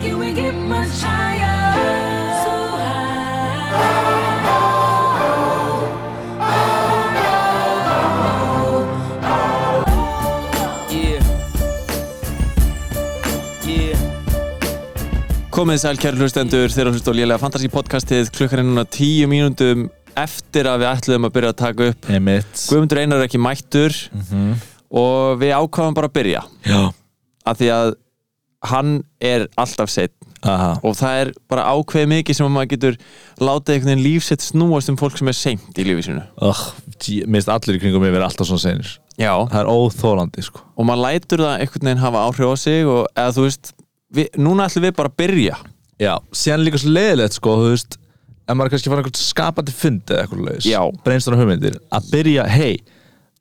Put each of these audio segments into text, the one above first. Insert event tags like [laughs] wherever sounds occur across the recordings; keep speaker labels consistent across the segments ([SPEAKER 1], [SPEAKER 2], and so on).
[SPEAKER 1] Can we get much higher? So high.
[SPEAKER 2] Yeah. Yeah. Komið sæl kæru hlustendur þegar hlust á lélega Fantasí podcastið klukkan er núna tíu mínúndum eftir að við ætluðum að byrja að taka upp
[SPEAKER 3] Emitt
[SPEAKER 2] Guðmundur Einar er ekki mættur og við ákvaðum bara að byrja
[SPEAKER 3] Já
[SPEAKER 2] af því að hann er alltaf seitt
[SPEAKER 3] Aha.
[SPEAKER 2] og það er bara ákveð mikið sem að maður getur látið einhvern veginn lífsett snúast um fólk sem er seint í lífi sinu
[SPEAKER 3] Oh, Mist allir í kringum mig vera alltaf svona senir
[SPEAKER 2] Já.
[SPEAKER 3] Það er óþólandi sko
[SPEAKER 2] og maður lætur það einhvern veginn hafa áhrif á sig og eða þú veist, við, núna ætlum við bara að byrja
[SPEAKER 3] Já Síðan líka svo leiðilegt sko Þú veist En maður er kannski fara einhvern skapandi fund eða eitthvað leiðis
[SPEAKER 2] Já.
[SPEAKER 3] Brainstorm hugmyndir Að byrja, hei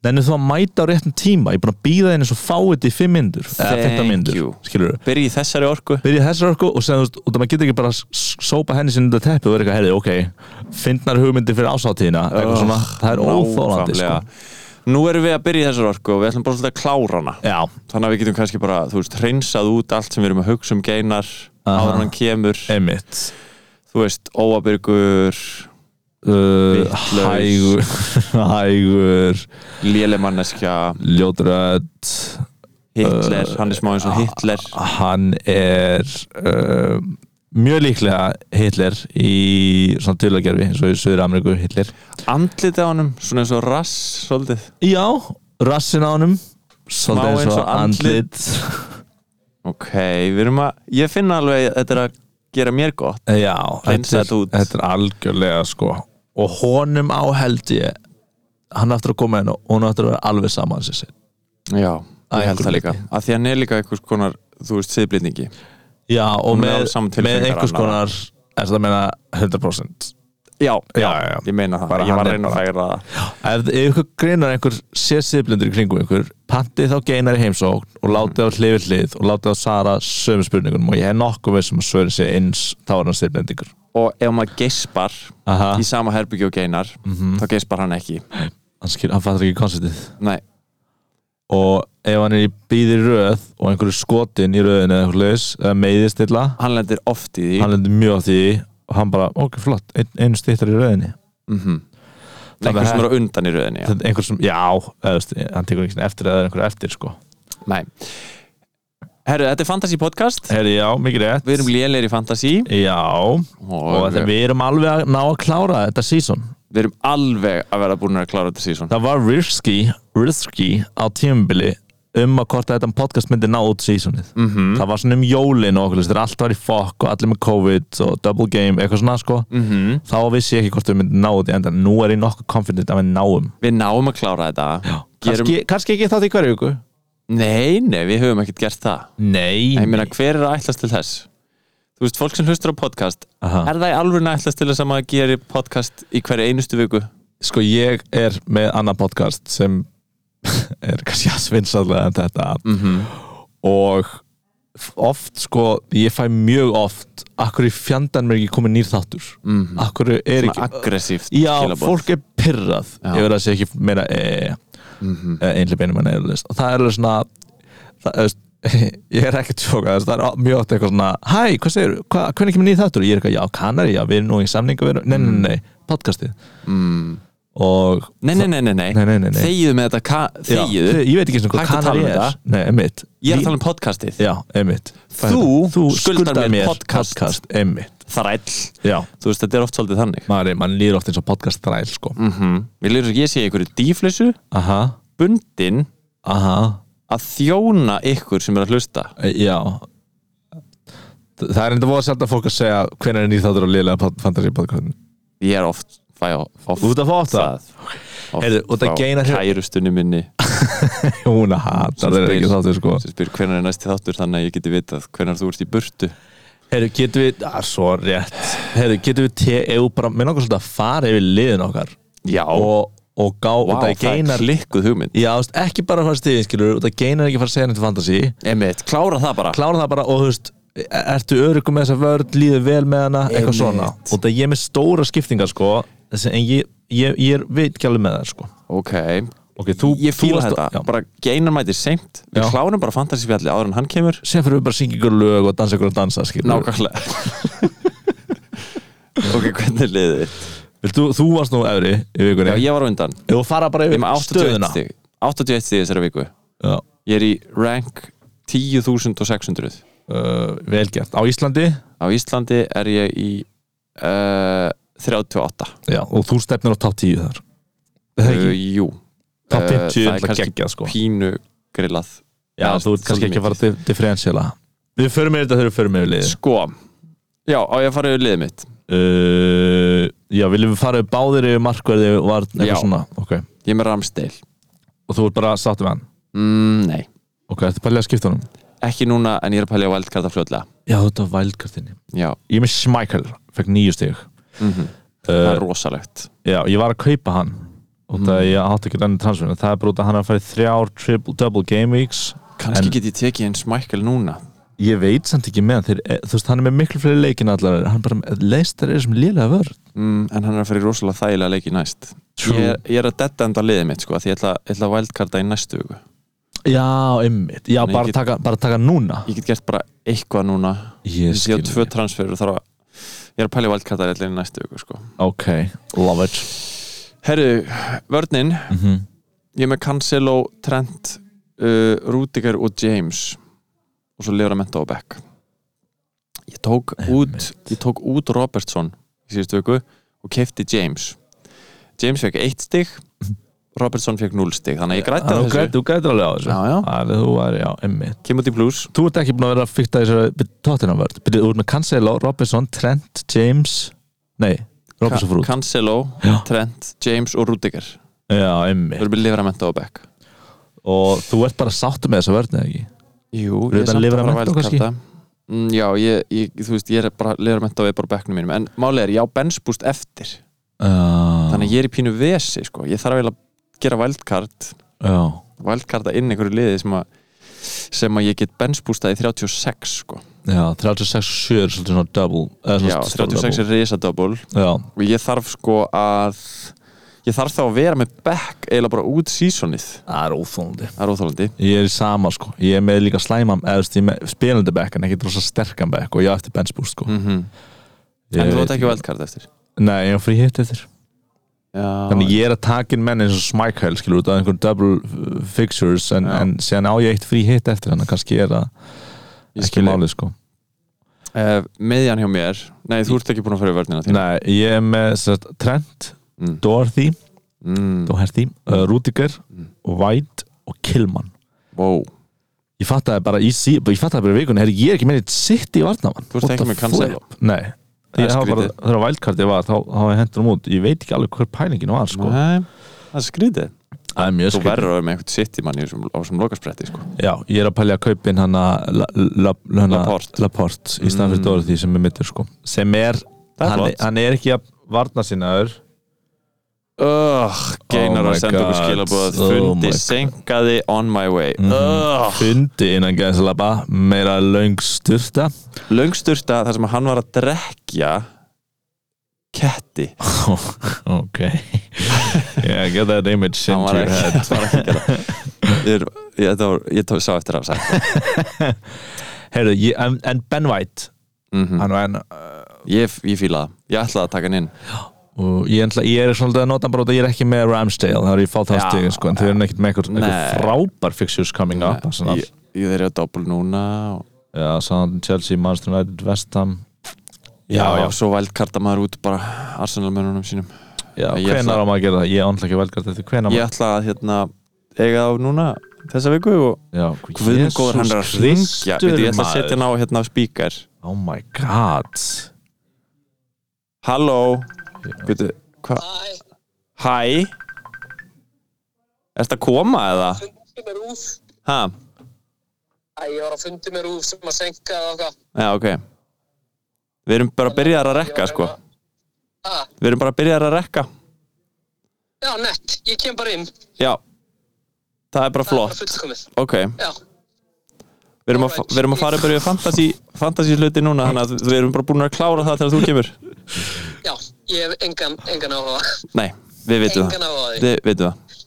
[SPEAKER 3] Nennu þú að mæta á réttum tíma Ég er búin að býða þinn eins og fáið í fimm myndur Eða
[SPEAKER 2] Thank
[SPEAKER 3] 15 myndur
[SPEAKER 2] you.
[SPEAKER 3] Skilur við
[SPEAKER 2] byrja í þessari orku
[SPEAKER 3] Byrja þessar orku og segja þú veist Og það maður getur ekki bara s- sópa henni sinni undir teppi Og vera eitthvað, heyrðu, ok Fyndnar hugmyndir fyrir ásáttíðina eða eitthvað svona. Það er óþólandi sko
[SPEAKER 2] Nákvæmlega. Nú erum við að byrja í þessari orku og við ætlum bara svolítið að klára hana
[SPEAKER 3] Já,
[SPEAKER 2] þannig að við getum kannski bara, þú veist, hreinsað út allt sem við erum að hugsa um geinar
[SPEAKER 3] Aha. Eh.
[SPEAKER 2] áður en hann kemur,
[SPEAKER 3] emitt
[SPEAKER 2] þú veist, óabyrgur
[SPEAKER 3] uh,
[SPEAKER 2] Vitlaus.
[SPEAKER 3] hægur [laughs] hægur
[SPEAKER 2] lélemanneskja,
[SPEAKER 3] ljótrödd
[SPEAKER 2] Hitler
[SPEAKER 3] Eh.
[SPEAKER 2] hann er smá eins og Hitler
[SPEAKER 3] hann er uh, mjög líklega Hitler í svona tilagerfi eins og í Suður Ameríku Hitler
[SPEAKER 2] andlitið á honum, svona eins og rass svolítið,
[SPEAKER 3] já, rassin á honum
[SPEAKER 2] Smá
[SPEAKER 3] svolítið eins og andlit
[SPEAKER 2] ok, við erum að ég finna alveg að þetta er að gera mér gott
[SPEAKER 3] já,
[SPEAKER 2] Hreinsa
[SPEAKER 3] þetta,
[SPEAKER 2] þetta út.
[SPEAKER 3] þetta er algjörlega sko og honum á held ég hann aftur að koma inn og hún aftur að vera alveg saman sér sér
[SPEAKER 2] já,
[SPEAKER 3] Að
[SPEAKER 2] ég held það
[SPEAKER 3] einhverju
[SPEAKER 2] líka að því hann er líka einhvers konar, þú veist, siðblindingi
[SPEAKER 3] Já, og
[SPEAKER 2] Hún er
[SPEAKER 3] með,
[SPEAKER 2] alveg saman tilfinningar
[SPEAKER 3] með einhvers
[SPEAKER 2] annarra.
[SPEAKER 3] konar er það að meina 100%
[SPEAKER 2] já,
[SPEAKER 3] Já, já, já.
[SPEAKER 2] ég meina það,
[SPEAKER 3] Bara
[SPEAKER 2] ég
[SPEAKER 3] hann
[SPEAKER 2] var
[SPEAKER 3] er
[SPEAKER 2] að reyna að
[SPEAKER 3] bara-
[SPEAKER 2] færa það
[SPEAKER 3] Ef ef ykkur grinar einhver sér siðblindur í kringum ykkur pantið þá geinar í heimsókn og látið á hlifið hlið og látið á Sara sömu spurningunum og ég hef nokkuð veist sem að svörin sé eins þá er hann siðblindingur
[SPEAKER 2] og ef maður geispar
[SPEAKER 3] Aha,
[SPEAKER 2] í sama herbyggju og geinar
[SPEAKER 3] Mhm.
[SPEAKER 2] þá geispar hann ekki
[SPEAKER 3] hann, skil, hann fattar ekki konceptið
[SPEAKER 2] Nei,
[SPEAKER 3] og ef hann er í býðir röð og einhverju skotin í röðinu eða einhver laus eða meiðist illa
[SPEAKER 2] hann lendir oft í því
[SPEAKER 3] hann lendur mjög á því og hann bara, ok flott, ein, einu stýttar í röðinni
[SPEAKER 2] Mhm. einhver sem er á undan í röðinni já.
[SPEAKER 3] Þetta er einhver sem, já, eða, þú veist, hann tekur einhvern eftir eða einhver eftir sko
[SPEAKER 2] Nei Herru, þetta er Fantasí podcast
[SPEAKER 3] Heri, já, mikið rétt
[SPEAKER 2] Við erum lélegir í Fantasí
[SPEAKER 3] Já, og þetta, við erum alveg að ná að klára þetta season
[SPEAKER 2] við erum alveg að vera búin að klára þetta síðan
[SPEAKER 3] Það var risky, risky á tímubili um að hvort að þetta podcast myndi ná út seasonið -hmm. það var svona um jólin og okkur þetta er alltaf var í fokk og allir með COVID og double game, eitthvað svona sko -hmm. þá vissi ég ekki hvort við myndi ná út í endan nú er ég nokkuð confident að við náum
[SPEAKER 2] Við náum að klára þetta Gerum...
[SPEAKER 3] kannski, kannski ekki þátt í hverju viku
[SPEAKER 2] Nei, nei, við höfum ekkert gert það
[SPEAKER 3] Nei,
[SPEAKER 2] Ég meina, hver er að ætlast til þess? Þú veist, fólk sem hlustur á podcast
[SPEAKER 3] Aha.
[SPEAKER 2] Er það í alveg að ætlast til þess að maður gerir podcast í hverju einustu viku?
[SPEAKER 3] sko ég er með annað podcast sem [laughs] er kannski að svinnsallega en þetta
[SPEAKER 2] -hmm.
[SPEAKER 3] og oft sko, ég fæ mjög oft akkur í fjandan mér ekki komið nýr þáttur
[SPEAKER 2] Mhm.
[SPEAKER 3] akkur er
[SPEAKER 2] Svona
[SPEAKER 3] ekki
[SPEAKER 2] aggressíft
[SPEAKER 3] já,
[SPEAKER 2] skilaboð.
[SPEAKER 3] fólk er pyrrað
[SPEAKER 2] Já. Mhm.
[SPEAKER 3] ég verð að segja ekki meira e, mm -hmm. einlega beinum en eðlist og það er alveg svona það, þú veist, [laughs] ég er ekki tjóka það er mjög oft eitthvað svona hæ, hvað segir, hva, hvernig kemur nýr þáttur ég er eitthvað, já, kanari, já, við erum nú í samningu við erum, nei, nei, nei, podcastið
[SPEAKER 2] mm.
[SPEAKER 3] og
[SPEAKER 2] nei, nei, nei, nei, nei.
[SPEAKER 3] Nei, nei, nei, nei.
[SPEAKER 2] Þegiðu með þetta, ka-
[SPEAKER 3] Já,
[SPEAKER 2] þegiðu
[SPEAKER 3] ég veit ekki einu sinni hvað
[SPEAKER 2] Hægt að
[SPEAKER 3] kanari
[SPEAKER 2] tala um
[SPEAKER 3] er
[SPEAKER 2] þetta.
[SPEAKER 3] nei, emitt
[SPEAKER 2] Ég er að tala um podcastið
[SPEAKER 3] Já, einmitt
[SPEAKER 2] Þú skuldar mér podcast.
[SPEAKER 3] Einmitt
[SPEAKER 2] Þræll
[SPEAKER 3] Já,
[SPEAKER 2] Þú veist, þetta er oft svolítið þannig
[SPEAKER 3] maður, mann líður oft eins og podcast þræl sko
[SPEAKER 2] mm Ég lýður að ég sé í einhverju díflissu
[SPEAKER 3] Aha,
[SPEAKER 2] bundin
[SPEAKER 3] aha,
[SPEAKER 2] að þjóna ykkur sem er að hlusta
[SPEAKER 3] e, já Þ- Það er enda voða sjálf að fólk að segja hvenær er nýð þáttur og liðlega fantasy podcastin
[SPEAKER 2] Ég er oft fæ á oft
[SPEAKER 3] Út að fá átta?
[SPEAKER 2] Oft
[SPEAKER 3] Heyrðu, og það
[SPEAKER 2] frá
[SPEAKER 3] geinar hér-
[SPEAKER 2] Kærustunni minni
[SPEAKER 3] [laughs] Hún að hata, það er ekki þáttur sko
[SPEAKER 2] sem spyr hvernig er næsti þáttur þannig að ég geti vitað hvernig þú ert í burtu
[SPEAKER 3] Herru, getum við, að svo rétt Herru, getum við te, ef bara, mér langar svolítið að fara yfir liðin okkar
[SPEAKER 2] Já,
[SPEAKER 3] og, og gá,
[SPEAKER 2] Vá,
[SPEAKER 3] og
[SPEAKER 2] það
[SPEAKER 3] það
[SPEAKER 2] er
[SPEAKER 3] geinar
[SPEAKER 2] klikkuð hugmynd
[SPEAKER 3] Já, þú veist, ekki bara að fara stíðin, skilur og það geinar ekki að fara að segja neitt fantasy
[SPEAKER 2] Emmett, klára það bara
[SPEAKER 3] klára það bara og þú veist er- ertu örugum með þessa vörð, líður vel með hana eitthvað
[SPEAKER 2] Einmitt.
[SPEAKER 3] svona, og það ég er með stóra skiptingar sko, þessi- en ég, ég, ég er veit ekki alveg með það sko,
[SPEAKER 2] Ok,
[SPEAKER 3] ok, þú
[SPEAKER 2] ég
[SPEAKER 3] þú
[SPEAKER 2] fíla
[SPEAKER 3] varst-
[SPEAKER 2] þetta,
[SPEAKER 3] já.
[SPEAKER 2] bara geinar mætir seint, við
[SPEAKER 3] Já.
[SPEAKER 2] klárum bara fantasífjalli áður en hann kemur
[SPEAKER 3] Sér fyrir við bara að syngja ykkur lög og dansa ykkur og dansa skilur.
[SPEAKER 2] nákvæmlega [laughs] ok, hvernig er liðið þitt?
[SPEAKER 3] Þú, þú varst nú efri í vikunni
[SPEAKER 2] já, ég var á undan,
[SPEAKER 3] Ef þú fara bara
[SPEAKER 2] ég
[SPEAKER 3] yfir
[SPEAKER 2] er með 81
[SPEAKER 3] stöðuna
[SPEAKER 2] stig 81 stig þessari viku
[SPEAKER 3] Já,
[SPEAKER 2] ég er í rank 10.600
[SPEAKER 3] uh, vel gert Á Íslandi,
[SPEAKER 2] á Íslandi er ég í uh, 38
[SPEAKER 3] já, og þú stefnir á top 10 þar Er Það er
[SPEAKER 2] uh,
[SPEAKER 3] ekki
[SPEAKER 2] jú,
[SPEAKER 3] top
[SPEAKER 2] eh, það
[SPEAKER 3] 50
[SPEAKER 2] er
[SPEAKER 3] uh, Það er
[SPEAKER 2] kannski
[SPEAKER 3] geggjað sko
[SPEAKER 2] pínu grillað
[SPEAKER 3] Já,
[SPEAKER 2] það er
[SPEAKER 3] þú ert
[SPEAKER 2] svolítið
[SPEAKER 3] kannski ekki að fara að differentiala Við förum yfir þetta þegar við förum yfir liðið
[SPEAKER 2] sko, já, á ég að fara yfir liðið mitt
[SPEAKER 3] uh, Já, viljum við fara yfir báðir yfir markverði var
[SPEAKER 2] Já.
[SPEAKER 3] eitthvað svona Ok,
[SPEAKER 2] ég er með Ramsdale
[SPEAKER 3] og þú ert bara sáttu með hann
[SPEAKER 2] mm, nei,
[SPEAKER 3] Ok, ertu pælið að skipta honum?
[SPEAKER 2] ekki núna en ég er að pælja wildcarda fljótlega
[SPEAKER 3] Já, þetta var vældkartinni
[SPEAKER 2] já,
[SPEAKER 3] Ég er með Schmeichel, fekk nýju stig
[SPEAKER 2] það
[SPEAKER 3] uh,
[SPEAKER 2] er rosalegt
[SPEAKER 3] Já, ég var að kaupa hann og það
[SPEAKER 2] Mm.
[SPEAKER 3] ég átti ekki enn transferinu það er bara út að hann er að fara í þrjár triple, double game weeks
[SPEAKER 2] kannski
[SPEAKER 3] En-
[SPEAKER 2] get ég tekið eins Michael núna
[SPEAKER 3] ég veit samt ekki með hann þeir, eh, þú veist, hann er með miklu fleiri leikin allar hann bara, leistar er sem lélega vörð
[SPEAKER 2] mm, en hann er að fara í rosalega þægilega leiki næst
[SPEAKER 3] True.
[SPEAKER 2] ég, er- ég er að dead enda liðið mitt sko, því ég ætla, ég ætla að wildcarda í næstu viku
[SPEAKER 3] já, ymmit, já,
[SPEAKER 2] Nei, ég
[SPEAKER 3] bara,
[SPEAKER 2] get-
[SPEAKER 3] taka, bara taka núna
[SPEAKER 2] ég get gert bara eitthvað núna
[SPEAKER 3] ég
[SPEAKER 2] ég
[SPEAKER 3] skil
[SPEAKER 2] á tvö transfer og þarf að ég er að pæla wildcarda í allir næstu viku sko.
[SPEAKER 3] ok, love it
[SPEAKER 2] herru, vörnin
[SPEAKER 3] mm -hmm.
[SPEAKER 2] ég er með Cancelo, Trent uh, Rudiger og James og svo Leora Menta og Beck ég tók út ég tók út Robertson í síðustu viku og kefti James James fekk eitt
[SPEAKER 3] [laughs]
[SPEAKER 2] stig Robertson fekk 0 stig þannig að ég grætti á
[SPEAKER 3] þú
[SPEAKER 2] þessu
[SPEAKER 3] grætt- þú grættir alveg á þessu
[SPEAKER 2] Já, já.
[SPEAKER 3] Það er- þú var, já, ymmit
[SPEAKER 2] kemur til plus
[SPEAKER 3] þú ert ekki búin að vera að fykta þessu eh, tóttina vörð, þú ert með Cancelo, Robinson Trent, James nei, Robinson frú
[SPEAKER 2] Cancelo,
[SPEAKER 3] Já.
[SPEAKER 2] Trent, James og Rudiger
[SPEAKER 3] Já, emmi
[SPEAKER 2] þau eru með Leora Menta og Beck
[SPEAKER 3] Og þú ert bara sáttu með þessu vörðni, ekki?
[SPEAKER 2] Jú, ég
[SPEAKER 3] Fyrir
[SPEAKER 2] er samt
[SPEAKER 3] utan
[SPEAKER 2] að
[SPEAKER 3] Leora
[SPEAKER 2] fara
[SPEAKER 3] Mento kannski?
[SPEAKER 2] vældkarta mm, Já, ég, ég, þú veist, ég er bara Leoramento er bara á bekknum mínum, en málið er ég á benchbúst eftir
[SPEAKER 3] Uh,
[SPEAKER 2] þannig að ég er í pínu vesi sko. ég þarf eiginlega að gera wildcard
[SPEAKER 3] Já,
[SPEAKER 2] wildcarda inn einhverju liði sem að sem að ég get benchbústað í 36 sko.
[SPEAKER 3] já 36 og 7 er svolítið svona double eða svona
[SPEAKER 2] já,
[SPEAKER 3] stór
[SPEAKER 2] 36 er risadouble
[SPEAKER 3] double. Já,
[SPEAKER 2] og ég þarf sko að ég þarf þá að vera með back eiginlega bara út sísonið
[SPEAKER 3] það er óþólandi
[SPEAKER 2] það er óþólandi
[SPEAKER 3] Ég er í sama, sko Ég er með líka slæmam eða veist, ég er með spilandi bekk en ekki rosa sterkan bekk og ég á eftir bench boost, sko
[SPEAKER 2] mm en
[SPEAKER 3] Ég
[SPEAKER 2] þú
[SPEAKER 3] veit
[SPEAKER 2] átt ekki wildcard eftir
[SPEAKER 3] Nei, ég er frí hitt eftir
[SPEAKER 2] já,
[SPEAKER 3] Þannig ég er að taka inn menn eins og Smækæl skilur út af einhvern double uh, fixtures en,
[SPEAKER 2] Já.
[SPEAKER 3] en síðan á ég eitt frí hitt eftir þannig að kannski er það
[SPEAKER 2] ég
[SPEAKER 3] ekki
[SPEAKER 2] skil þig.
[SPEAKER 3] málið, sko
[SPEAKER 2] uh, meðjan hjá mér nei, þú ert ekki búin að fara í vörnina þína
[SPEAKER 3] Nei, ég er með satt, Trent,
[SPEAKER 2] Mm.
[SPEAKER 3] Dorothy
[SPEAKER 2] mm,
[SPEAKER 3] Doherty, uh, Rudiger, White og Kilman
[SPEAKER 2] wow.
[SPEAKER 3] Ég fattaði bara í sí, ég fattaði bara í vikunni, herri, ég er ekki með eitt sitt í varnamann
[SPEAKER 2] Þú ert
[SPEAKER 3] What
[SPEAKER 2] ekki
[SPEAKER 3] the
[SPEAKER 2] með Cancelo?
[SPEAKER 3] flip? Nei,
[SPEAKER 2] Það er
[SPEAKER 3] ég hafa bara,
[SPEAKER 2] skrítið.
[SPEAKER 3] þegar vældkartið var þá hafa ég hendur um út, ég veit ekki alveg hver pælingin var sko.
[SPEAKER 2] Nei, það er skrítið
[SPEAKER 3] Það er mjög
[SPEAKER 2] Þú
[SPEAKER 3] skrið
[SPEAKER 2] verður að vera með eitthvað sitt í manni sem, á sem lokaspretti sko.
[SPEAKER 3] Já, ég er að pælja að kaupin hann
[SPEAKER 2] Laporte.
[SPEAKER 3] Laport Laport í staðan fyrir
[SPEAKER 2] Mm.
[SPEAKER 3] Dorothy sem er mittur sko. sem er,
[SPEAKER 2] Það er
[SPEAKER 3] hann,
[SPEAKER 2] flott.
[SPEAKER 3] hann er ekki að varna sinnaður
[SPEAKER 2] Ugh, Geinar
[SPEAKER 3] Oh
[SPEAKER 2] að
[SPEAKER 3] my
[SPEAKER 2] senda okkur
[SPEAKER 3] God.
[SPEAKER 2] skilabóð að
[SPEAKER 3] Oh my
[SPEAKER 2] fundi
[SPEAKER 3] God.
[SPEAKER 2] senkaði on my way
[SPEAKER 3] Mhm.
[SPEAKER 2] Ugh,
[SPEAKER 3] fundi innan gæðslapa meira löngsturta
[SPEAKER 2] Löngsturta þar sem hann var að drekja ketti
[SPEAKER 3] [laughs] ok yeah, get that image
[SPEAKER 2] Hann
[SPEAKER 3] into
[SPEAKER 2] var
[SPEAKER 3] your
[SPEAKER 2] ekki,
[SPEAKER 3] head
[SPEAKER 2] [laughs] hann var ekki að gera það. Ég, er- ég, þetta var, ég tó, sá eftir að hafa sagt
[SPEAKER 3] Heyrðu, ég, en, en Ben White
[SPEAKER 2] mm
[SPEAKER 3] hann var enn Ah.
[SPEAKER 2] Ég, ég fíla það, ég ætlaði að taka hann inn
[SPEAKER 3] og ég, ætla, ég er svolítið að nota hann bara út að ég er ekki með Ramsdale þá er ég fá það
[SPEAKER 2] Já,
[SPEAKER 3] stegin sko en þau eru ekkert með einhver,
[SPEAKER 2] Nei.
[SPEAKER 3] einhver frábær fixtures coming up
[SPEAKER 2] Nei,
[SPEAKER 3] Arsenal.
[SPEAKER 2] Ég, ég þeir eru að doppul núna og,
[SPEAKER 3] já, Southampton, Chelsea, Manchester United, West Ham
[SPEAKER 2] Já,
[SPEAKER 3] Já,
[SPEAKER 2] já,
[SPEAKER 3] já.
[SPEAKER 2] svo vældkarta maður út bara Arsenal-mönunum sínum
[SPEAKER 3] já,
[SPEAKER 2] Ég ætla-
[SPEAKER 3] hvenar á maður að gera það? ég er andla ekki velgart eftir hvenar
[SPEAKER 2] Ég ætla að hérna eiga á núna þessa viku og
[SPEAKER 3] maður
[SPEAKER 2] Guðmund góður hann er að hringja Veitu, ég ætla að setja hann á hérna á spíkar
[SPEAKER 3] oh my god
[SPEAKER 2] Halló Veitu, hvað? Hæ Ertu að koma eða?
[SPEAKER 4] fundi með rúf
[SPEAKER 2] Ha?
[SPEAKER 4] Æ, ég var að fundi með rúf sem að senka eða okkar
[SPEAKER 2] Já, ok Við erum bara að byrja að rekka sko
[SPEAKER 4] Ha,
[SPEAKER 2] Við erum bara að byrja að rekka
[SPEAKER 4] já, nett, ég kem bara inn Það
[SPEAKER 2] Já Það er bara
[SPEAKER 4] er bara
[SPEAKER 2] flott
[SPEAKER 4] fullkomið
[SPEAKER 2] Ok,
[SPEAKER 4] Já,
[SPEAKER 2] við erum að, fa- við erum að fara að byrja fantasy, fantasy hluti núna Þannig að við erum bara búin að klára það þegar þú kemur
[SPEAKER 4] já, ég hef engan, engan áhuga
[SPEAKER 2] Nei, við vitum
[SPEAKER 4] Engan
[SPEAKER 2] það
[SPEAKER 4] áhuga á því.
[SPEAKER 2] Við vitum það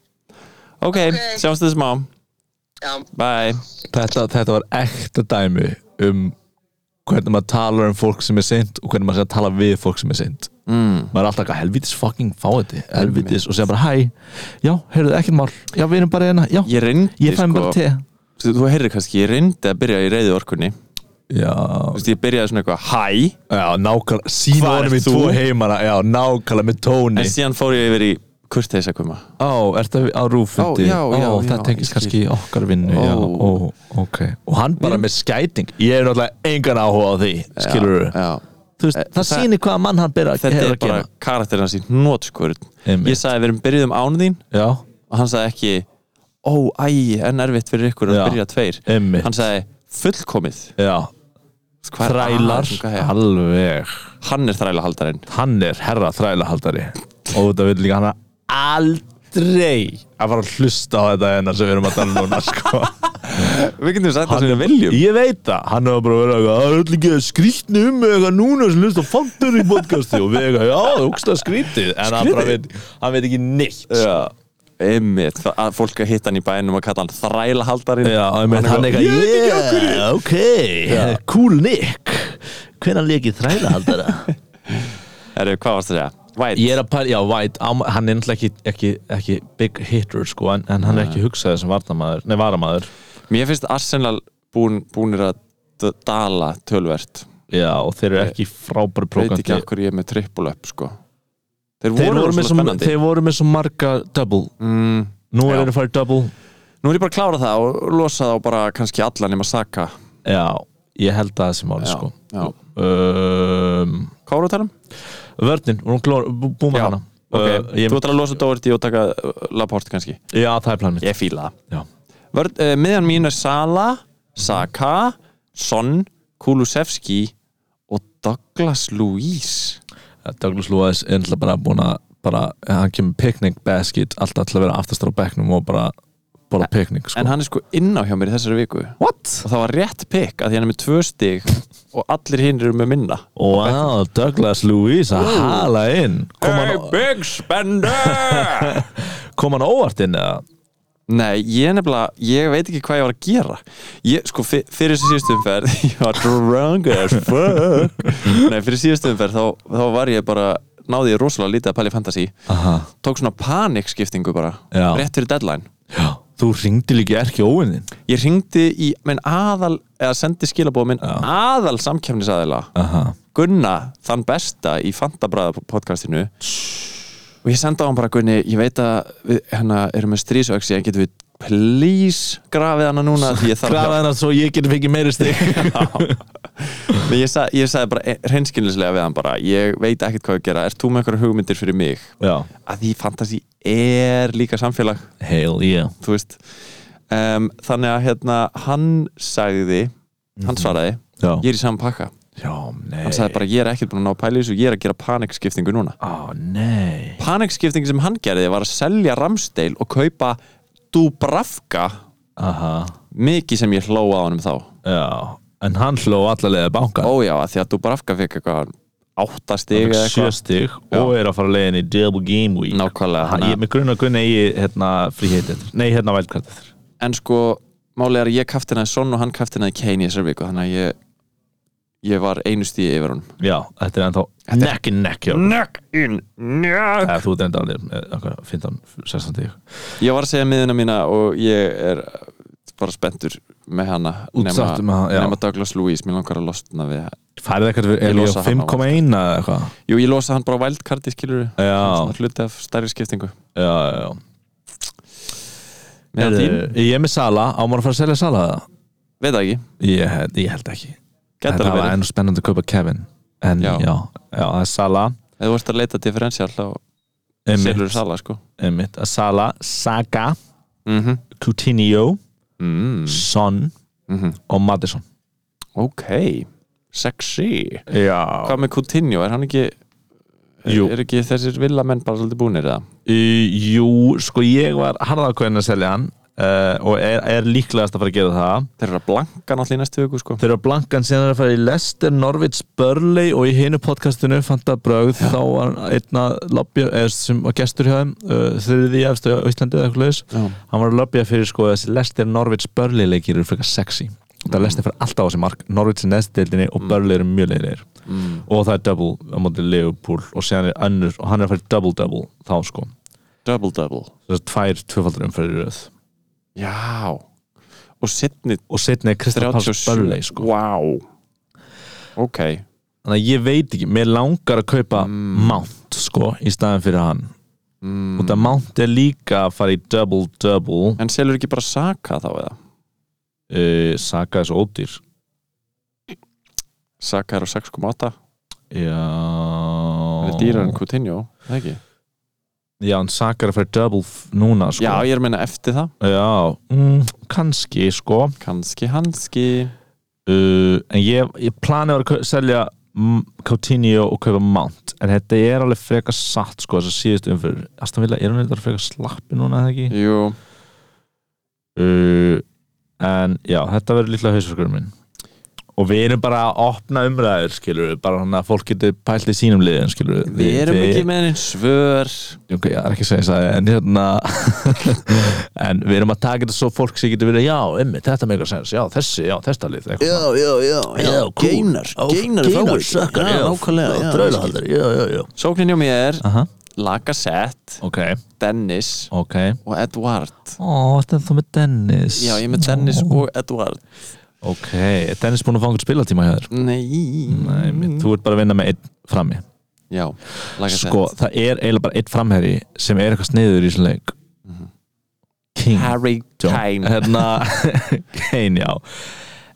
[SPEAKER 2] ok,
[SPEAKER 4] Ok.
[SPEAKER 2] sjáumst þið smá
[SPEAKER 4] Já,
[SPEAKER 2] bye
[SPEAKER 3] þetta, þetta var ekta dæmi um hvernig maður talar um fólk sem er synd og hvernig maður sé að tala við fólk sem er synd
[SPEAKER 2] mm.
[SPEAKER 3] maður er alltaf eitthvað helvítis fucking fáiði helvítis og segja bara hæ já, heyrðu ekkert mál, já við erum bara hérna já,
[SPEAKER 2] ég sko reyndi
[SPEAKER 3] ég fæ mér bara te
[SPEAKER 2] þú, þú heyrir kannski, ég reyndi að byrja í reyðu orkunni þú
[SPEAKER 3] já,
[SPEAKER 2] veist, ég byrjaði svona eitthvað hæ,
[SPEAKER 3] já nákvæmlega sína
[SPEAKER 2] Hvar
[SPEAKER 3] honum í
[SPEAKER 2] ert
[SPEAKER 3] tvo
[SPEAKER 2] þú?
[SPEAKER 3] heimana já, nákvæmlega með tóni
[SPEAKER 2] en síðan fór ég yfir í kurteis að koma
[SPEAKER 3] Ó, ertu á rúfundi?
[SPEAKER 2] Ó, já, já,
[SPEAKER 3] Ó,
[SPEAKER 2] já,
[SPEAKER 3] það tengist
[SPEAKER 2] ég
[SPEAKER 3] kannski
[SPEAKER 2] skil.
[SPEAKER 3] í okkar vinnu, já,
[SPEAKER 2] Ó.
[SPEAKER 3] ó, ok. Og hann bara með skæting. Ég er náttúrulega engan áhuga á því, skilur þú?
[SPEAKER 2] já,
[SPEAKER 3] Veist, það, það
[SPEAKER 2] Eh, það-
[SPEAKER 3] sýnir hvaða mann hann byrja að
[SPEAKER 2] þetta
[SPEAKER 3] hefur
[SPEAKER 2] er
[SPEAKER 3] að
[SPEAKER 2] bara
[SPEAKER 3] gera.
[SPEAKER 2] karakterinn hans í nótskurð
[SPEAKER 3] Einmitt.
[SPEAKER 2] ég sagði við erum byrjuð um án þín
[SPEAKER 3] Já,
[SPEAKER 2] og hann sagði ekki ó, æ, en erfitt fyrir ykkur að
[SPEAKER 3] Já.
[SPEAKER 2] byrja tveir
[SPEAKER 3] Einmitt.
[SPEAKER 2] hann sagði fullkomið
[SPEAKER 3] já.
[SPEAKER 2] Hvað er
[SPEAKER 3] Þrælar,
[SPEAKER 2] að- hvað er-
[SPEAKER 3] alveg.
[SPEAKER 2] hann er þrælahaldarinn
[SPEAKER 3] Hann er herra þrælahaldari. Og þetta vil líka hann er aldrei að fara að hlusta á þetta hennar sem við erum að tala um núna, sko. [laughs]
[SPEAKER 2] við getum sagt það
[SPEAKER 3] Hann
[SPEAKER 2] sem
[SPEAKER 3] er-
[SPEAKER 2] við viljum
[SPEAKER 3] Ég veit það, hann hefur bara verið eitthvað Það er öll ekki að skrýtni um mig eitthvað núna sem hlust á fandur í podcasti og við eitthvað, já, það hugst að skrýtið en hann, bara veit, hann veit ekki neitt Já,
[SPEAKER 2] einmitt, það- að fólk að hitta hann í bænum og kalla hann þrælahaldarinn
[SPEAKER 3] já hann, hann, hann eitthvað, yeah, ok cool Nick hvernig lekið þrælahaldara
[SPEAKER 2] Heru, hvað varst það að segja? White
[SPEAKER 3] Ég er að pæla, já, White, á- hann er náttúrulega ekki, ekki, ekki big hitter, sko, en, en hann er ekki hugsaði sem vartamaður, nei, varamaður
[SPEAKER 2] mér finnst Arsenal búin, búinir að d- dala tölvert
[SPEAKER 3] Já, og þeir eru ekki
[SPEAKER 2] veit
[SPEAKER 3] frábæri
[SPEAKER 2] ekki
[SPEAKER 3] prókandi
[SPEAKER 2] af hverju ég er með triple up sko. þeir
[SPEAKER 3] Þeir
[SPEAKER 2] voru,
[SPEAKER 3] voru, með
[SPEAKER 2] rosalega
[SPEAKER 3] svo,
[SPEAKER 2] spennandi
[SPEAKER 3] þeir voru með svo marga double
[SPEAKER 2] mm,
[SPEAKER 3] Nú
[SPEAKER 2] Já.
[SPEAKER 3] er þeir að fara í double
[SPEAKER 2] nú er ég bara að klára það og losa þá bara kannski alla nema Saka
[SPEAKER 3] Já, ég held að þessi máli
[SPEAKER 2] Já,
[SPEAKER 3] sko
[SPEAKER 2] já.
[SPEAKER 3] um,
[SPEAKER 2] hvað voru að tala um?
[SPEAKER 3] Vörnin, hún glóður, búið með
[SPEAKER 2] Já,
[SPEAKER 3] hana
[SPEAKER 2] ok,
[SPEAKER 3] uh, ég,
[SPEAKER 2] Eh, þú ætlar að losa Doherty og taka uh, Laporte kannski
[SPEAKER 3] Já, það er planið
[SPEAKER 2] ég fíla það
[SPEAKER 3] Já,
[SPEAKER 2] Vörn, uh, miðjan mín er Sala Saka, Son Kulusevski og Douglas Luís
[SPEAKER 3] Douglas Lewis er náttúrulega bara búin að bara, hann kemur picnic basket alltaf til að vera aftastur á bekknum og bara bara picnic sko
[SPEAKER 2] en hann er sko inná hjá mér í þessari viku
[SPEAKER 3] What?
[SPEAKER 2] og það var rétt pick að því hann er með tvö stig og allir hinn eru með minna
[SPEAKER 3] Wow, Douglas Lewis að hala inn Kom hann,
[SPEAKER 2] big spender
[SPEAKER 3] kom hann óvart inn eða?
[SPEAKER 2] Nei, ég nefnilega, ég veit ekki hvað ég var að gera ég, Sko, fyr, fyrir þessu síðustu umferð [laughs] Ég var drunk as fuck Nei, fyrir síðustu umferð þá, þá var ég bara, náði ég rosalega lítið að pæli fantasy
[SPEAKER 3] Aha,
[SPEAKER 2] Tók svona panikskiptingu bara
[SPEAKER 3] Já.
[SPEAKER 2] Rétt fyrir deadline
[SPEAKER 3] já Þú ringdi líka ekki óvinnin
[SPEAKER 2] Ég ringdi í, minn aðal Eða sendi skilabóð minn aðal samkjæfnisaðila
[SPEAKER 3] Aha,
[SPEAKER 2] Gunna, þann besta í Fantabræða podcastinu og ég senda á hann bara Gunni, ég veit að við hérna erum með strísöksi en getum við please grafið hana núna því ég þarf
[SPEAKER 3] Grafa
[SPEAKER 2] hjálp.
[SPEAKER 3] hennar svo ég geti fengið
[SPEAKER 2] [laughs]
[SPEAKER 3] meiri stig
[SPEAKER 2] Nei, ég, sa, ég sagði bara reynskilnislega við hann bara ég veit ekkert hvað að gera, ert þú með einhverja hugmyndir fyrir mig?
[SPEAKER 3] Já,
[SPEAKER 2] Að því fantasi er líka samfélag,
[SPEAKER 3] hell yeah
[SPEAKER 2] þú veist um, þannig að hérna hann sagði, hann svaraði
[SPEAKER 3] Já,
[SPEAKER 2] ég er í saman pakka,
[SPEAKER 3] já nei
[SPEAKER 2] hann sagði bara ég er ekkert búin að ná pæli þessu, ég er að gera panikskiptingu núna
[SPEAKER 3] Á, nei
[SPEAKER 2] panikskipting sem hann gerði var að selja Ramsdale og kaupa Dubravka
[SPEAKER 3] Aha,
[SPEAKER 2] mikið sem ég hló að honum þá
[SPEAKER 3] já En hann hló allalega banka
[SPEAKER 2] ójá, að því að Dubravka fekk eitthvað áttastig eða
[SPEAKER 3] Sjö
[SPEAKER 2] eitthvað
[SPEAKER 3] stig og er að fara leiðin í Double Game Week
[SPEAKER 2] Nákvæmlega,
[SPEAKER 3] hann,
[SPEAKER 2] þannig að-
[SPEAKER 3] Ég með grunna gunni eigi hérna fríheitið Nei, hérna vældkartið
[SPEAKER 2] en sko, málið er að ég kaftinaði Son og hann kaftinaði Kane í þessar viku þannig að ég, ég var einu stíði yfir honum
[SPEAKER 3] Já, þetta er ennþá neck in neck hjá
[SPEAKER 2] Nökk inn, nökk
[SPEAKER 3] Eða, Þú ert enda alveg með okkar 15, 16 stig
[SPEAKER 2] Ég var að segja miðuna mína og ég er bara spenntur með hana
[SPEAKER 3] Útsáttur með um hana, já.
[SPEAKER 2] nema Douglas Lewis, mér langar að losna við það
[SPEAKER 3] Færið eitthvað fyrir,
[SPEAKER 2] Ég
[SPEAKER 3] er ég
[SPEAKER 2] losa
[SPEAKER 3] á
[SPEAKER 2] hann á
[SPEAKER 3] 5,1 eða eitthvað
[SPEAKER 2] Jú, ég losa hann bara á wildcardi skilur
[SPEAKER 3] Já,
[SPEAKER 2] hluti af stærri skiptingu
[SPEAKER 3] já, já, já.
[SPEAKER 2] Meðan þín?
[SPEAKER 3] Heyrðu, Ég er með Sala, á maður að fara að selja Sala það?
[SPEAKER 2] Veit það ekki,
[SPEAKER 3] Ég, ég held ekki
[SPEAKER 2] geta
[SPEAKER 3] Þetta
[SPEAKER 2] alveg
[SPEAKER 3] var
[SPEAKER 2] verið
[SPEAKER 3] enn spennandi að kaupa Kevin En já,
[SPEAKER 2] Já.
[SPEAKER 3] já, það er Sala
[SPEAKER 2] Ef þú ert að leita differential á Silur
[SPEAKER 3] Einmitt,
[SPEAKER 2] Sala sko
[SPEAKER 3] einmitt Sala, Saga,
[SPEAKER 2] mm
[SPEAKER 3] Coutinho
[SPEAKER 2] mm.
[SPEAKER 3] Son og Madison
[SPEAKER 2] Mhm. Ok, sexy
[SPEAKER 3] Já
[SPEAKER 2] Hvað með Coutinho, er hann ekki
[SPEAKER 3] Jú.
[SPEAKER 2] Er ekki þessir villamenn bara svolítið búnir eða?
[SPEAKER 3] Jú, sko ég var harðakvæðin að selja hann uh, og er, er líklegast að fara að gera það
[SPEAKER 2] Þeir eru að blanka náttúrulega í næstu viku sko
[SPEAKER 3] Þeir eru að blankan síðan að fara í Lester, Norvits, Burnley og í hinu podcastinu Fanta Braugð þá var einn að labja, eða sem var gestur hjá þeim uh, þriði efstu á Íslandi eða eitthvað leis
[SPEAKER 2] Já.
[SPEAKER 3] hann var að labja fyrir sko þessi Lester, Norvits, Burnley leikir eru frekar sexy og
[SPEAKER 2] Mm.
[SPEAKER 3] það er Lester fyrir alltaf á þessi mark Norvits er neðstildinni og Burnley eru mjög leirir
[SPEAKER 2] mm.
[SPEAKER 3] og það er double á móti Liverpool og síðan er önnur og hann er að fara í double-double þá sko
[SPEAKER 2] Double double
[SPEAKER 3] þessar tvær tvöfaldur umfæri röð
[SPEAKER 2] Já Og setni
[SPEAKER 3] og setna er Kristján Páls
[SPEAKER 2] 37
[SPEAKER 3] Burnley sko
[SPEAKER 2] Wow Ok
[SPEAKER 3] þannig að ég veit ekki, mér langar að kaupa Mount sko, í staðin fyrir hann
[SPEAKER 2] mm.
[SPEAKER 3] og það Mount er líka að fara í double-double
[SPEAKER 2] En selur ekki bara Saka þá eða?
[SPEAKER 3] uh, Saka er svo ódýr
[SPEAKER 2] Saka er á 6,8
[SPEAKER 3] já
[SPEAKER 2] Það er dýrar en Coutinho er Það ekki
[SPEAKER 3] já, en Saka er að fara í double f- núna sko
[SPEAKER 2] Já, ég er að meina eftir það
[SPEAKER 3] Já, mm, kannski sko
[SPEAKER 2] Kanski hanski
[SPEAKER 3] uh, en ég, ég plani að kau- selja mm, Coutinho og kaupa Mount en þetta er alveg frekar satt sko þess að síðust umfyrir Aston Villa er hann eitthvað frekar slappi núna eða ekki
[SPEAKER 2] Jú
[SPEAKER 3] uh, en já, þetta verður líklega hausverkurinn minn og við erum bara að opna umræður skilur við, bara hann að fólk getur pælt í sínum liðin skilur við
[SPEAKER 2] Við erum ekki með einn svör
[SPEAKER 3] ok, ég er ekki að segja það en hérna [laughs] en við erum að taka þetta svo fólk sem getur verið já, emmi, þetta meikar sens, já, þessi, já, þetta lið eitthvað svona.
[SPEAKER 5] já, já,
[SPEAKER 3] Já, cool. Ó, Geinar sökkar, já, já, Þraulahaldari, já, já, já
[SPEAKER 2] Sóknin hjá mér
[SPEAKER 3] Aha,
[SPEAKER 2] Lacazette
[SPEAKER 3] ok,
[SPEAKER 2] Dennis
[SPEAKER 3] ok
[SPEAKER 2] og Edward
[SPEAKER 3] Ó, þetta er þú með Dennis
[SPEAKER 2] Já, ég er með Dennis og Edward
[SPEAKER 3] Ok, er Dennis búin að fá einhvern spilatíma hjá þér?
[SPEAKER 2] Nei
[SPEAKER 3] Nei,
[SPEAKER 2] Mm.
[SPEAKER 3] mitt, þú ert bara að vinna með einn frammi
[SPEAKER 2] Já, Lacazette
[SPEAKER 3] Sko, það er eiginlega bara einn framherri sem er eitthvað sniður í þessum leik
[SPEAKER 2] Mhm.
[SPEAKER 3] King
[SPEAKER 2] Harry
[SPEAKER 3] John.
[SPEAKER 2] Kane [laughs]
[SPEAKER 3] Hérna, Kane, já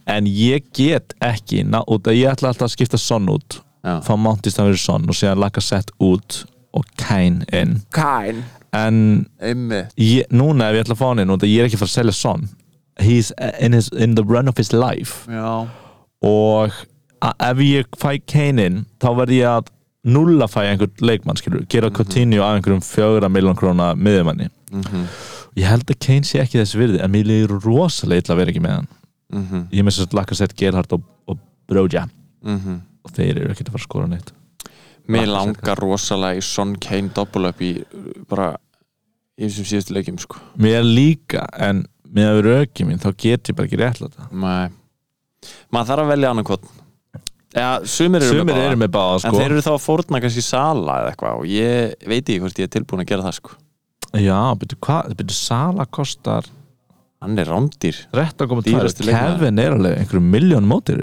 [SPEAKER 3] En ég get ekki ná, út, að Ég ætla alltaf að skipta Son út
[SPEAKER 2] Já.
[SPEAKER 3] Fá Mount í stafn fyrir Son og síðan laka sett út og Kane inn
[SPEAKER 2] Kane
[SPEAKER 3] En
[SPEAKER 2] Einmi
[SPEAKER 3] ég, núna ef ég ætla að fá hann inn út af ég er ekki að fara að selja Son he's in, his, in the run of his life
[SPEAKER 2] Já
[SPEAKER 3] og a- ef ég fæ Kane inn þá verð ég að nulla fæ einhvern leikmann skilur,
[SPEAKER 2] Mhm.
[SPEAKER 3] gera Coutinho af einhverjum fjögra miljón króna miðjumanni
[SPEAKER 2] Mhm.
[SPEAKER 3] ég held að Kane sé ekki þessi virði en mér líður rosalega illa að vera ekki með hann
[SPEAKER 2] Mhm,
[SPEAKER 3] ég með þess að lakka sett Gerhardt og, og Broja
[SPEAKER 2] mhm.
[SPEAKER 3] og þeir eru ekkert að fara að skora neitt
[SPEAKER 2] Mér
[SPEAKER 3] Lacazette.
[SPEAKER 2] langar rosalega í Son Kane double up í uh, bara í þessum síðustu leikjum sko
[SPEAKER 3] mér líka en með röki mín þá get ég bara ekki rétt þetta
[SPEAKER 2] Nei Maður þarf að velja annan kvot Já, sumir eru
[SPEAKER 3] sumir
[SPEAKER 2] með báða
[SPEAKER 3] eru með báða
[SPEAKER 2] En
[SPEAKER 3] sko
[SPEAKER 2] þeir eru þá að fórna kannski sala eða eitthvað og ég veit ekki hvort ég er tilbúin að gera það sko
[SPEAKER 3] já, betur hvað, betur Sala kostar
[SPEAKER 2] Hann er rándýr
[SPEAKER 3] 13,2
[SPEAKER 2] Dýrasti leikmaður.
[SPEAKER 3] Kevin er alveg einhverjum miljón mótir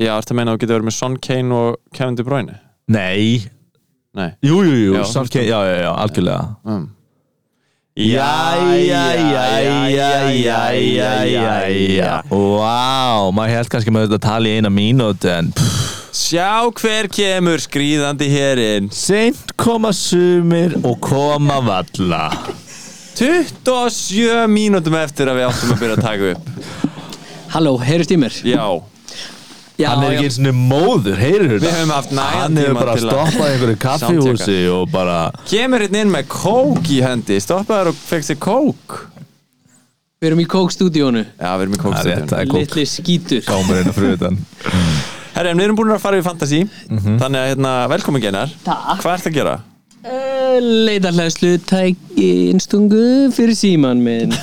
[SPEAKER 2] Já, ertu að meina að þú getur verið með Son Kane og Kevin De Bruyne?
[SPEAKER 3] Nei,
[SPEAKER 2] Nei
[SPEAKER 3] jú, jú, jú,
[SPEAKER 2] Já,
[SPEAKER 3] samt
[SPEAKER 2] þú
[SPEAKER 3] Kevin, já, já, já, algjörlega
[SPEAKER 2] um.
[SPEAKER 3] Vá, maður held kannski með þetta tali í eina mínúti en
[SPEAKER 2] Sjá hver kemur skrýðandi hérinn
[SPEAKER 3] Seint koma sumir og koma valla
[SPEAKER 2] 27 mínútum eftir að við áttum að byrja að taka upp
[SPEAKER 6] Halló, heyrðist í mér?
[SPEAKER 2] Já,
[SPEAKER 6] Já,
[SPEAKER 3] Hann er
[SPEAKER 6] já.
[SPEAKER 3] ekki eins og móður, heyrðu
[SPEAKER 2] Við höfum haft nægan
[SPEAKER 3] Hann hefur
[SPEAKER 2] tíma
[SPEAKER 3] bara
[SPEAKER 2] til að-
[SPEAKER 3] stoppað í einhverju kaffihúsi og bara
[SPEAKER 2] kemur hérna inn með kók í hendi Stoppaður og fekk sér kók
[SPEAKER 6] Við erum í Coke-stúdíónu
[SPEAKER 2] Já, við erum í
[SPEAKER 3] Það er rétt,
[SPEAKER 2] kókstættun
[SPEAKER 3] það er kók
[SPEAKER 6] Litli skítur
[SPEAKER 3] Gámur einu fruðan
[SPEAKER 2] Herri, en við erum búin að fara í Fantasí
[SPEAKER 3] Mhm.
[SPEAKER 2] Þannig að hérna, velkomin genar
[SPEAKER 6] Takk.
[SPEAKER 2] Hvað ert að gera?
[SPEAKER 6] uh, Leitarhlæslu tæki innstungu fyrir síman
[SPEAKER 3] [laughs]
[SPEAKER 6] minn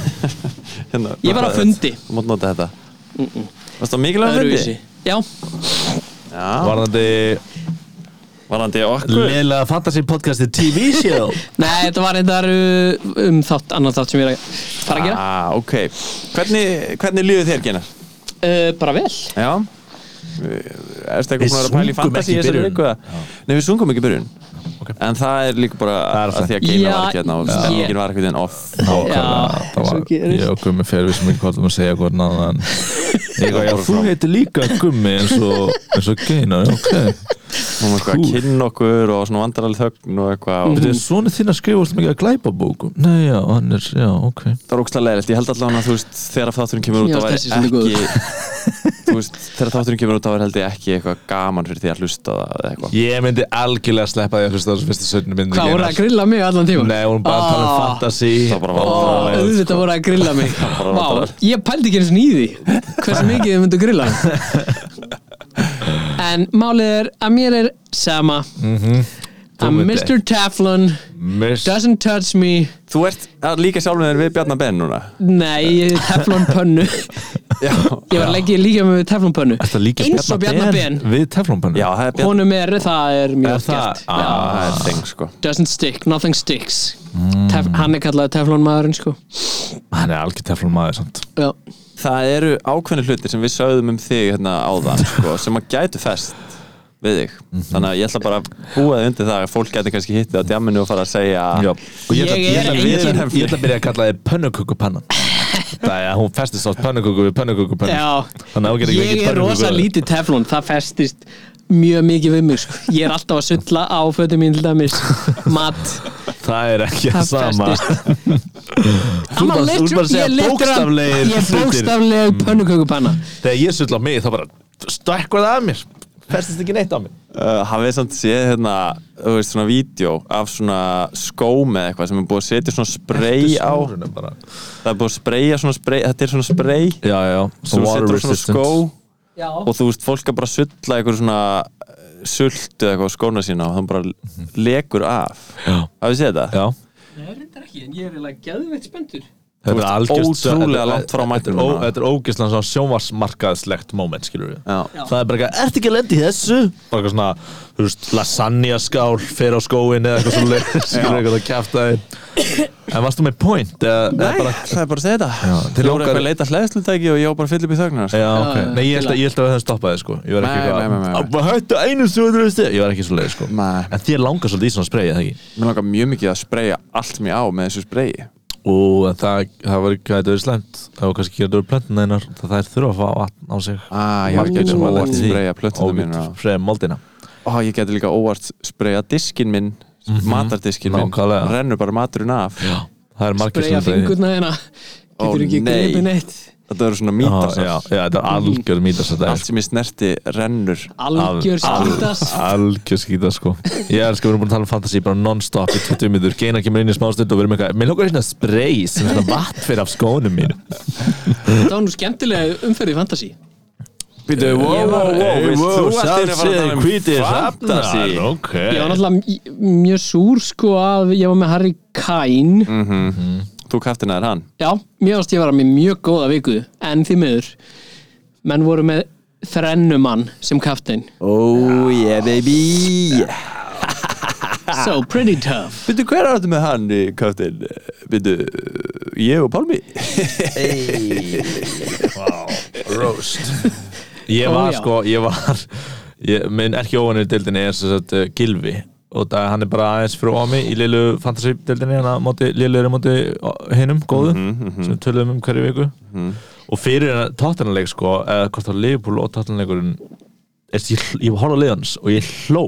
[SPEAKER 2] Hérna,
[SPEAKER 6] Ég var á fundi.
[SPEAKER 2] Þú mátt nota þetta Varst það mikilvæg fundi?
[SPEAKER 6] Öðruvísi Já,
[SPEAKER 2] Já,
[SPEAKER 3] Varðandi
[SPEAKER 2] varandi okkur
[SPEAKER 3] Leila Fantasy Podcasti TV show
[SPEAKER 6] nei, þetta var reyndar uh, um þátt, annan þátt sem ég er að fara að gera
[SPEAKER 2] ah, ok Hvernig, hvernig líður þér genar?
[SPEAKER 6] uh, Bara vel
[SPEAKER 2] Já Erstu eitthvað
[SPEAKER 3] Við
[SPEAKER 2] búin að vera að pæla í
[SPEAKER 3] sungum
[SPEAKER 2] fantasi
[SPEAKER 3] ekki í byrjun.
[SPEAKER 2] Nei, við sungum ekki í byrjun En það er líka bara
[SPEAKER 3] Það er
[SPEAKER 2] að því að
[SPEAKER 6] það.
[SPEAKER 2] Keina
[SPEAKER 6] Já,
[SPEAKER 2] var ekki hérna og
[SPEAKER 6] já.
[SPEAKER 2] stemningin var eitthvað en off
[SPEAKER 3] Nákvæmlega,
[SPEAKER 6] Já,
[SPEAKER 3] það
[SPEAKER 6] svo
[SPEAKER 3] var
[SPEAKER 6] gerist.
[SPEAKER 3] ég og Gummi fer við sem ekki hvort um að segja hvort [laughs] náðan
[SPEAKER 6] Mm.
[SPEAKER 3] Ég var, já, þú heitir líka Gummi eins og, eins og Geina, ok
[SPEAKER 2] hún var eitthvað að kynna okkur og svona vandrarlega þögn og
[SPEAKER 6] Mhm.
[SPEAKER 2] eitthvað og
[SPEAKER 3] Þetta er svona þín að skrifa alltaf mikið að glæpa bókum Nei, já, hann er, já, ok
[SPEAKER 2] það var ógstlega leiðilegt, ég held allavega að þú veist þegar þátturinn kemur út
[SPEAKER 6] Mér
[SPEAKER 2] þá
[SPEAKER 6] fannst
[SPEAKER 2] væri
[SPEAKER 6] þessi svolítið
[SPEAKER 2] ekki [laughs] þú veist, þegar þátturinn kemur út þá væri held ég ekki eitthvað gaman fyrir því að hlusta á það eða eitthvað
[SPEAKER 3] Ég myndi algjörlega sleppa því að hlusta á þessu fyrstu sönnu myndi
[SPEAKER 6] Hvað, voru það að grilla mig allan tíma?
[SPEAKER 3] Nei, hún bara að tala um
[SPEAKER 6] Ah.
[SPEAKER 3] fantasy
[SPEAKER 2] Það bara var
[SPEAKER 3] Ó, sko.
[SPEAKER 6] Ó,
[SPEAKER 2] vandrarlegt,
[SPEAKER 6] auðvitað voru að grilla
[SPEAKER 3] [laughs]
[SPEAKER 6] mig
[SPEAKER 2] bara
[SPEAKER 6] Vá,
[SPEAKER 2] vandræðalegt.
[SPEAKER 6] ég pældi ekki eins og nýði hversu mikið þið myndu grilla mig. en málið er að mér er sama að
[SPEAKER 3] Mhm. Þú myndir
[SPEAKER 6] Mr. Teflon
[SPEAKER 3] Miss
[SPEAKER 6] doesn't touch me
[SPEAKER 2] Þú ert að líka sjálfum þegar við Bjarnar Ben núna
[SPEAKER 6] nei, ég er Teflon pönnu ég
[SPEAKER 2] Já,
[SPEAKER 6] var lengi líka með Teflon pönnu
[SPEAKER 3] Ertu að líka
[SPEAKER 6] eins og Bjarnar Ben
[SPEAKER 3] Við teflumpannu
[SPEAKER 2] já það er Bjarnar
[SPEAKER 6] honum er, það er
[SPEAKER 3] Er
[SPEAKER 6] mjög
[SPEAKER 3] það-
[SPEAKER 6] skert
[SPEAKER 3] Ah.
[SPEAKER 2] Það er þing sko
[SPEAKER 6] doesn't stick, nothing sticks
[SPEAKER 3] Mm.
[SPEAKER 6] Tef, hann er kallað Teflon maðurinn sko
[SPEAKER 3] Hann er algjör teflum maður samt
[SPEAKER 6] já,
[SPEAKER 2] Það eru ákveðni hlutir sem við sögðum um þig hérna áðan sko, sem að gætu fest við þig Þannig að ég ætla bara að búa þig undir það að fólk gæti kannski hittið á djamminu og fara að segja
[SPEAKER 3] Já. Og ég, ætla-
[SPEAKER 6] Ég er
[SPEAKER 3] ég, ætla-
[SPEAKER 2] engin-
[SPEAKER 3] ég ætla að byrja að kalla þið [laughs] pönnukukupannan Það er að hún festist átt pönnukuku við pönnukukupannu
[SPEAKER 6] já
[SPEAKER 3] Þannig að hún getur ekki
[SPEAKER 6] ég
[SPEAKER 3] ekki
[SPEAKER 6] er rosa lítið teflon það festist mjög mikið við mig sko. ég er alltaf að sulla á fötum mín til dæmis mat,
[SPEAKER 3] Það er ekki
[SPEAKER 6] það
[SPEAKER 3] sama
[SPEAKER 6] festist
[SPEAKER 3] [laughs] Þú
[SPEAKER 6] I'm a
[SPEAKER 3] bara- þú
[SPEAKER 6] literal-
[SPEAKER 3] bara segja
[SPEAKER 6] ég er literal-
[SPEAKER 3] bókstaflegir
[SPEAKER 6] ég er
[SPEAKER 3] hlutir. Mm.
[SPEAKER 6] bókstafleg pönnukökupanna
[SPEAKER 3] Þegar ég sull á mig þá bara stökkvað að mér Festist ekki neitt á mig
[SPEAKER 2] uh, hafið samt séð hérna þú veist svona vídeo af svona skóm eða eitthvað sem er búið að setja svona spray á
[SPEAKER 3] Snúrunum bara
[SPEAKER 2] það er búið að spraya svona spray þetta er svona spray
[SPEAKER 3] Já, já,
[SPEAKER 2] sem þú setur á svona skó og
[SPEAKER 6] já,
[SPEAKER 2] þú veist fólk er bara að sulla eitthvað svona eh, sultu eða eitthvað á skóna sína og þann bara lekur af
[SPEAKER 3] Já,
[SPEAKER 2] hafið séð þetta?
[SPEAKER 3] já
[SPEAKER 6] það er reyndar ekki en ég er eiginlega geðveitt spenntur
[SPEAKER 2] Þú
[SPEAKER 3] Þetta er
[SPEAKER 2] ert
[SPEAKER 3] algjörst
[SPEAKER 2] ótrúlega langt frá mættum
[SPEAKER 3] Þetta er ó-
[SPEAKER 2] núna.
[SPEAKER 3] þetta er ógeðslega svona sjónvarsmarkaðslegt moment, skilur við
[SPEAKER 2] Já.
[SPEAKER 6] Já.
[SPEAKER 3] Það er bara eitthvað, ertu ekki að lendi þessu? Bara eitthvað svona, þú veist, lasagna skál fer á skóin eða eitthvað svo leið
[SPEAKER 2] [laughs]
[SPEAKER 3] skilur við eitthvað að kæfta þið En varstu með point? Eða, eða
[SPEAKER 2] Nei,
[SPEAKER 3] bara,
[SPEAKER 2] það er bara að segja þetta
[SPEAKER 3] til
[SPEAKER 2] Þið voru
[SPEAKER 3] okkar-
[SPEAKER 2] eitthvað að leita hlæðslutæki og ég var bara að fylla upp í þögnar
[SPEAKER 3] Já, ok,
[SPEAKER 6] já,
[SPEAKER 3] nei, ég held, að,
[SPEAKER 6] til að-
[SPEAKER 3] ég held að við höfum stoppað þið, sko Ég var ekki
[SPEAKER 2] Nei, nei, nei, nei, nei.
[SPEAKER 3] eitthvað, bara hættu einu sem þú veist Ég var ekki svo leið, sko
[SPEAKER 2] Nei.
[SPEAKER 3] En þér langar svolítið í svona spreið, eða ekki?
[SPEAKER 2] Mér langar mjög mikið að spraya allt mér á með þessu sprayi
[SPEAKER 3] Ó, en það, það var ekki að þetta verið slæmt Það var kannski ekki að þetta verið plöntin einar Það þær þurfa að fá vatn á sig
[SPEAKER 2] Ah, ég
[SPEAKER 3] Margir
[SPEAKER 2] geti
[SPEAKER 3] sem hafa
[SPEAKER 2] óvart
[SPEAKER 3] lent í því.
[SPEAKER 2] spraya plötuna
[SPEAKER 3] Óvart
[SPEAKER 2] mína á.
[SPEAKER 3] Spraya moldina
[SPEAKER 2] Ó, ég geti líka óvart spraya diskin minn matardiskinn minn,
[SPEAKER 3] Nákvæmlega.
[SPEAKER 2] rennur bara maturinn af
[SPEAKER 3] Já, það er margir
[SPEAKER 6] breyja
[SPEAKER 3] sem þetta-
[SPEAKER 6] fingurna hérna
[SPEAKER 2] Ó,
[SPEAKER 6] getur ekki
[SPEAKER 2] nei.
[SPEAKER 6] greipið neitt
[SPEAKER 2] Þetta eru svona
[SPEAKER 3] Já, já,
[SPEAKER 2] mítasar
[SPEAKER 3] já, þetta er algjör mítas Þetta
[SPEAKER 2] Allt
[SPEAKER 3] er
[SPEAKER 2] sem ég snerti rennur
[SPEAKER 6] algjör skýtas
[SPEAKER 3] [laughs] Algjör skýta sko Ég elska, við erum búin að tala um fantasy bara non-stop í 20 minnur Geinar kemur inn í smástund og við erum eitthvað Mér lókar hérna spray sem þetta vatn fyrir af skónum mín
[SPEAKER 6] þetta var nú skemmtilega umferði fantasi
[SPEAKER 2] Býtu, wow, wow, wow,
[SPEAKER 3] Hey,
[SPEAKER 2] vilt þú
[SPEAKER 3] wow,
[SPEAKER 2] allt er að fara
[SPEAKER 3] sjálfsögðu,
[SPEAKER 2] að
[SPEAKER 3] hvítið
[SPEAKER 2] tala um
[SPEAKER 3] hrafnar,
[SPEAKER 2] fantasy
[SPEAKER 3] ok.
[SPEAKER 6] ég var náttúrulega m- mjög súr sko að ég var með Harry
[SPEAKER 3] Mm.
[SPEAKER 6] Kane
[SPEAKER 2] Þú kaftina þér hann
[SPEAKER 6] Já, mér varst ég vera með mjög góða viku en því miður menn voru með þrennumann sem kaftin
[SPEAKER 2] Oh yeah baby
[SPEAKER 6] So pretty tough
[SPEAKER 2] Býtu, hver er þetta með hann í kaftin? Býtu, ég og Pálmi
[SPEAKER 3] Roast [laughs] Ég
[SPEAKER 6] Ó,
[SPEAKER 3] var
[SPEAKER 6] já.
[SPEAKER 3] sko, ég var ég, Minn ekki óvanur deildinni er sem sagt uh, Gilvi og það, hann er bara aðeins fyrir omi í lilu fantasy deildinni hann að móti, lilu er á móti uh, hinum góðu sem við töluðum um hverju viku og fyrir hann tóttanleik sko eða hvort það leifbúl og tóttanleikurinn ég, ég var horfði á liðans og ég hló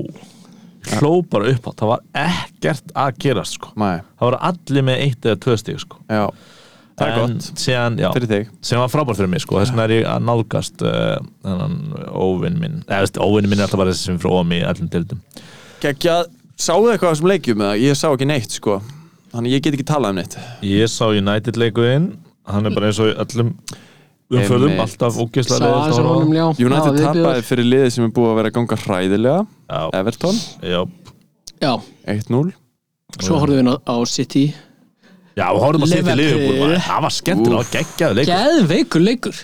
[SPEAKER 3] hló bara upp á, það var ekkert að gerast sko
[SPEAKER 2] Mæ,
[SPEAKER 3] það var allir með eitt eða tvö stík sko
[SPEAKER 2] já Það er
[SPEAKER 3] En
[SPEAKER 2] gott,
[SPEAKER 3] síðan, já,
[SPEAKER 2] fyrir þig
[SPEAKER 3] sem var frábært fyrir mig sko. þess vegna er ég að nálgast uh, þennan óvinn minn eða veist, óvinn minn er alltaf bara þessi sem er frá ómi í öllum dildum
[SPEAKER 2] Kekja, sáðu eitthvað á þessum leikjum eða? Ég sá ekki neitt sko Þannig ég get ekki talað um neitt
[SPEAKER 3] ég sá United leikurinn hann er bara eins og í öllum umfölum
[SPEAKER 2] Einmitt.
[SPEAKER 3] alltaf
[SPEAKER 6] Sá
[SPEAKER 3] ógeðslega
[SPEAKER 6] aðeins
[SPEAKER 3] leiðilegt
[SPEAKER 6] á
[SPEAKER 3] að horfa á.
[SPEAKER 6] honum ljá
[SPEAKER 2] United
[SPEAKER 6] Já, viðbjóður.
[SPEAKER 2] tapaði fyrir liðið sem er búið að vera að ganga hræðilega
[SPEAKER 3] já,
[SPEAKER 2] Everton,
[SPEAKER 3] já,
[SPEAKER 6] Já,
[SPEAKER 2] 1-0
[SPEAKER 6] svo horfðum við ná- á City
[SPEAKER 3] já, við horfum að setja
[SPEAKER 6] Liverpool.
[SPEAKER 3] liðbúl það var skemmtilega, það var geggjaði leikur
[SPEAKER 6] Geðveikur leikur,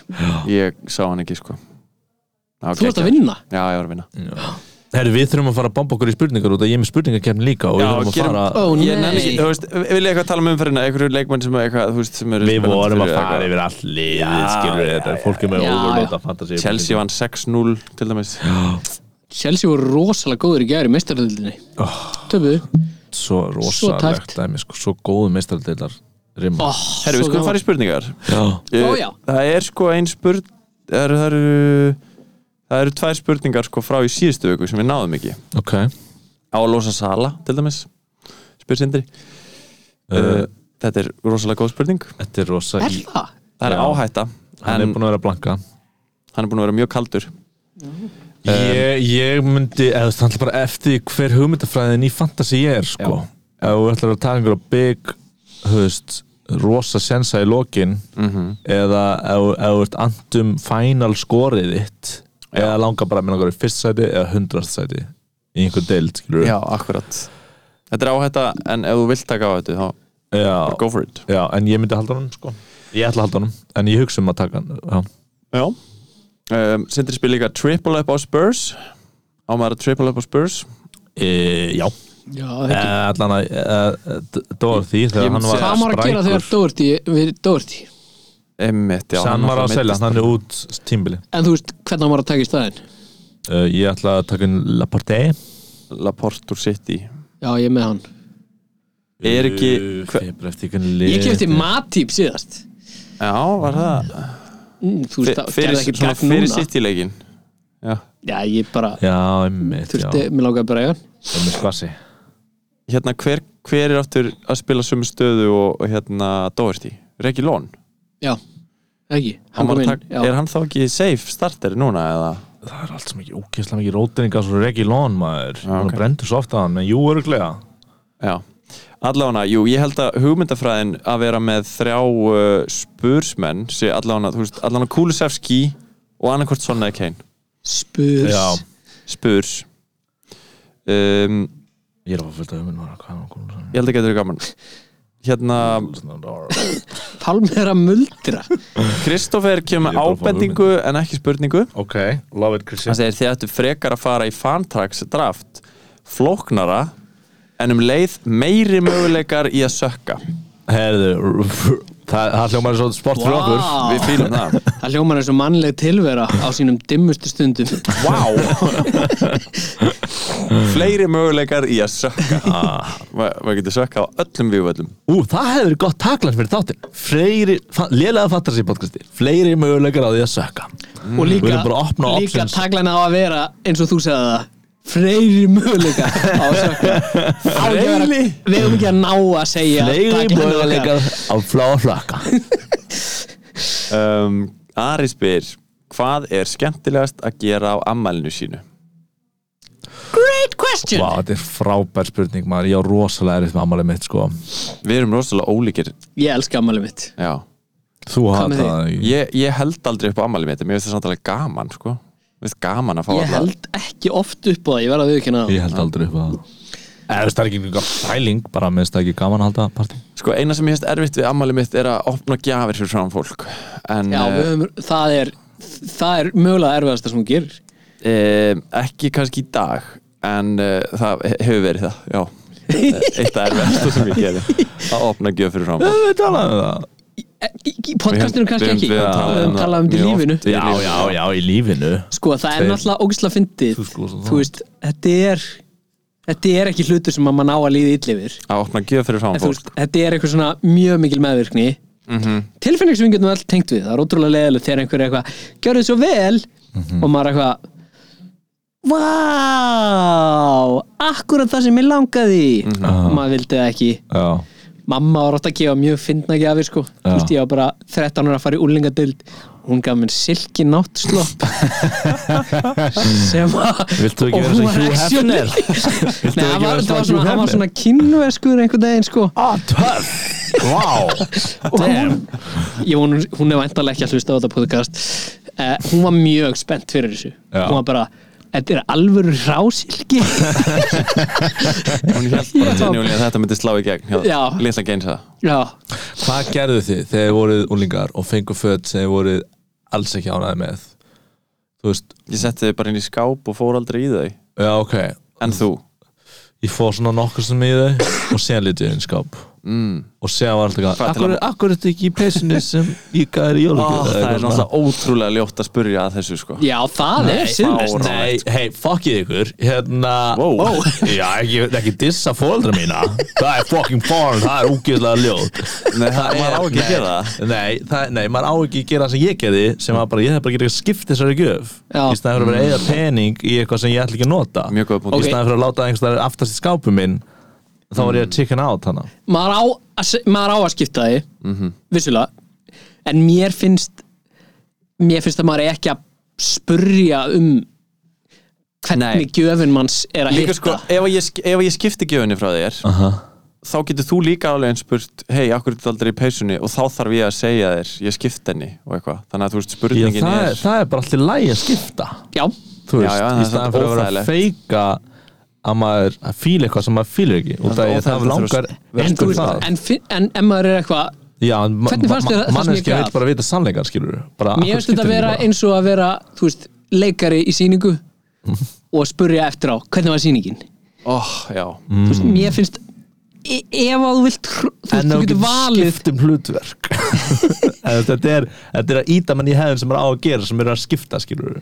[SPEAKER 2] Ég sá hann ekki sko Ná,
[SPEAKER 6] þú ert að vinna
[SPEAKER 2] Já, ég var að vinna
[SPEAKER 3] Herri, við þurfum að fara að bomba okkur í spurningar út að ég er með spurningarkefni líka og við
[SPEAKER 2] Já,
[SPEAKER 3] þurfum að
[SPEAKER 2] gerum-
[SPEAKER 3] fara
[SPEAKER 6] Ó
[SPEAKER 2] Ég nenni ekki,
[SPEAKER 6] nei,
[SPEAKER 2] þú veist, vil ég eitthvað tala um umferðina einhverju leikmenn sem, eitthvað, þú veist, sem eru
[SPEAKER 3] við
[SPEAKER 2] spennandi
[SPEAKER 3] vorum að
[SPEAKER 2] fyrir
[SPEAKER 3] fara
[SPEAKER 2] eitthvað.
[SPEAKER 3] yfir all liðið skilur við þetta, fólk er með
[SPEAKER 6] Já,
[SPEAKER 3] overlóta fantasy
[SPEAKER 2] Chelsea vann 6-0 til dæmis
[SPEAKER 6] Chelsea voru rosalega góður í gæri mestaröldinni Töpuðu
[SPEAKER 3] svo rosalegt
[SPEAKER 6] tæpt.
[SPEAKER 3] dæmi, sko, svo góðu meistardeildar rimma
[SPEAKER 6] oh,
[SPEAKER 2] Herru, við skulum fara í spurningar
[SPEAKER 3] Já.
[SPEAKER 2] Eh,
[SPEAKER 6] Ó, já.
[SPEAKER 2] Það er sko ein spurn er, Það eru það eru tvær spurningar sko frá í síðustu viku sem við náðum ekki
[SPEAKER 3] ok
[SPEAKER 2] á að losa sala til dæmis spyr sindri
[SPEAKER 3] Eh.
[SPEAKER 2] uh, þetta er rosalega góð spurning
[SPEAKER 3] Þetta er rosa
[SPEAKER 6] Er það?
[SPEAKER 2] það er
[SPEAKER 3] Já.
[SPEAKER 2] áhætta
[SPEAKER 3] Hann er
[SPEAKER 2] en
[SPEAKER 3] búin að vera að blanka
[SPEAKER 2] hann er búin að vera mjög kaldur
[SPEAKER 3] Ég, ég myndi, eða það er bara eftir því hver hugmyndafræðin í fantasi ég er sko Ef þú ætlar að taka einhverja big, höfst, rosa sensa í lokin
[SPEAKER 2] Mhm.
[SPEAKER 3] Eða ef þú- ef þú ert andum final skorið þitt Eða langar bara með einhverju fyrst sæti eða hundrast sæti Í einhver deild, skilur
[SPEAKER 2] já, akkurat þetta er áhætta en ef þú vilt taka á þetta þá
[SPEAKER 3] já,
[SPEAKER 2] go for it
[SPEAKER 3] já, en ég myndi halda honum sko Ég ætla að halda honum, en ég hugsa um að taka hann
[SPEAKER 2] já
[SPEAKER 3] Já,
[SPEAKER 2] um, sindri spyr líka triple up á Spurs á maður að triple up á Spurs
[SPEAKER 3] e, já.
[SPEAKER 6] Já,
[SPEAKER 3] Eh,
[SPEAKER 6] ekki.
[SPEAKER 3] allan að eh, D- Dorothy
[SPEAKER 2] Ég
[SPEAKER 3] þegar hann
[SPEAKER 2] myndi
[SPEAKER 3] var
[SPEAKER 2] segja-
[SPEAKER 6] Hvað maður að gera þegar Doherty við Doherty?
[SPEAKER 2] Einmitt, já,
[SPEAKER 3] hann var að
[SPEAKER 2] náttúrulega
[SPEAKER 3] selja,
[SPEAKER 2] meiddist.
[SPEAKER 3] hann er út tímbili
[SPEAKER 6] En þú veist hvernig maður að taka í staðinn?
[SPEAKER 3] uh, ég ætla að taka inn Laporte
[SPEAKER 2] Laporte úr City
[SPEAKER 6] Já, ég er með hann.
[SPEAKER 2] Er ekki- hva-
[SPEAKER 6] Ég
[SPEAKER 3] ég
[SPEAKER 6] kefti Matip síðast.
[SPEAKER 2] Já, var það
[SPEAKER 6] Mm, Þú veist, það
[SPEAKER 2] fyrir,
[SPEAKER 6] gerði ekkert
[SPEAKER 2] svona
[SPEAKER 6] gagn
[SPEAKER 2] fyrir
[SPEAKER 6] núna.
[SPEAKER 2] City-leikin Já
[SPEAKER 6] Já, ég bara
[SPEAKER 3] já, einmitt, já,
[SPEAKER 6] þurfti, mér langaði bara í hann.
[SPEAKER 3] einmitt kvassi
[SPEAKER 2] hérna hver, hver er aftur að spila sömu stöðu og, og hérna Doherty, Regi Lón
[SPEAKER 6] Já, ekki.
[SPEAKER 2] Hann
[SPEAKER 6] Hann
[SPEAKER 2] var
[SPEAKER 6] kom
[SPEAKER 2] að
[SPEAKER 6] inn.
[SPEAKER 2] taka-
[SPEAKER 6] Já.
[SPEAKER 2] er hann þá ekki safe starter núna eða
[SPEAKER 3] það er allt sem ekki ókesslega mikið rótninga svo Regi Lón maður,
[SPEAKER 2] Já,
[SPEAKER 3] hann
[SPEAKER 2] ok.
[SPEAKER 3] brendur svo ofta hann en jú, öruglega
[SPEAKER 2] já, allavega, jú, ég held að hugmyndafræðin að vera með þrjá uh, spursmenn sé allavega, þú veist, allavega Kulusevski og annarkvort Son eða Kane
[SPEAKER 6] Spurs.
[SPEAKER 3] já,
[SPEAKER 2] spurs um,
[SPEAKER 3] ég er að fara fullt af uminn hvað er hann komin
[SPEAKER 2] ég held að getur þér gaman hérna,
[SPEAKER 6] Palmer er að muldra.
[SPEAKER 2] Kristoffer kemur með
[SPEAKER 3] Ég er bara að fá
[SPEAKER 2] ábendingu en ekki spurningu
[SPEAKER 3] ok, love it Christian
[SPEAKER 2] hann segir þið ættu frekar að fara í fantrax draft flóknara en um leið meiri möguleikar í að sökka
[SPEAKER 3] herðu, [laughs] það, það hljómaður svo sport fyrir okkur
[SPEAKER 2] við
[SPEAKER 6] Vá.
[SPEAKER 2] fýlum það
[SPEAKER 6] Það hljómar eins og mannleg tilvera á sínum dimmustu
[SPEAKER 3] [laughs]
[SPEAKER 6] stundum.
[SPEAKER 2] wow. [laughs] fleiri möguleikar í að [laughs] sökka Ma- maður getur sökka á öllum vývöllum
[SPEAKER 3] Ú, það hefur verið gott taklan fyrir þáttinn Fleiri, fa- lélega fantasy podcasti Fleiri möguleikar á því að sökka
[SPEAKER 6] og
[SPEAKER 3] Við
[SPEAKER 6] líka,
[SPEAKER 3] erum bara að opna
[SPEAKER 6] líka
[SPEAKER 3] options.
[SPEAKER 6] taglan á að vera eins og þú segði það freyri möguleika á sökka
[SPEAKER 3] [laughs]
[SPEAKER 6] Á ekki að vera-
[SPEAKER 2] Fleiri?
[SPEAKER 6] við hefum ekki að ná að segja
[SPEAKER 3] Fleiri
[SPEAKER 6] tagline
[SPEAKER 3] möguleikar
[SPEAKER 6] hérna okkar.
[SPEAKER 3] á flá að flökka
[SPEAKER 6] [laughs]
[SPEAKER 2] um, Ari spyr hvað er skemmtilegast að gera á ammælinu sínu
[SPEAKER 6] great question
[SPEAKER 3] Vá, þetta er frábær spurning maður Ég á rosalega erið með ammálið mitt sko
[SPEAKER 2] við erum rosalega ólíkir
[SPEAKER 6] ég elska ammali mitt
[SPEAKER 2] Já.
[SPEAKER 3] Þú
[SPEAKER 6] Hvað með
[SPEAKER 3] hata það ekki
[SPEAKER 2] ég, ég held aldrei upp á ammælinu mitt en mér finnst það samtalið gaman sko. Mér finnst gaman að fá
[SPEAKER 6] ég
[SPEAKER 2] alla-
[SPEAKER 6] held ekki oft upp á það ég verða að viðkynna það
[SPEAKER 3] Ég held aldrei upp að Eða veist það er ekki einhver fæling Bara minnst það ekki gaman að halda partí
[SPEAKER 2] Sko eina sem ég hefst erfitt við ammali mitt er að opna gjafir fyrir fram fólk en
[SPEAKER 6] já, við höfum, það er það er mögulega erfiðasta sem hún gerir
[SPEAKER 2] e, ekki kannski í dag en e, það hefur verið það já, Eh, eitt af erfiðasta sem ég gerði að opna gjöf fyrir fram fólk
[SPEAKER 3] Við talaðum það
[SPEAKER 6] E- í í podcastinu
[SPEAKER 2] Við-
[SPEAKER 6] kannski
[SPEAKER 2] við-
[SPEAKER 6] ekki
[SPEAKER 2] við-
[SPEAKER 6] við höfum
[SPEAKER 2] við-
[SPEAKER 6] talað um þetta í
[SPEAKER 2] mjög oft.
[SPEAKER 6] lífinu
[SPEAKER 3] Já, já, já, í lífinu
[SPEAKER 6] sko það er
[SPEAKER 3] Tveir.
[SPEAKER 6] náttúrulega ógislega fyndið
[SPEAKER 3] Þú sko, svo
[SPEAKER 6] þú veist, þetta er þetta er ekki hlutur sem að mann á að líða illi yfir
[SPEAKER 2] að opna gjöf fyrir fram
[SPEAKER 6] en þú
[SPEAKER 2] fólk Mhm.
[SPEAKER 6] veist, þetta er eitthvað svona mjög mikil meðvirkni tilfinning sem við getum alltaf tengt við það er ótrúlega leðilegt þegar einhver er eitthvað gjörðu svo vel
[SPEAKER 2] Mhm.
[SPEAKER 6] og maður er eitthvað Vá, akkurat það sem ég langaði
[SPEAKER 2] Mhm.
[SPEAKER 6] og maður vildi það ekki
[SPEAKER 3] Já,
[SPEAKER 6] mamma var átt að gefa mjög fyndna gefir sko
[SPEAKER 3] Já.
[SPEAKER 6] þú veist ég var bara 13 ára að fara í úlingadild hún gaf mér silki náttslopp sem að
[SPEAKER 3] Viltu ekki
[SPEAKER 6] og
[SPEAKER 3] vera
[SPEAKER 6] hún
[SPEAKER 3] sem
[SPEAKER 6] var
[SPEAKER 3] Hugh
[SPEAKER 6] actually-
[SPEAKER 3] Hefner?
[SPEAKER 6] [laughs] Nei,
[SPEAKER 3] ekki
[SPEAKER 6] hann
[SPEAKER 3] vera
[SPEAKER 6] var-
[SPEAKER 3] sem
[SPEAKER 6] það var
[SPEAKER 3] Hugh
[SPEAKER 6] svona- hann var
[SPEAKER 3] Hefner?
[SPEAKER 6] svona kynverskur einhvern daginn sko
[SPEAKER 3] ah, töff Vá, [laughs]
[SPEAKER 6] og hún, ég, hún, hún er væntalega ekki að hlusta á þetta podcast uh, hún var mjög spennt fyrir þessu
[SPEAKER 3] Já.
[SPEAKER 6] hún var bara, þetta er alvöru rásilki
[SPEAKER 2] hún held bara genuinely að þetta myndi slá í gegn
[SPEAKER 6] Já.
[SPEAKER 2] hjá litla geinsa
[SPEAKER 6] [laughs] já,
[SPEAKER 3] Hvað gerðu þið þegar þið voruð úlingar og fengu föt sem þið voruð alls ekki ánaði með? Þú veist,
[SPEAKER 2] ég setti þau bara inn í skáp og fór aldrei í þau
[SPEAKER 3] já ok
[SPEAKER 2] en þú
[SPEAKER 3] Ég fór svona nokkur sem í þau og síðan lítið inn í skáp
[SPEAKER 2] mm.
[SPEAKER 3] og segja á allt eitthvað
[SPEAKER 2] Hvað til
[SPEAKER 3] akkur, akkur er þetta ekki í peysinu sem ég gæði í
[SPEAKER 2] oh,
[SPEAKER 3] jólugjöf
[SPEAKER 2] það er náttúrulega ótrúlega ljótt að spurja að þessu sko
[SPEAKER 6] Já, það er sinnlust
[SPEAKER 3] Nei, hei, fokkið ykkur hérna,
[SPEAKER 2] Wow.
[SPEAKER 3] já, ekki, ekki dissa fóreldra mína það er fucking porn, það er ógeðslega ljót
[SPEAKER 2] Nei, það, maður á ekki að
[SPEAKER 3] Nei,
[SPEAKER 2] gera það
[SPEAKER 3] nei, það, nei, maður á ekki að gera það sem ég gerði sem var bara, ég hef bara að gera eitthvað skipt þessari gjöf
[SPEAKER 6] Já.
[SPEAKER 3] í staðan fyrir að vera að eigða pening í eitthvað sem ég ætla ekki að nota
[SPEAKER 2] Mm. Mjög góða
[SPEAKER 3] í
[SPEAKER 2] punktur.
[SPEAKER 3] staðan fyrir að láta einhverstaðar aftast í skápu minn þá var
[SPEAKER 2] Mm.
[SPEAKER 3] ég að chicken out hana
[SPEAKER 6] maður á, að se- maður á að skipta því vissulega en mér finnst mér finnst að maður eigi ekki að spurja um hvernig
[SPEAKER 2] Nei.
[SPEAKER 6] gjöfin manns er að
[SPEAKER 2] Líka
[SPEAKER 6] hitta
[SPEAKER 2] sko, ef að ég, sk- ef að ég skipti gjöfinni frá þér
[SPEAKER 3] Aha.
[SPEAKER 2] þá getur þú líka alveg eins spurt hei, akkur er þetta aldrei í peysunni og þá þarf ég að segja þér ég skipti henni og eitthvað þannig að þú veist,
[SPEAKER 3] Já,
[SPEAKER 2] spurningin
[SPEAKER 3] það, er,
[SPEAKER 2] er
[SPEAKER 3] það er bara alltaf lægi að skipta
[SPEAKER 6] já,
[SPEAKER 2] Já,
[SPEAKER 3] þú veist,
[SPEAKER 2] já, það
[SPEAKER 3] í
[SPEAKER 2] er
[SPEAKER 3] staðan
[SPEAKER 2] samt
[SPEAKER 3] fyrir að vera að feika að maður að fíla eitthvað sem maður fíla ekki og
[SPEAKER 2] Það er
[SPEAKER 3] það, það,
[SPEAKER 2] óþægilegt að
[SPEAKER 3] langar
[SPEAKER 2] þurfa
[SPEAKER 6] en, þú veist,
[SPEAKER 3] það.
[SPEAKER 6] en, fin- en ef maður er eitthvað
[SPEAKER 3] Já, en ma-
[SPEAKER 6] Hvernig fannst
[SPEAKER 3] ma-
[SPEAKER 6] þér það sem ég
[SPEAKER 3] manneskja
[SPEAKER 6] gaf?
[SPEAKER 3] vill bara vita sannleikar skilur bara,
[SPEAKER 6] mér finnst þetta að vera eins og að vera þú veist, leikari í sýningu og spurja eftir á hvernig var sýningin
[SPEAKER 2] oh, já,
[SPEAKER 6] Þú veist, mér finnst e ef að þú vilt tr- þú, veist,
[SPEAKER 3] en
[SPEAKER 6] þú
[SPEAKER 3] þú
[SPEAKER 6] getur
[SPEAKER 3] getur
[SPEAKER 6] valið
[SPEAKER 3] skipt um hlutverk [laughs] En þetta er þetta er að íta mann í hefðin sem er á að gera sem er að skipta skilur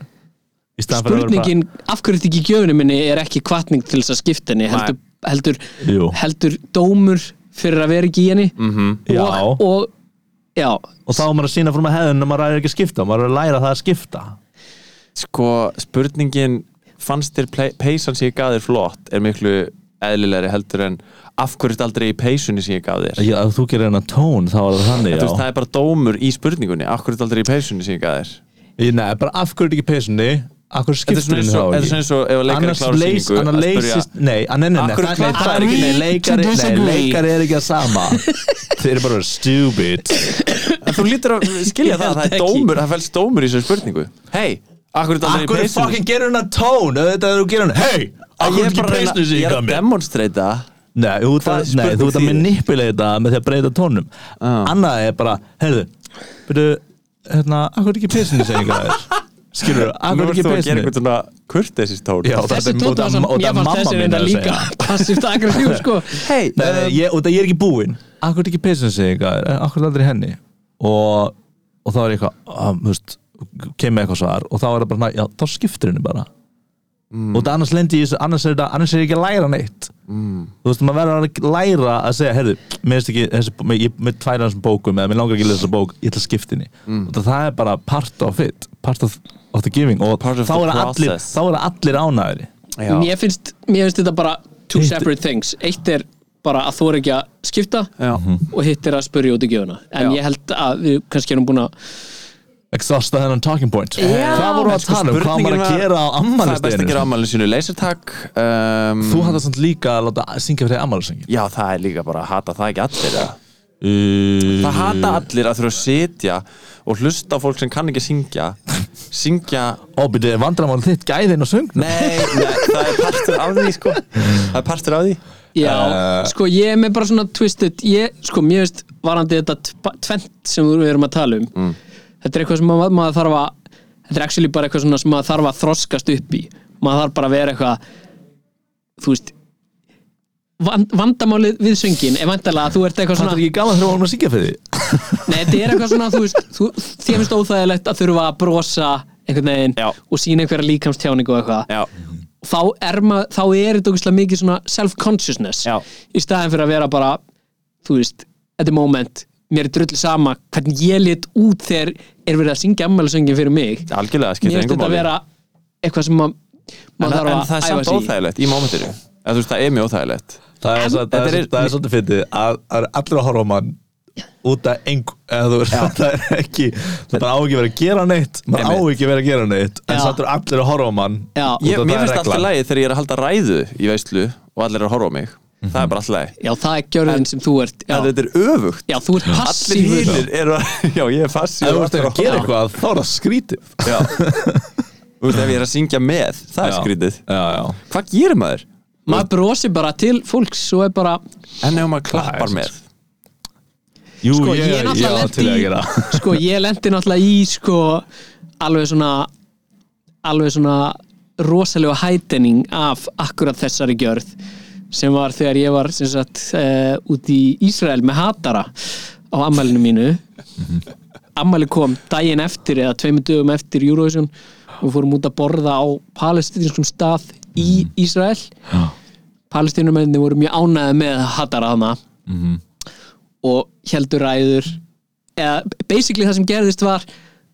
[SPEAKER 3] í staðan fyrir að vera
[SPEAKER 6] spurningin af hverju þetta ekki í gjöfunum minni er ekki kvatning til þess að skipta henni heldur, heldur,
[SPEAKER 3] Jú.
[SPEAKER 6] heldur dómur fyrir að vera ekki í henni
[SPEAKER 3] bara, já,
[SPEAKER 6] og,
[SPEAKER 3] og,
[SPEAKER 6] og já,
[SPEAKER 3] þá er maður að sína fór með hefðin og maður er ekki að skipta, maður er að læra það að skipta
[SPEAKER 2] sko, spurningin fannst þér plei- peysan sem ég gaf þér flott er miklu eðlilegri heldur en af hverju er þetta aldrei í peysunni sem ég gaf þér
[SPEAKER 3] já, ef þú gerir hennar tón, þá er það þannig
[SPEAKER 2] Þú veist, það
[SPEAKER 3] já.
[SPEAKER 2] er bara dómur í spurningunni af hverju er þetta aldrei í peysunni sem ég gaf þér
[SPEAKER 3] Ég, nei, bara af hverju er þetta ekki í peysunni af hverju
[SPEAKER 2] Þetta er svona
[SPEAKER 3] skiptir
[SPEAKER 2] eins
[SPEAKER 3] henni
[SPEAKER 2] og-
[SPEAKER 3] þá
[SPEAKER 2] þetta er svona
[SPEAKER 3] ekki
[SPEAKER 2] eins og ef að leikari
[SPEAKER 3] annars
[SPEAKER 2] klárar
[SPEAKER 3] leys-
[SPEAKER 2] sýningu
[SPEAKER 3] annars
[SPEAKER 2] að spyrja-
[SPEAKER 3] leysist nei, að nei, nei, nei,
[SPEAKER 2] Af hverju
[SPEAKER 3] það- nei, það
[SPEAKER 2] klattar
[SPEAKER 3] er ekki nei,
[SPEAKER 6] þú?
[SPEAKER 3] leikari,
[SPEAKER 6] To
[SPEAKER 3] nei,
[SPEAKER 6] disagree.
[SPEAKER 3] leikari er ekki
[SPEAKER 2] [laughs]
[SPEAKER 3] að sama þeir eru bara stupid
[SPEAKER 2] en þú lítur
[SPEAKER 3] [laughs]
[SPEAKER 2] að skilja það,
[SPEAKER 6] Ég held
[SPEAKER 2] það er
[SPEAKER 6] ekki.
[SPEAKER 2] dómur, það fælst dómur í þessu spurningu hei, akkur er þetta aldrei í
[SPEAKER 3] Akkur er
[SPEAKER 2] peysunni
[SPEAKER 3] fucking gerur hennar tón Þetta er þú gerur hennar Hei,
[SPEAKER 2] Ég
[SPEAKER 3] akkur
[SPEAKER 2] er
[SPEAKER 3] er ekki
[SPEAKER 2] bara að reyna-
[SPEAKER 3] preysnum sig
[SPEAKER 2] ég
[SPEAKER 3] í
[SPEAKER 2] er að
[SPEAKER 3] gammi
[SPEAKER 2] demonstreita
[SPEAKER 3] Nei, þú ert
[SPEAKER 2] Hvað
[SPEAKER 3] að-
[SPEAKER 2] er
[SPEAKER 3] nei, þú ert að
[SPEAKER 2] spurning
[SPEAKER 3] manipuleita með því að breyta tónum Annað er bara, heyrðu Byrju, hérna, akkur er ekki preysnum sig í
[SPEAKER 2] [laughs]
[SPEAKER 3] gammi Skilur,
[SPEAKER 2] nú
[SPEAKER 3] akkur er
[SPEAKER 2] ert
[SPEAKER 3] ekki
[SPEAKER 2] þú að gera
[SPEAKER 3] preysnum
[SPEAKER 2] einhvern svona kurteisistón
[SPEAKER 3] Já, þetta
[SPEAKER 6] þessi
[SPEAKER 3] er- og
[SPEAKER 6] tóta
[SPEAKER 3] það-
[SPEAKER 6] sem
[SPEAKER 3] og það
[SPEAKER 6] mér
[SPEAKER 3] er
[SPEAKER 6] fannst
[SPEAKER 3] mamma
[SPEAKER 6] þessi
[SPEAKER 3] mín
[SPEAKER 6] reynda
[SPEAKER 3] að
[SPEAKER 6] líka
[SPEAKER 3] segja.
[SPEAKER 6] [laughs] passíft aggressív sko
[SPEAKER 2] hei,
[SPEAKER 3] Nei, nei, ég, út að ég er ekki búinn Akkur er ekki peysin sig Akkur er Eh, aldrei henni Og, og þá er ég eitthvað að, þú veist, Kemur eitthvað svar Og þá er það bara, svona, já, þá skiptir henni bara
[SPEAKER 2] Mm.
[SPEAKER 3] Og það annars lendi ég í þessu Annars er, það, annars er ég ekki að læra neitt
[SPEAKER 2] Mm.
[SPEAKER 3] Þú veist, maður verður að læra að segja Herðu, mér finnst ekki, þessi, með, ég, með tvær hans bókum Eða mér langar ekki að lesa þessa bók, ég ætla að skipta henni mm. það, það er bara part of it Part of, of the giving Og
[SPEAKER 2] Part of
[SPEAKER 3] þá
[SPEAKER 2] the
[SPEAKER 3] er, allir,
[SPEAKER 2] process.
[SPEAKER 3] þá er allir ánæðri
[SPEAKER 6] mér finnst, mér finnst þetta bara two
[SPEAKER 3] Hitt-
[SPEAKER 6] separate things, eitt er bara að þú er ekki að skipta og hitt er að spurja út í gjöfuna en
[SPEAKER 2] Já.
[SPEAKER 6] ég held að við kannski erum búin að
[SPEAKER 3] Exhausta þennan talking point Hvað voru að
[SPEAKER 2] Sko,
[SPEAKER 3] tala um, hvað maður
[SPEAKER 2] spurningin
[SPEAKER 3] að
[SPEAKER 2] var-
[SPEAKER 3] gera á
[SPEAKER 2] það er best að
[SPEAKER 3] ammælisteginu
[SPEAKER 2] gera ammælinu sínu leysertak um,
[SPEAKER 3] Þú hattar samt líka að láta syngja fyrir ammælisengin
[SPEAKER 2] já, það er líka bara að hata það ekki allir eða? það hata allir að þurfa að sitja og hlusta á fólk sem kann ekki að syngja syngja
[SPEAKER 3] Óbyrði, vandramál þitt gæðin og söng
[SPEAKER 2] Nei, nei, það er partur af því sko Það er partur af því
[SPEAKER 6] já,
[SPEAKER 3] Eh.
[SPEAKER 6] sko ég er með bara svona twisted, ég, sko mér finnst varandi þetta tv- tvennt sem við erum að tala um
[SPEAKER 3] Mm.
[SPEAKER 6] þetta er eitthvað sem maður, maður þarf að þetta er actually bara eitthvað svona sem maður þarf að þroskast upp í, maður þarf bara að vera eitthvað þú veist vand, vandamálið við söngin er vantarlega að þú ert eitthvað
[SPEAKER 3] Það
[SPEAKER 6] svona
[SPEAKER 3] er ekki gaman þegar hún að syngja fyrir því
[SPEAKER 6] Nei, þetta er eitthvað svona, þú veist, þú, þér finnst óþægilegt að þurfa að brosa einhvern veginn
[SPEAKER 2] Já.
[SPEAKER 6] og sína einhverja líkamstjáningu og eitthvað.
[SPEAKER 2] Já,
[SPEAKER 6] Þá er, mað, þá er þetta ógeðslega mikið svona self-consciousness
[SPEAKER 2] Já.
[SPEAKER 6] í staðin fyrir að vera bara, þú veist, þetta er moment, mér er drullu sama hvernig ég lit út þegar er verið að syngja ammælisöngin fyrir mig.
[SPEAKER 2] Eh, algjörlega
[SPEAKER 6] Mér
[SPEAKER 2] skiptir
[SPEAKER 6] finnst
[SPEAKER 2] engum
[SPEAKER 6] þetta að
[SPEAKER 2] máli
[SPEAKER 6] vera eitthvað sem ma-
[SPEAKER 2] en,
[SPEAKER 6] maður
[SPEAKER 2] en það er
[SPEAKER 6] þarf að
[SPEAKER 2] samt
[SPEAKER 6] æfa sig í.
[SPEAKER 2] óþægilegt í momentinu Eða, þú veist, Það er mjög óþægilegt
[SPEAKER 3] Það er svo- það
[SPEAKER 2] Þetta
[SPEAKER 3] er
[SPEAKER 2] er-
[SPEAKER 3] svo- það er svolítið fyndið að það eru allir að horfa á mann út af engu eða þú veist, [laughs] það er ekki það bara á ekki verið að gera neitt maður á
[SPEAKER 2] Einmitt.
[SPEAKER 3] ekki verið að gera neitt en
[SPEAKER 6] Já.
[SPEAKER 3] samt eru allir að horfa á mann
[SPEAKER 6] Já.
[SPEAKER 3] út af
[SPEAKER 2] ég,
[SPEAKER 3] það
[SPEAKER 2] Mér
[SPEAKER 3] er
[SPEAKER 2] finnst alltaf
[SPEAKER 3] reglan.
[SPEAKER 2] lægi þegar ég er að halda ræðu í veislu og allir er að horfa á mig Það
[SPEAKER 3] Mhm.
[SPEAKER 2] er bara alltaf lægi
[SPEAKER 6] Já, það er gjörðin sem þú ert.
[SPEAKER 2] En
[SPEAKER 6] Já,
[SPEAKER 2] þetta er öfugt
[SPEAKER 6] já þú ert
[SPEAKER 2] Allir
[SPEAKER 6] passífur.
[SPEAKER 2] hínir eru að [laughs] Já, ég er
[SPEAKER 3] Ef
[SPEAKER 2] passív
[SPEAKER 3] þú ert að gera eitthvað þá er það skrítið
[SPEAKER 2] Já Þú veist, ef ég er að syngja með, það er
[SPEAKER 3] Já.
[SPEAKER 2] skrítið
[SPEAKER 3] Já, já
[SPEAKER 2] Hvað gerir maður?
[SPEAKER 6] Maður brosi bara til fólks og er bara,
[SPEAKER 2] En ef maður
[SPEAKER 3] Það
[SPEAKER 2] klappar
[SPEAKER 3] er-
[SPEAKER 2] með
[SPEAKER 3] Jú,
[SPEAKER 6] sko, ég,
[SPEAKER 3] ég
[SPEAKER 6] náttúrulega
[SPEAKER 3] var til að gera
[SPEAKER 6] lendi sko, ég lendi náttúrulega í sko, alveg svona alveg svona rosalega hætening af akkurat þessari gjörð sem var þegar ég var sem sagt, uh, út í Ísrael með hatara á ammælinu mínu ammæli kom daginn eftir eða tveimur dögum eftir Eurovision og við fórum út að borða á palestinskum stað í Ísrael
[SPEAKER 3] Já.
[SPEAKER 6] palestinumenni voru mjög ánæði með hatara hana og heldur ræður eða basically það sem gerðist var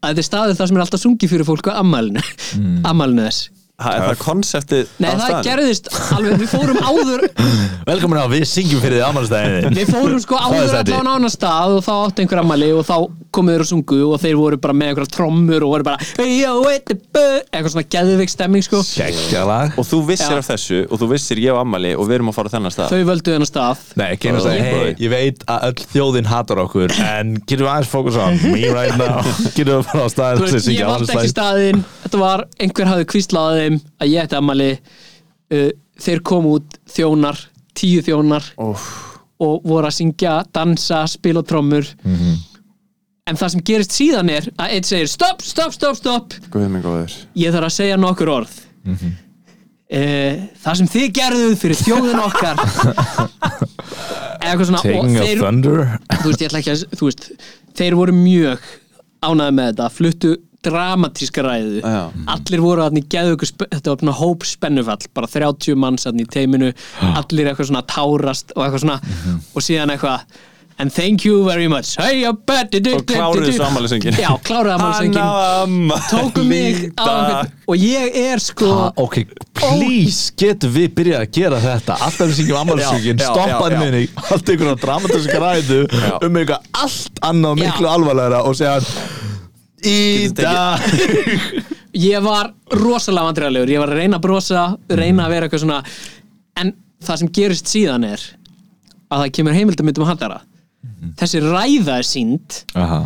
[SPEAKER 6] að þetta er staður þar sem er alltaf sungið fyrir fólk á ammælinu
[SPEAKER 3] Hmm.
[SPEAKER 6] [laughs] ammælinu þess
[SPEAKER 2] Það er það konseptið
[SPEAKER 6] Nei,
[SPEAKER 2] að
[SPEAKER 6] það
[SPEAKER 2] staðnum?
[SPEAKER 6] gerðist alveg, við fórum
[SPEAKER 3] [laughs]
[SPEAKER 6] áður
[SPEAKER 3] Velkomin á, við syngjum fyrir því afmælstæðin
[SPEAKER 6] Við fórum sko
[SPEAKER 3] Það er
[SPEAKER 6] áður
[SPEAKER 3] sæti.
[SPEAKER 6] allan á annan stað og þá áttu einhver ammali og þá komu þeir og sungu og þeir voru bara með einhverja trommur og voru bara "Hey, yo, wait a bit", eitthvað svona geðveik stemming sko
[SPEAKER 3] Gekkjalag
[SPEAKER 2] Og þú vissir
[SPEAKER 6] Já.
[SPEAKER 2] af þessu og þú vissir ég og Amali og við erum að fara á þennan stað
[SPEAKER 6] Þau völdu þennan stað
[SPEAKER 3] Nei, ekki einu stæði,
[SPEAKER 2] Hey.
[SPEAKER 3] hey, ég veit að öll þjóðin hatar okkur En getum við aðeins fókus á me right now Getum við bara á
[SPEAKER 6] Þú
[SPEAKER 3] staðin sem
[SPEAKER 6] veist, ég
[SPEAKER 3] syngja
[SPEAKER 6] vald ekki
[SPEAKER 3] afmælstæðin
[SPEAKER 6] staðinn Þetta var, einhver hafði kvíslað þeim að ég ætti ammali uh, Þeir komu út þjónar, tíu þjónar
[SPEAKER 2] Óff.
[SPEAKER 6] og voru að syngja, dansa, spila á trommur En það sem gerist síðan er að einn segir stopp, stopp, stopp, stopp
[SPEAKER 2] Guð minn góður
[SPEAKER 6] ég þarf að segja nokkur orð mm það sem þið gerðuð fyrir þjóðin okkar eða eitthvað svona
[SPEAKER 3] Taking
[SPEAKER 6] og
[SPEAKER 3] a
[SPEAKER 6] þeir,
[SPEAKER 3] thunder
[SPEAKER 6] þú veist, ég ætla ekki að þú veist, þeir voru mjög ánæði með þetta, fluttu dramatíska ræðu
[SPEAKER 2] Já.
[SPEAKER 6] allir voru þannig geðvöku spe- þetta var svona hóp spennufall bara 30 manns þannig í teiminu allir eitthvað svona tárast og eitthvað svona
[SPEAKER 2] Mhm.
[SPEAKER 6] og síðan eitthvað and thank you very much hey, og
[SPEAKER 2] Og kláruðu svo afmælissönginn.
[SPEAKER 6] já, kláruðu afmælsöngin
[SPEAKER 2] amma
[SPEAKER 6] tóku
[SPEAKER 2] [laughs]
[SPEAKER 6] mig á einhvern og ég er sko
[SPEAKER 3] Ah, ok, please, getum við byrjað að gera þetta Alltaf við syngjum ammálsvíkin,
[SPEAKER 2] Já, já,
[SPEAKER 3] stoppaði
[SPEAKER 2] já, já.
[SPEAKER 3] minni Allt einhverja dramatíska ræðu Um eitthvað allt annað
[SPEAKER 6] Já.
[SPEAKER 3] miklu alvarlegra Og segja hann Í
[SPEAKER 2] Getur
[SPEAKER 3] dag
[SPEAKER 6] ég var rosalega vandræðalegur ég var að reyna að brosa, reyna að vera eitthvað svona en það sem gerist síðan er að það kemur heimildamöndum handara þessi ræða er sínd
[SPEAKER 3] Aha,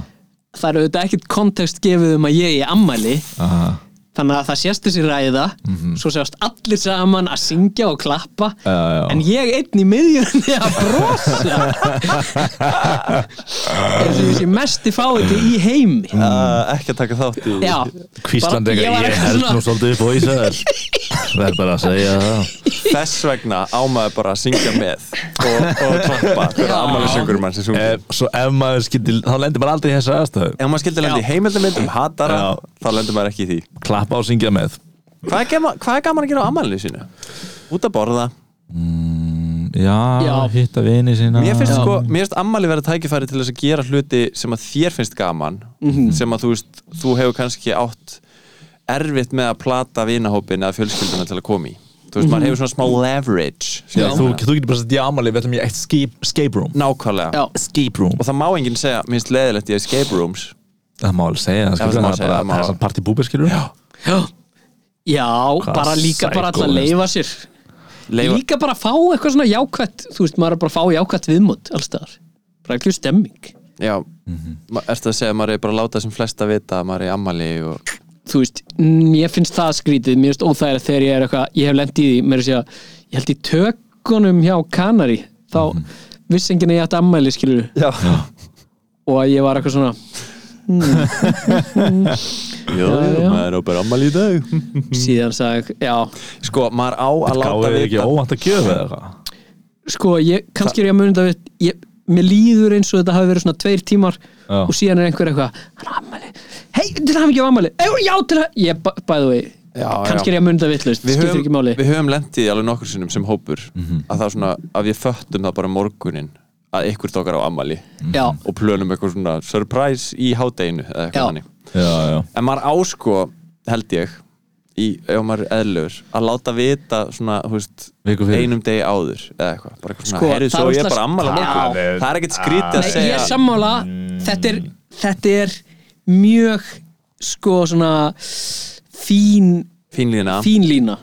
[SPEAKER 6] það er auðvitað ekkert kontekst gefið um að ég er ammæli
[SPEAKER 3] aha
[SPEAKER 6] þannig að það sést þessi ræða svo sést allir saman að syngja og klappa
[SPEAKER 3] Já, já.
[SPEAKER 6] en ég einn í miðjunni að brosa eins og ég sé mest í fáiði í heimi
[SPEAKER 2] Ah, Ekki að taka þátt í
[SPEAKER 6] Já,
[SPEAKER 3] Kvíslandi
[SPEAKER 6] Bara- ég
[SPEAKER 3] eitthvað,
[SPEAKER 6] var
[SPEAKER 3] ég
[SPEAKER 6] eitthvað
[SPEAKER 3] held
[SPEAKER 6] svona-
[SPEAKER 3] nú svolítið upp á Ísrael Það er bara að segja það
[SPEAKER 2] Þess vegna ámaður bara að syngja með og, og klappa fyrir
[SPEAKER 6] Já.
[SPEAKER 2] ammali söngur mann sem sungur
[SPEAKER 3] ef, Svo ef maður skildi, þá lendir maður aldrei í þessa aðstöðu
[SPEAKER 2] Ef maður skildi lendi í
[SPEAKER 6] Já.
[SPEAKER 2] heimildamindum hatara
[SPEAKER 3] Já.
[SPEAKER 2] þá lendur maður ekki í því
[SPEAKER 3] Klappa og syngja með
[SPEAKER 2] Hvað er gaman, hvað er gaman að gera á ammalinu sínu? Út að borða
[SPEAKER 3] Já,
[SPEAKER 6] Já.
[SPEAKER 3] hitta vini sína
[SPEAKER 2] Mér finnst, sko, mér finnst ammali verið tækifæri til þess að gera hluti sem að þér finnst gaman
[SPEAKER 6] Mhm.
[SPEAKER 2] sem að þú veist, þú hefur kannski átt erfitt með að plata vinahópin eða fjölskylduna til að koma í þú veist, maður
[SPEAKER 6] Mhm.
[SPEAKER 2] hefur svona smá leverage
[SPEAKER 3] Já,
[SPEAKER 2] skilur
[SPEAKER 3] þú,
[SPEAKER 2] við.
[SPEAKER 3] þú getur bara að setja ámali, við ætlum í eitt escape, escape room
[SPEAKER 2] Nákvæmlega
[SPEAKER 6] Já.
[SPEAKER 3] Escape room
[SPEAKER 2] og það má enginn segja, mér finnst leðilegt í escape rooms
[SPEAKER 3] Það má alveg segja það, skilur,
[SPEAKER 2] það má
[SPEAKER 3] það er
[SPEAKER 2] segja, það má-
[SPEAKER 3] bara að party búbið, skilur Já,
[SPEAKER 6] Já, já bara líka bara alltaf
[SPEAKER 3] psycho,
[SPEAKER 6] að leifa sér
[SPEAKER 2] Leifa-
[SPEAKER 6] Líka bara að fá eitthvað svona jákvætt Þú veist, maður er bara að fá jákvætt viðmót alls staðar Bara ekki stemming
[SPEAKER 2] Já, mm -hmm. ertu að segja að maður er bara að láta sem flesta vita að maður er í ammali og...
[SPEAKER 6] Þú veist, mm, ég finnst það skrítið Mér finnst óþægilegt þegar ég er eitthvað Ég hef lent í því, mér er að segja Ég held í tökunum hjá Kanari Þá
[SPEAKER 2] Mhm.
[SPEAKER 6] vissi enginn að ég ætti ammæli skilur
[SPEAKER 2] Já
[SPEAKER 6] Og að ég var eitthvað svona hmm.
[SPEAKER 2] [laughs] Jú,
[SPEAKER 6] Já, já.
[SPEAKER 2] maður er bara ammali í dag
[SPEAKER 6] Síðan sagði, já
[SPEAKER 2] Sko, maður á að láta
[SPEAKER 3] gáði þið ekki
[SPEAKER 2] vita
[SPEAKER 3] óvænt að gjöfa eða eitthvað
[SPEAKER 6] sko, ég, kannski er ég að muni þetta við ég, mér líður eins og þetta hafi verið svona tveir tímar
[SPEAKER 3] Já.
[SPEAKER 6] og síðan er einhver eitthvað hann er ammali, hei, til hann ekki ammali Ey, já, til hann, ég, ba- by the way
[SPEAKER 2] Já,
[SPEAKER 6] kannski
[SPEAKER 2] já.
[SPEAKER 6] er ég að muni þetta vitlaust,
[SPEAKER 2] Við
[SPEAKER 6] skiptir ekki
[SPEAKER 2] höfum,
[SPEAKER 6] máli
[SPEAKER 2] við höfum lendið alveg nokkur sinnum sem hópur að það er svona, að við föttum það bara morgunin að ykkur stokkar á ammali
[SPEAKER 6] já,
[SPEAKER 2] og plönum eitthvað svona surprise í hádeginu eða
[SPEAKER 6] Já.
[SPEAKER 2] eitthvað þannig
[SPEAKER 3] Já, já
[SPEAKER 2] En maður á sko, held ég í, ef maður er eðlur að láta vita svona, þú veist
[SPEAKER 3] Viku fyrir.
[SPEAKER 2] einum degi áður eða eitthvað, bara eitthvað svona,
[SPEAKER 6] Sko,
[SPEAKER 2] herrið,
[SPEAKER 6] það
[SPEAKER 2] svo
[SPEAKER 6] er
[SPEAKER 2] ég er
[SPEAKER 6] slags-
[SPEAKER 2] bara ammali
[SPEAKER 6] Já.
[SPEAKER 2] morgun það er ekkert skrítið að
[SPEAKER 6] Nei, ég
[SPEAKER 2] segja
[SPEAKER 6] er sammála þetta, er, þetta er mjög sko svona fín,
[SPEAKER 2] Fínlína
[SPEAKER 6] fín lína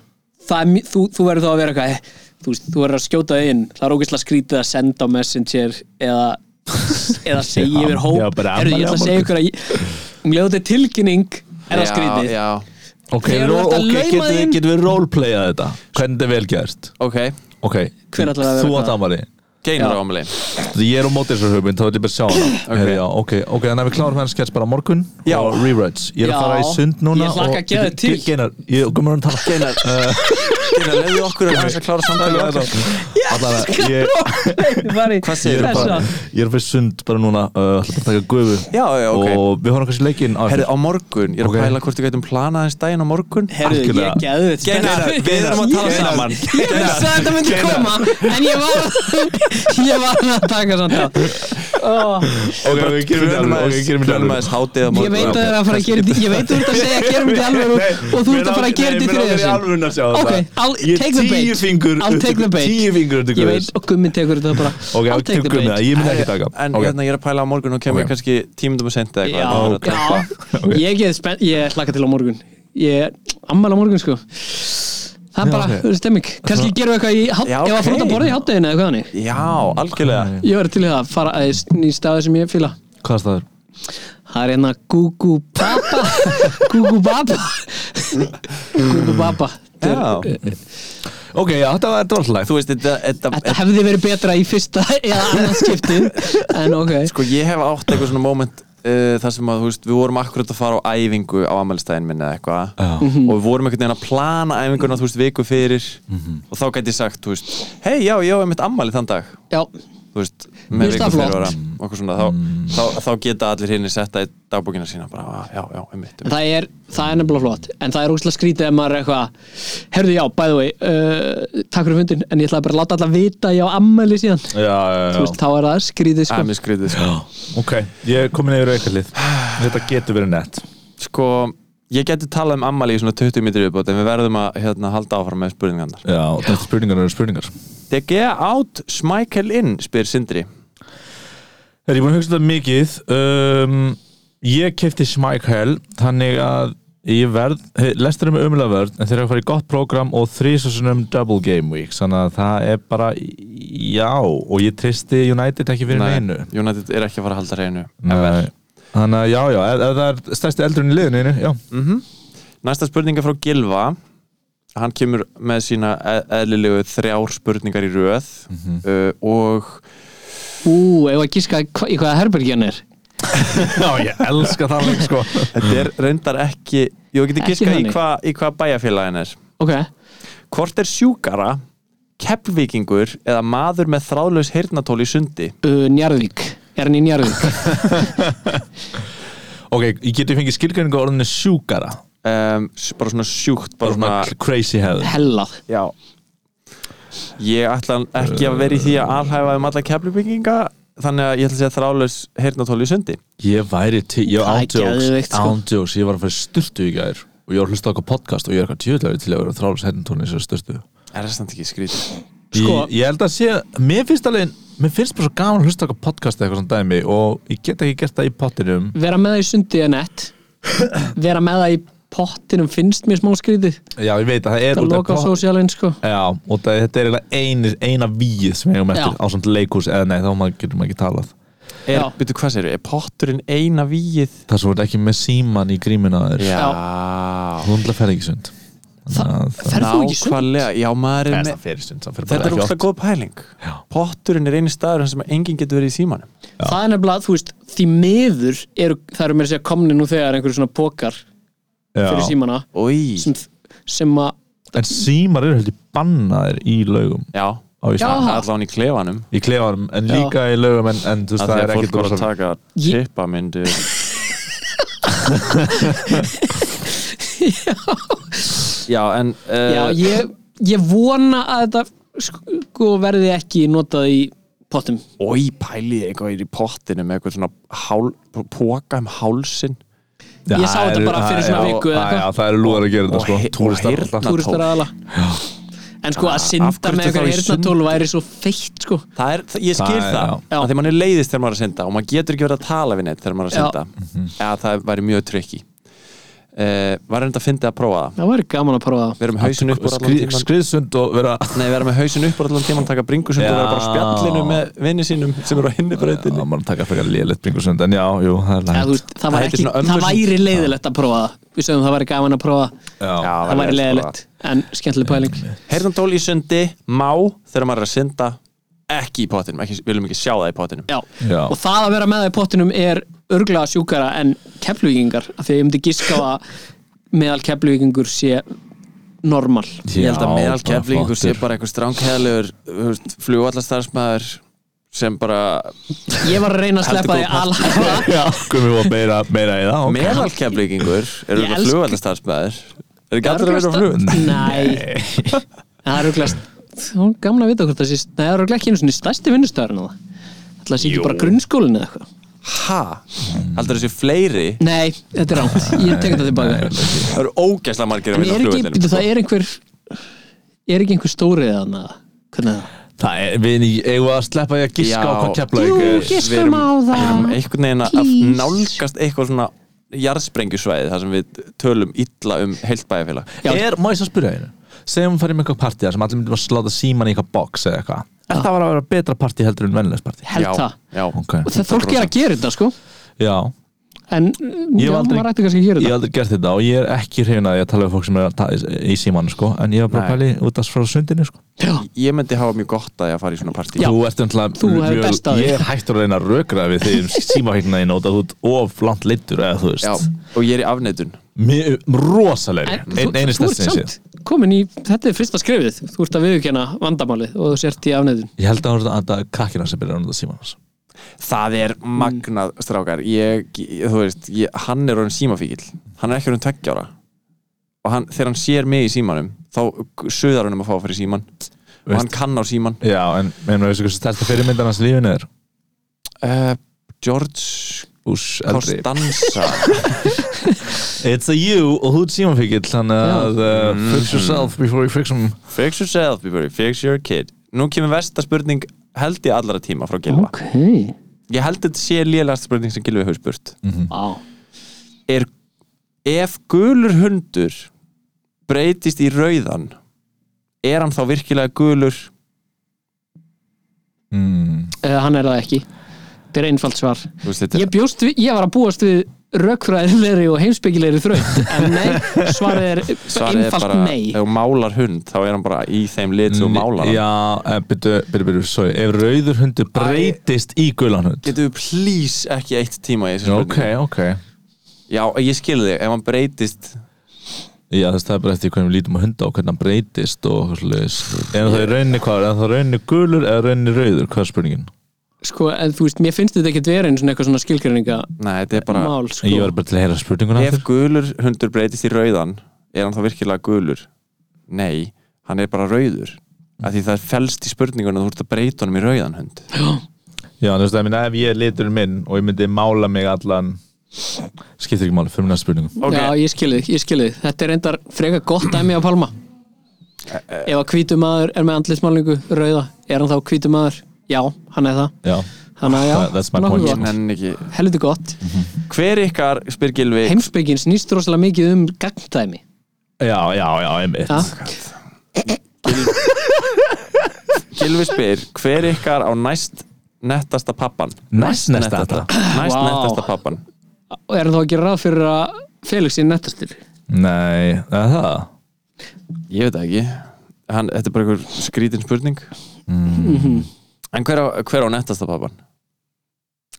[SPEAKER 6] Það er, mj- þú, þú verður þá að vera eitthvað "Eh, þú, veist, þú verður að skjóta þig inn, það er ógeðslega skrítið að senda á messenger eða [laughs] eða segja
[SPEAKER 3] Já,
[SPEAKER 6] yfir hóp
[SPEAKER 3] já, bara
[SPEAKER 6] Heyrðu,
[SPEAKER 3] afmæli á
[SPEAKER 6] ég ætla að
[SPEAKER 3] morgun.
[SPEAKER 6] segja ykkur að ég- um leiðu þetta er tilkynning er það
[SPEAKER 2] Já,
[SPEAKER 6] skrítið [laughs]
[SPEAKER 2] Já,
[SPEAKER 3] Ok,
[SPEAKER 6] Þegar þú
[SPEAKER 3] ró-
[SPEAKER 6] ert að
[SPEAKER 3] ok,
[SPEAKER 6] lauma
[SPEAKER 3] getum við,
[SPEAKER 6] þeim-
[SPEAKER 3] getum við roleplayað þetta Hvernig þetta er velgerst
[SPEAKER 2] ok
[SPEAKER 3] Ok,
[SPEAKER 6] Hver ætlar að vera
[SPEAKER 3] þú
[SPEAKER 6] hvað?
[SPEAKER 3] átt ammali
[SPEAKER 2] geinar
[SPEAKER 6] Já.
[SPEAKER 2] á ámlegin
[SPEAKER 3] Ég er á móti þessar hugmynd, þá vil ég bara sjá hana Heyrðu, já, Ok, ok, þannig að við klárum hennar skets bara á morgun
[SPEAKER 2] Já.
[SPEAKER 3] og rewrites Ég er
[SPEAKER 6] Já.
[SPEAKER 3] að fara í sund núna
[SPEAKER 6] Ég hlakka að geða þér til.
[SPEAKER 3] Geinar, ég komur hann að tala
[SPEAKER 2] geinar, geinar, leiðu okkur að hans að klára samtali okkar
[SPEAKER 3] Allavega, ég
[SPEAKER 6] Hvað
[SPEAKER 3] Ég er, bara, ég er fyrir sund bara núna uh, ætla bara að taka gufu
[SPEAKER 2] Já, já, ok.
[SPEAKER 3] og við horfum kannski leikinn á
[SPEAKER 2] Herri, á morgun, ég er að
[SPEAKER 3] Ok.
[SPEAKER 2] pæla hvort við gætum planað eins daginn á morgun
[SPEAKER 6] Herðu, ég
[SPEAKER 3] Algjörlega.
[SPEAKER 6] er geðveitt
[SPEAKER 2] Geinar,
[SPEAKER 6] spenntur.
[SPEAKER 2] við erum að tala
[SPEAKER 6] Ég-
[SPEAKER 2] saman.
[SPEAKER 6] Ég vissi að þetta myndi koma En ég var [laughs] Ég var að taka samt á
[SPEAKER 3] ok, við gerum þetta alveg, ok, við gerum þetta
[SPEAKER 2] Plönum
[SPEAKER 3] alveg.
[SPEAKER 2] aðeins hátíð á
[SPEAKER 6] Ég
[SPEAKER 2] morgun
[SPEAKER 6] veit að það er að fara að gera þetta Ég veit að þú ert að segja að gera þetta alveg og og þú ert að fara að gera þetta í þriðja sinn
[SPEAKER 3] alveg að sjá
[SPEAKER 6] Ok, I'll
[SPEAKER 3] Ég
[SPEAKER 6] take the
[SPEAKER 3] tíu
[SPEAKER 6] bait
[SPEAKER 3] fingur
[SPEAKER 6] I'll
[SPEAKER 3] upp-
[SPEAKER 6] take the bait
[SPEAKER 3] Tíu fingur undir
[SPEAKER 6] Ég
[SPEAKER 3] guðs
[SPEAKER 6] veit og gummi tekur þetta bara
[SPEAKER 3] Ok,
[SPEAKER 6] I'll take the
[SPEAKER 3] tökum við það,
[SPEAKER 6] bait
[SPEAKER 3] ég myndi ekki taka
[SPEAKER 2] En
[SPEAKER 3] Ok.
[SPEAKER 2] hérna, ég er að pæla á morgun og kemur
[SPEAKER 3] Ok.
[SPEAKER 2] kannski tímundum að senda
[SPEAKER 6] Já,
[SPEAKER 2] eitthvað
[SPEAKER 3] [laughs] Ok.
[SPEAKER 6] já Ég geð spennt Ég hlaka til á morgun Ég ammæla á morgun sko Það
[SPEAKER 3] Já,
[SPEAKER 6] er bara,
[SPEAKER 3] ok.
[SPEAKER 6] þú veist, stemming Kanski gerum við eitthvað í hát-
[SPEAKER 2] Já,
[SPEAKER 6] Ef að
[SPEAKER 2] ok.
[SPEAKER 6] fróta borðið í hátteginu eða hvað hannig
[SPEAKER 2] Já, algjörlega
[SPEAKER 6] Ég verður til í það að fara að í staði sem ég fýla
[SPEAKER 3] Hvað er staður?
[SPEAKER 6] Það er hérna Gugu Baba
[SPEAKER 3] [laughs]
[SPEAKER 6] Gugu Baba Gugu Baba
[SPEAKER 2] Já.
[SPEAKER 3] Ok, já, þetta var dórlægt
[SPEAKER 2] Þú veist, þetta-
[SPEAKER 6] Þetta
[SPEAKER 2] þetta
[SPEAKER 6] hefði verið betra í fyrsta eða annars skiptið En ok
[SPEAKER 2] Sko ég hef átt eitthvað svona moment uh, þar sem að þú veist, við vorum akkurat að fara á æfingu á ammælstæðin minni eða eitthvað
[SPEAKER 3] Já.
[SPEAKER 6] Mhm.
[SPEAKER 2] og við vorum einhvern veginn að plana æfinguna þú veist viku fyrir og þá gæti ég sagt, þú veist, hei já, já, ég mitt ammæli þann dag,
[SPEAKER 6] Já,
[SPEAKER 2] þú veist með
[SPEAKER 6] finnst
[SPEAKER 2] viku
[SPEAKER 6] það flott.
[SPEAKER 2] fyrirvara, okkur svona þá, þá, þá, geta allir hérna setta í dagbókina sína bara, "Ah, já, já, um mitt
[SPEAKER 6] það er, það er nefnilega flott En það er úrslega skrítið ef maður er eitthvað Herðu já, by the way uh, Takk fyrir fundin, en ég ætlaði bara að láta alla vita að Ég á ammæli síðan
[SPEAKER 3] Já, já,
[SPEAKER 6] Þú veist, Þá er það skrítið sko
[SPEAKER 2] Æmi skriðið, sko.
[SPEAKER 3] Ok, ég er komin yfir aukarlið Þetta getur verið nett
[SPEAKER 2] sko ég geti talað um ammæli í svona 20 mítri viðbót en við verðum að hérna, halda áfram með spurningarnar
[SPEAKER 3] Já, þetta spurningar eru spurningar
[SPEAKER 2] DG out, Schmeichel in, spyr Sindri
[SPEAKER 3] Þegar ég búin að hugsa þetta mikið um, Ég kefti Smækhel Þannig að ég verð hey, Lestur er með umlega vörð En þeir eru að fara í gott prógram Og þrísasunum double game week Þannig að það er bara Já Og ég tristi United ekki fyrir neinu
[SPEAKER 2] United er ekki að fara að halda reynu
[SPEAKER 3] Nei. Þannig að já, já Ef ef það er stærsti eldurinn í liðinu einu, Já
[SPEAKER 2] Næsta spurninga frá Gilva Hann kemur með sína e- eðlilegu þrjár spurningar í röð
[SPEAKER 3] Mhm.
[SPEAKER 2] uh, og
[SPEAKER 6] Ú, ef að gíska hva, í hvaða herbergi hann er
[SPEAKER 3] [laughs] Já, ég elska það líka sko
[SPEAKER 2] þetta er reyndar ekki Jú, getur
[SPEAKER 6] Ekki
[SPEAKER 2] giskað í
[SPEAKER 6] þannig.
[SPEAKER 2] hvað hva bæjarfélagin er
[SPEAKER 6] Ok,
[SPEAKER 2] Hvort er sjúkara, keppvíkingur eða maður með þráðlaus heyrnatól í sundi?
[SPEAKER 6] uh, Njarðvík Er hann í Njarðvík?
[SPEAKER 3] [laughs] Ok, ég geti fengið skilgjöningu orðinu sjúkara
[SPEAKER 2] Um, s- bara svona sjúkt bara
[SPEAKER 3] Bara svona
[SPEAKER 2] svona,
[SPEAKER 3] crazy head
[SPEAKER 6] Hellað
[SPEAKER 2] Já Ég ætla ekki að vera í því að alhæfa um alla keppvíkinga þannig að ég ætla að segja þráðlaus heyrnatól í sundi
[SPEAKER 3] Ég væri til, ég
[SPEAKER 6] Það er geðveikt,
[SPEAKER 3] ándjóks
[SPEAKER 6] sko.
[SPEAKER 3] Ándjóks, ég var að fara í styrtu í gær Og ég var að hlusta á okkar podcast Og ég er eitthvað djöðlega til að vera hérna þrális hendintóni Þessar styrtu
[SPEAKER 2] Er það samt ekki skrítið?
[SPEAKER 6] Sko-
[SPEAKER 3] ég, ég held að sé, mér finnst alveg Mér finnst bara svo gaman að hlusta á okkar podcast eða Eitthvað svona dæmi og ég get ekki gert það í pottinum
[SPEAKER 6] vera með það í sundi er nett vera með það í pottinum finnst mér smá skrítið
[SPEAKER 3] Já, ég veit að það er út
[SPEAKER 6] það
[SPEAKER 3] af
[SPEAKER 6] loka á
[SPEAKER 3] pot-
[SPEAKER 6] sósíalinn sko
[SPEAKER 3] Já, og það, þetta er eiginlega ein, eina víð sem hefum eftir
[SPEAKER 6] Já.
[SPEAKER 3] á samt leikhús eða nei, þá maður getur maður ekki talað
[SPEAKER 2] er,
[SPEAKER 6] Já.
[SPEAKER 2] byrju, hvað segir, er potturinn eina víið?
[SPEAKER 3] Það sem voru ekki með síman í grímina þér
[SPEAKER 2] Já
[SPEAKER 3] Hún ætla að ferða ekki í sund Þannig að það-
[SPEAKER 6] ferð þú ekki í sund?
[SPEAKER 2] Nákvæmlega, já maður er
[SPEAKER 3] Nei,
[SPEAKER 2] með
[SPEAKER 3] það fer í sund, það fer bara
[SPEAKER 2] Þetta er
[SPEAKER 3] ekki
[SPEAKER 2] óslega
[SPEAKER 3] oft.
[SPEAKER 2] góð pæling
[SPEAKER 3] Já.
[SPEAKER 2] Potturinn er eini staður þar sem enginn getur verið í símanum
[SPEAKER 6] það er nefnilega, þú veist, því miður eru, það eru mér að segja komni nú þegar einhverju svona pókar fyrir
[SPEAKER 3] Já.
[SPEAKER 6] símana
[SPEAKER 2] Í
[SPEAKER 6] sem, sem að,
[SPEAKER 3] En símar eru heldur bannaðir í laugum
[SPEAKER 2] Já,
[SPEAKER 3] á Íslandi
[SPEAKER 6] Já.
[SPEAKER 2] allan í klefanum
[SPEAKER 3] Í klefanum, en
[SPEAKER 6] Já.
[SPEAKER 3] líka í laugum en, en þú veist,
[SPEAKER 2] Það,
[SPEAKER 3] það
[SPEAKER 2] það
[SPEAKER 3] er
[SPEAKER 2] að fólk
[SPEAKER 3] ekkert
[SPEAKER 2] var að
[SPEAKER 3] rosa
[SPEAKER 2] taka
[SPEAKER 3] [laughs]
[SPEAKER 6] Ég-
[SPEAKER 2] tippamyndu [laughs] Já en
[SPEAKER 6] já,
[SPEAKER 2] uh,
[SPEAKER 6] ég, ég vona að þetta sko verði ekki notað í pottum
[SPEAKER 2] Ói, pæliði eitthvað er í pottinu með eitthvað svona hál, póka um hálsin
[SPEAKER 3] Já,
[SPEAKER 6] Ég sá
[SPEAKER 3] það
[SPEAKER 6] þetta
[SPEAKER 3] eru-
[SPEAKER 6] bara fyrir
[SPEAKER 3] já,
[SPEAKER 6] svona
[SPEAKER 3] já,
[SPEAKER 6] viku
[SPEAKER 3] já,
[SPEAKER 6] eða eitthvað.
[SPEAKER 3] já, Það eru lúðar að gera þetta
[SPEAKER 2] Og
[SPEAKER 3] sko
[SPEAKER 2] hei- og
[SPEAKER 3] Túristar
[SPEAKER 2] heyrna-
[SPEAKER 3] alltaf.
[SPEAKER 6] túristar aðala en sko að
[SPEAKER 2] Af
[SPEAKER 6] synda
[SPEAKER 2] hverju
[SPEAKER 6] með
[SPEAKER 2] ertu þá
[SPEAKER 6] einhverju
[SPEAKER 2] í
[SPEAKER 6] heyrnatól væri svo feitt sko
[SPEAKER 2] Það er, það- ég skil
[SPEAKER 3] Það er-
[SPEAKER 2] það,
[SPEAKER 6] já.
[SPEAKER 2] að því mann er leiðist þegar maður er að synda og maður getur ekki verið að tala við neitt þegar maður er að
[SPEAKER 6] Já.
[SPEAKER 2] synda
[SPEAKER 3] Mhm.
[SPEAKER 2] eða það væri mjög tryggi uh, Var reynd að fyndi að prófa það
[SPEAKER 6] það væri gaman að prófa það
[SPEAKER 2] Við erum með hausin upp úr allan
[SPEAKER 3] Ah, Skri-
[SPEAKER 2] tíman
[SPEAKER 3] Skriðsund og vera
[SPEAKER 2] Nei, við erum með hausin upp úr allan tíman taka bringusund og
[SPEAKER 3] Já.
[SPEAKER 2] vera bara á spjallinu með vinni sínum sem eru á hinni
[SPEAKER 3] Já,
[SPEAKER 2] breytinni
[SPEAKER 3] maður taka fyrir að léleitt bringusund En já, jú, það er
[SPEAKER 6] Eða, þú
[SPEAKER 3] lægt
[SPEAKER 6] veist, það, var
[SPEAKER 2] Það heitir
[SPEAKER 6] ekki,
[SPEAKER 2] svona ömmu
[SPEAKER 6] það
[SPEAKER 2] sund.
[SPEAKER 6] væri leiðilegt að prófa það við sögum það væri gaman að prófa það.
[SPEAKER 3] Já,
[SPEAKER 6] það væri leiðilegt en skemmtileg pæling
[SPEAKER 2] Heyrðan tól í sundi, má þegar maður er að synda ekki í pottinum ekki, viljum ekki sjá það í pottinum
[SPEAKER 6] Já.
[SPEAKER 3] Já.
[SPEAKER 6] og það að vera með það í pottinum er örglega sjúkara en keflugingar af því að ég myndi giska á að meðal keflugingur sé normal
[SPEAKER 2] ég held að
[SPEAKER 3] Já,
[SPEAKER 2] meðal
[SPEAKER 3] bara
[SPEAKER 2] keflingur sé
[SPEAKER 3] flottur.
[SPEAKER 2] bara einhver strángheðlegur flugvallastarsmaður sem bara
[SPEAKER 6] ég var að reyna
[SPEAKER 2] Heldur
[SPEAKER 6] að sleppa því
[SPEAKER 2] góð
[SPEAKER 6] alhafa [laughs]
[SPEAKER 3] Já, komum við að meira, meira í það ok.
[SPEAKER 2] meðal keflingur eru
[SPEAKER 6] Ég
[SPEAKER 2] það
[SPEAKER 6] elska-
[SPEAKER 2] flugvallastarsmaður er ekki allir að vera flugvall
[SPEAKER 6] Nei, það er örglast Gamla að vita hvort það sé Nei, það er örglega ekki einu svona stærsti vinnustöðurinn á það Það sé ekki bara grunnskólinn eða eitthvað
[SPEAKER 2] ha, heldur þessi fleiri
[SPEAKER 6] Nei, þetta er rámt, ég tek þetta tilbaka
[SPEAKER 2] það eru ógæsla margir að sko.
[SPEAKER 6] En
[SPEAKER 2] vinna á
[SPEAKER 6] er ekki, býtu,
[SPEAKER 2] flugvallinum
[SPEAKER 6] það er einhver Er ekki einhver stórið þarna Hvernig er það?
[SPEAKER 3] Það er, við eigum að sleppa því að giska
[SPEAKER 2] Já.
[SPEAKER 3] á hvað Keflavík
[SPEAKER 6] Jú,
[SPEAKER 3] er
[SPEAKER 6] giskum
[SPEAKER 2] Við erum-
[SPEAKER 6] á það.
[SPEAKER 2] við erum einhvern veginn að
[SPEAKER 6] Please.
[SPEAKER 2] nálgast eitthvað svona jarðsprengjusvæði þar sem við tölum illa um heilt bæjarfélag
[SPEAKER 6] Já.
[SPEAKER 3] Er, má ég svo spyrja einu Segjum við farið með eitthvað partí þar sem allir myndum að sláta síman í eitthvað box eða eitthvað Er það var að vera betra partí heldur en vennilegs partí
[SPEAKER 6] Held
[SPEAKER 2] já,
[SPEAKER 6] það
[SPEAKER 2] já.
[SPEAKER 3] Ok.
[SPEAKER 6] Og það fólk er að gera þetta sko
[SPEAKER 3] Já,
[SPEAKER 6] En
[SPEAKER 3] Ég
[SPEAKER 6] já,
[SPEAKER 3] hef aldrei-
[SPEAKER 6] maður ætti kannski að gera
[SPEAKER 3] ég hef
[SPEAKER 6] þetta
[SPEAKER 3] aldrei gert þetta og ég er ekki hrifin að ég tala við fólk sem er að tala í, í síman sko, en ég var bara að
[SPEAKER 2] Nei.
[SPEAKER 3] pæli út af frá sundinu sko.
[SPEAKER 6] Já,
[SPEAKER 2] ég myndi hafa mjög gott að ég að fara í svona partí
[SPEAKER 6] Já.
[SPEAKER 3] Þú ert umtlað
[SPEAKER 6] Þú hefur best af því.
[SPEAKER 3] Ég er hættur að reyna að rökra við
[SPEAKER 6] [laughs]
[SPEAKER 3] því um símafíknina þín og það þú ert of langt leittur eða þú
[SPEAKER 2] Já,
[SPEAKER 3] veist
[SPEAKER 2] og ég er í afneitun
[SPEAKER 3] Mjög- rosalegri Ein,
[SPEAKER 6] En þú-
[SPEAKER 3] Einu
[SPEAKER 6] þú ert
[SPEAKER 3] stessin ég séð
[SPEAKER 6] samt komin í, þetta er fyrsta skrefið Þú ert að viðurkenna vandamálið og þú sért í afneiðun
[SPEAKER 3] Ég held að það er krakkina sem byrjar að nota síman
[SPEAKER 2] það er
[SPEAKER 6] Mm.
[SPEAKER 2] magnað strákar ég, ég- þú veist, ég, hann er orðin símafíkil hann er ekki orðin tveggjára og hann, þegar hann sér mig í símanum þá söðar hann um að fá að fara í síman og hann kann á síman
[SPEAKER 3] Já, en meðan við veistu hversu stærsta fyrirmyndan hans í lífinu er
[SPEAKER 6] Eh,
[SPEAKER 2] uh, George
[SPEAKER 3] Úss, eldri
[SPEAKER 2] Costanza
[SPEAKER 6] [laughs]
[SPEAKER 3] It's a you og þú ert símanfíkill Þannig að uh, fix yourself before you fix them
[SPEAKER 2] fix yourself before you fix your kid nú kemur versta spurning held ég allra tíma frá Gilva
[SPEAKER 6] Ok
[SPEAKER 2] ég held þetta sé lélegasta spurning sem Gilvi hefur spurt
[SPEAKER 6] Mm. Vá
[SPEAKER 2] er ef gulur hundur breytist í rauðan er hann þá virkilega gulur
[SPEAKER 3] mm.
[SPEAKER 6] Eh, hann er það ekki þetta er einfalt svar
[SPEAKER 2] Þú veist, þetta er
[SPEAKER 6] ég, bjóst við, ég var að búast við rökfræðilegri og heimspekilegri þraut en nei, svarið er
[SPEAKER 3] [laughs]
[SPEAKER 2] svarið er
[SPEAKER 6] einfalt
[SPEAKER 2] bara
[SPEAKER 6] nei
[SPEAKER 2] ef þú málar hund þá er hann bara í þeim lit sem þú málar hann
[SPEAKER 3] Já, en byrju, byrju, byrju, sorry Ef rauður hundur breytist í gulan hund
[SPEAKER 2] getur við please ekki eitt tíma í þessu
[SPEAKER 3] Ok,
[SPEAKER 2] spurningu?
[SPEAKER 3] ok
[SPEAKER 2] já, ég skil þig, ef hann breytist
[SPEAKER 3] Já, þess það er bara eftir hvernig við lítum á hunda og hvernig hann breytist og hvað slags En það er rauninni hvað, en það er rauninni gulur eða rauninni rauður, hvað er spurningin?
[SPEAKER 6] sko, en þú veist, mér finnst þetta ekki verið eins og eitthvað svona skilgreininga
[SPEAKER 2] nei, þetta er bara
[SPEAKER 6] mál
[SPEAKER 3] Ég
[SPEAKER 6] sko.
[SPEAKER 3] var bara til að heyra spurninguna
[SPEAKER 2] ef gulur hundur breytist í rauðan er hann þá virkilega gulur nei, hann er bara rauður af því það felst í spurningunum að þú ert að breyta honum í rauðan hund
[SPEAKER 3] Já, þú veist, ég meina, ef ég er liturinn minn og ég myndi mála mig allan skiptir ekki máli, fyrir mér næstu spurningu
[SPEAKER 2] ok.
[SPEAKER 6] já, ég skilði, ég skilði þetta er endar freka gott dæmi á Palma ef að hvítu maður er með andlitsmálingu rauða, er hann þá hvítu maður já, hann er það
[SPEAKER 3] Já,
[SPEAKER 6] Þannig að já,
[SPEAKER 3] That- that's my
[SPEAKER 6] nokkuð
[SPEAKER 3] point.
[SPEAKER 6] gott.
[SPEAKER 2] ég nenni ekki
[SPEAKER 6] helviti gott,
[SPEAKER 2] hver ykkar, spyr Gilvi
[SPEAKER 6] heimspekin snýst rosalega mikið um gagndæmi
[SPEAKER 3] já, já, já, einmitt
[SPEAKER 6] ja?
[SPEAKER 2] Gilvi spyr, hver ykkar á næst nettasta pappan?
[SPEAKER 3] Næst næsta þetta
[SPEAKER 2] Næst
[SPEAKER 6] Vá.
[SPEAKER 2] nettasta pappan
[SPEAKER 6] og er hann þá að gera ráð fyrir að Felix sé nettastur
[SPEAKER 3] Nei, það er það
[SPEAKER 2] Ég veit það ekki Hann, Þetta er bara einhver skrítin spurning
[SPEAKER 3] Mm.
[SPEAKER 6] Mhm.
[SPEAKER 2] En hver á, hver á nettasta pappan?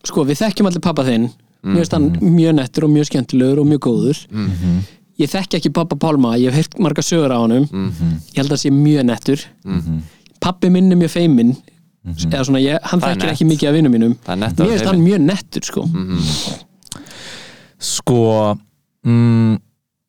[SPEAKER 6] sko við þekkjum allir pappa þinn mér finnst hann
[SPEAKER 3] Mm.
[SPEAKER 6] mjög nettur og mjög skemmtilegur og mjög góður
[SPEAKER 3] Mm-hmm.
[SPEAKER 6] ég þekki ekki pappa Pálma ég hef heyrt marga sögur á honum
[SPEAKER 2] Mm. Mhm.
[SPEAKER 6] ég held að hann sé mjög nettur pappi minn er mjög feiminn eða svona, ég, hann
[SPEAKER 2] Mhm. Það er
[SPEAKER 6] þekkir
[SPEAKER 2] nett.
[SPEAKER 6] ekki mikið af vinnum mínum
[SPEAKER 2] Það er Mhm. nett
[SPEAKER 6] mér finnst hann mjög nettur sko
[SPEAKER 3] Sko mm,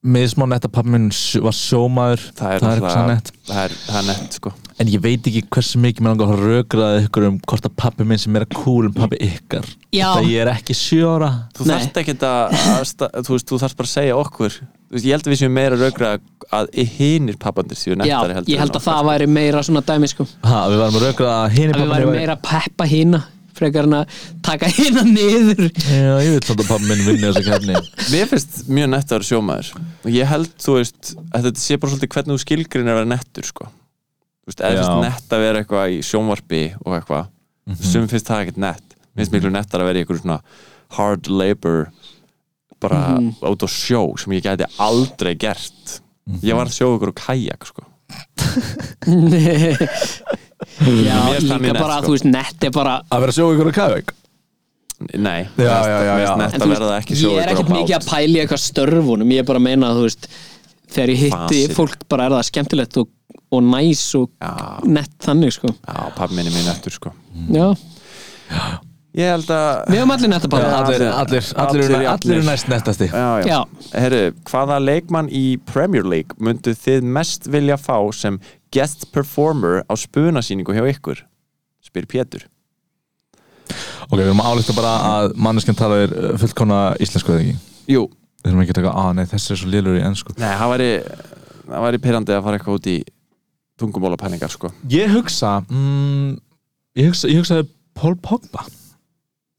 [SPEAKER 3] Mismá netta pappi minn sj- var sjómaður
[SPEAKER 2] Það er,
[SPEAKER 3] það er
[SPEAKER 2] náttúrulega-
[SPEAKER 3] ekki nett
[SPEAKER 2] það er, það er nett sko
[SPEAKER 3] En ég veit ekki hversu mikið mér langar að rökraða ykkur um hvort að pappi minn sem er að kúl um pappi ykkar
[SPEAKER 6] Já.
[SPEAKER 3] Þetta ég er ekki sjóra
[SPEAKER 2] Þú
[SPEAKER 6] Nei.
[SPEAKER 2] þarft ekki að, að sta- þú veist, þú þarft bara að segja okkur Þú veist, Ég held að við séum meira raugra að hinir pappandir séu
[SPEAKER 6] já,
[SPEAKER 2] nettari heldur
[SPEAKER 6] ég
[SPEAKER 2] en
[SPEAKER 6] held að
[SPEAKER 2] okkar.
[SPEAKER 6] það væri meira svona dæmi sko
[SPEAKER 3] Ha, við varum að rökraða hini
[SPEAKER 6] að við
[SPEAKER 3] pappi
[SPEAKER 6] væri meira að peppa hína frekar en að taka hína niður
[SPEAKER 2] [laughs]
[SPEAKER 3] Já, ég veit samt að pappi minn vinni þessu kefni
[SPEAKER 2] Mér finnst mjög nett að vera sjómaður og ég held, þú veist, að þetta sé bara svolítið hvernig þú skilgrinir að vera nettur, sko Þú veist, eða
[SPEAKER 3] Já. Mhm.
[SPEAKER 2] finnst nett að vera eitthvað í sjónvarpi og eitthvað, sum finnst það ekkert nett Mér finnst miklu nettar að vera í eitthvað svona hard labor bara
[SPEAKER 6] Mhm.
[SPEAKER 2] út á sjó sem ég gæti aldrei
[SPEAKER 3] Mhm.
[SPEAKER 2] gert Ég var að sjó ykkur á kajak, sko
[SPEAKER 6] ég Já,
[SPEAKER 2] Mér finnst hann í
[SPEAKER 6] líka
[SPEAKER 2] net,
[SPEAKER 6] bara,
[SPEAKER 2] sko.
[SPEAKER 6] þú veist, nett er bara
[SPEAKER 3] Að vera að sjóa ykkur á kæðveik
[SPEAKER 2] Nei,
[SPEAKER 3] Já, já, já, já.
[SPEAKER 6] En
[SPEAKER 2] Nett
[SPEAKER 6] þú
[SPEAKER 2] að
[SPEAKER 6] veist,
[SPEAKER 2] verða ekki
[SPEAKER 6] ég er
[SPEAKER 2] sjóðugur
[SPEAKER 6] ekkert mikið að pæla í eitthvað störfunum ég er bara að meina að þú veist þegar ég hitti
[SPEAKER 2] Fasið.
[SPEAKER 6] fólk bara er það skemmtilegt og, og næs og
[SPEAKER 2] Já.
[SPEAKER 6] nett þannig sko
[SPEAKER 2] Já, pappi minni minn eftir sko
[SPEAKER 3] Mhm.
[SPEAKER 6] já.
[SPEAKER 2] Ég held að
[SPEAKER 6] við höfum allir netta bara
[SPEAKER 2] Já.
[SPEAKER 3] Allir, allir, allir,
[SPEAKER 2] Allir
[SPEAKER 3] allir,
[SPEAKER 2] jafnir.
[SPEAKER 3] allir eru næst nettasti
[SPEAKER 2] Já, já.
[SPEAKER 6] Já.
[SPEAKER 2] Herru, hvaða leikmann í Premier League myndu þið mest vilja fá sem guest performer á spunasýningu hjá ykkur? Spyr Pétur
[SPEAKER 3] Ok, við erum að álíkta bara að manneskinn talar uh, fullkomna íslensku eða ekki
[SPEAKER 2] Jú,
[SPEAKER 3] Við erum ekki að taka, að nei, þessi er svo lélur í ennsku
[SPEAKER 2] nei, það væri það væri pyrrandi að fara eitthvað út í tungumólapælingar sko
[SPEAKER 3] Ég hugsa, mm, ég hugsa Ég hugsaði Paul Pogba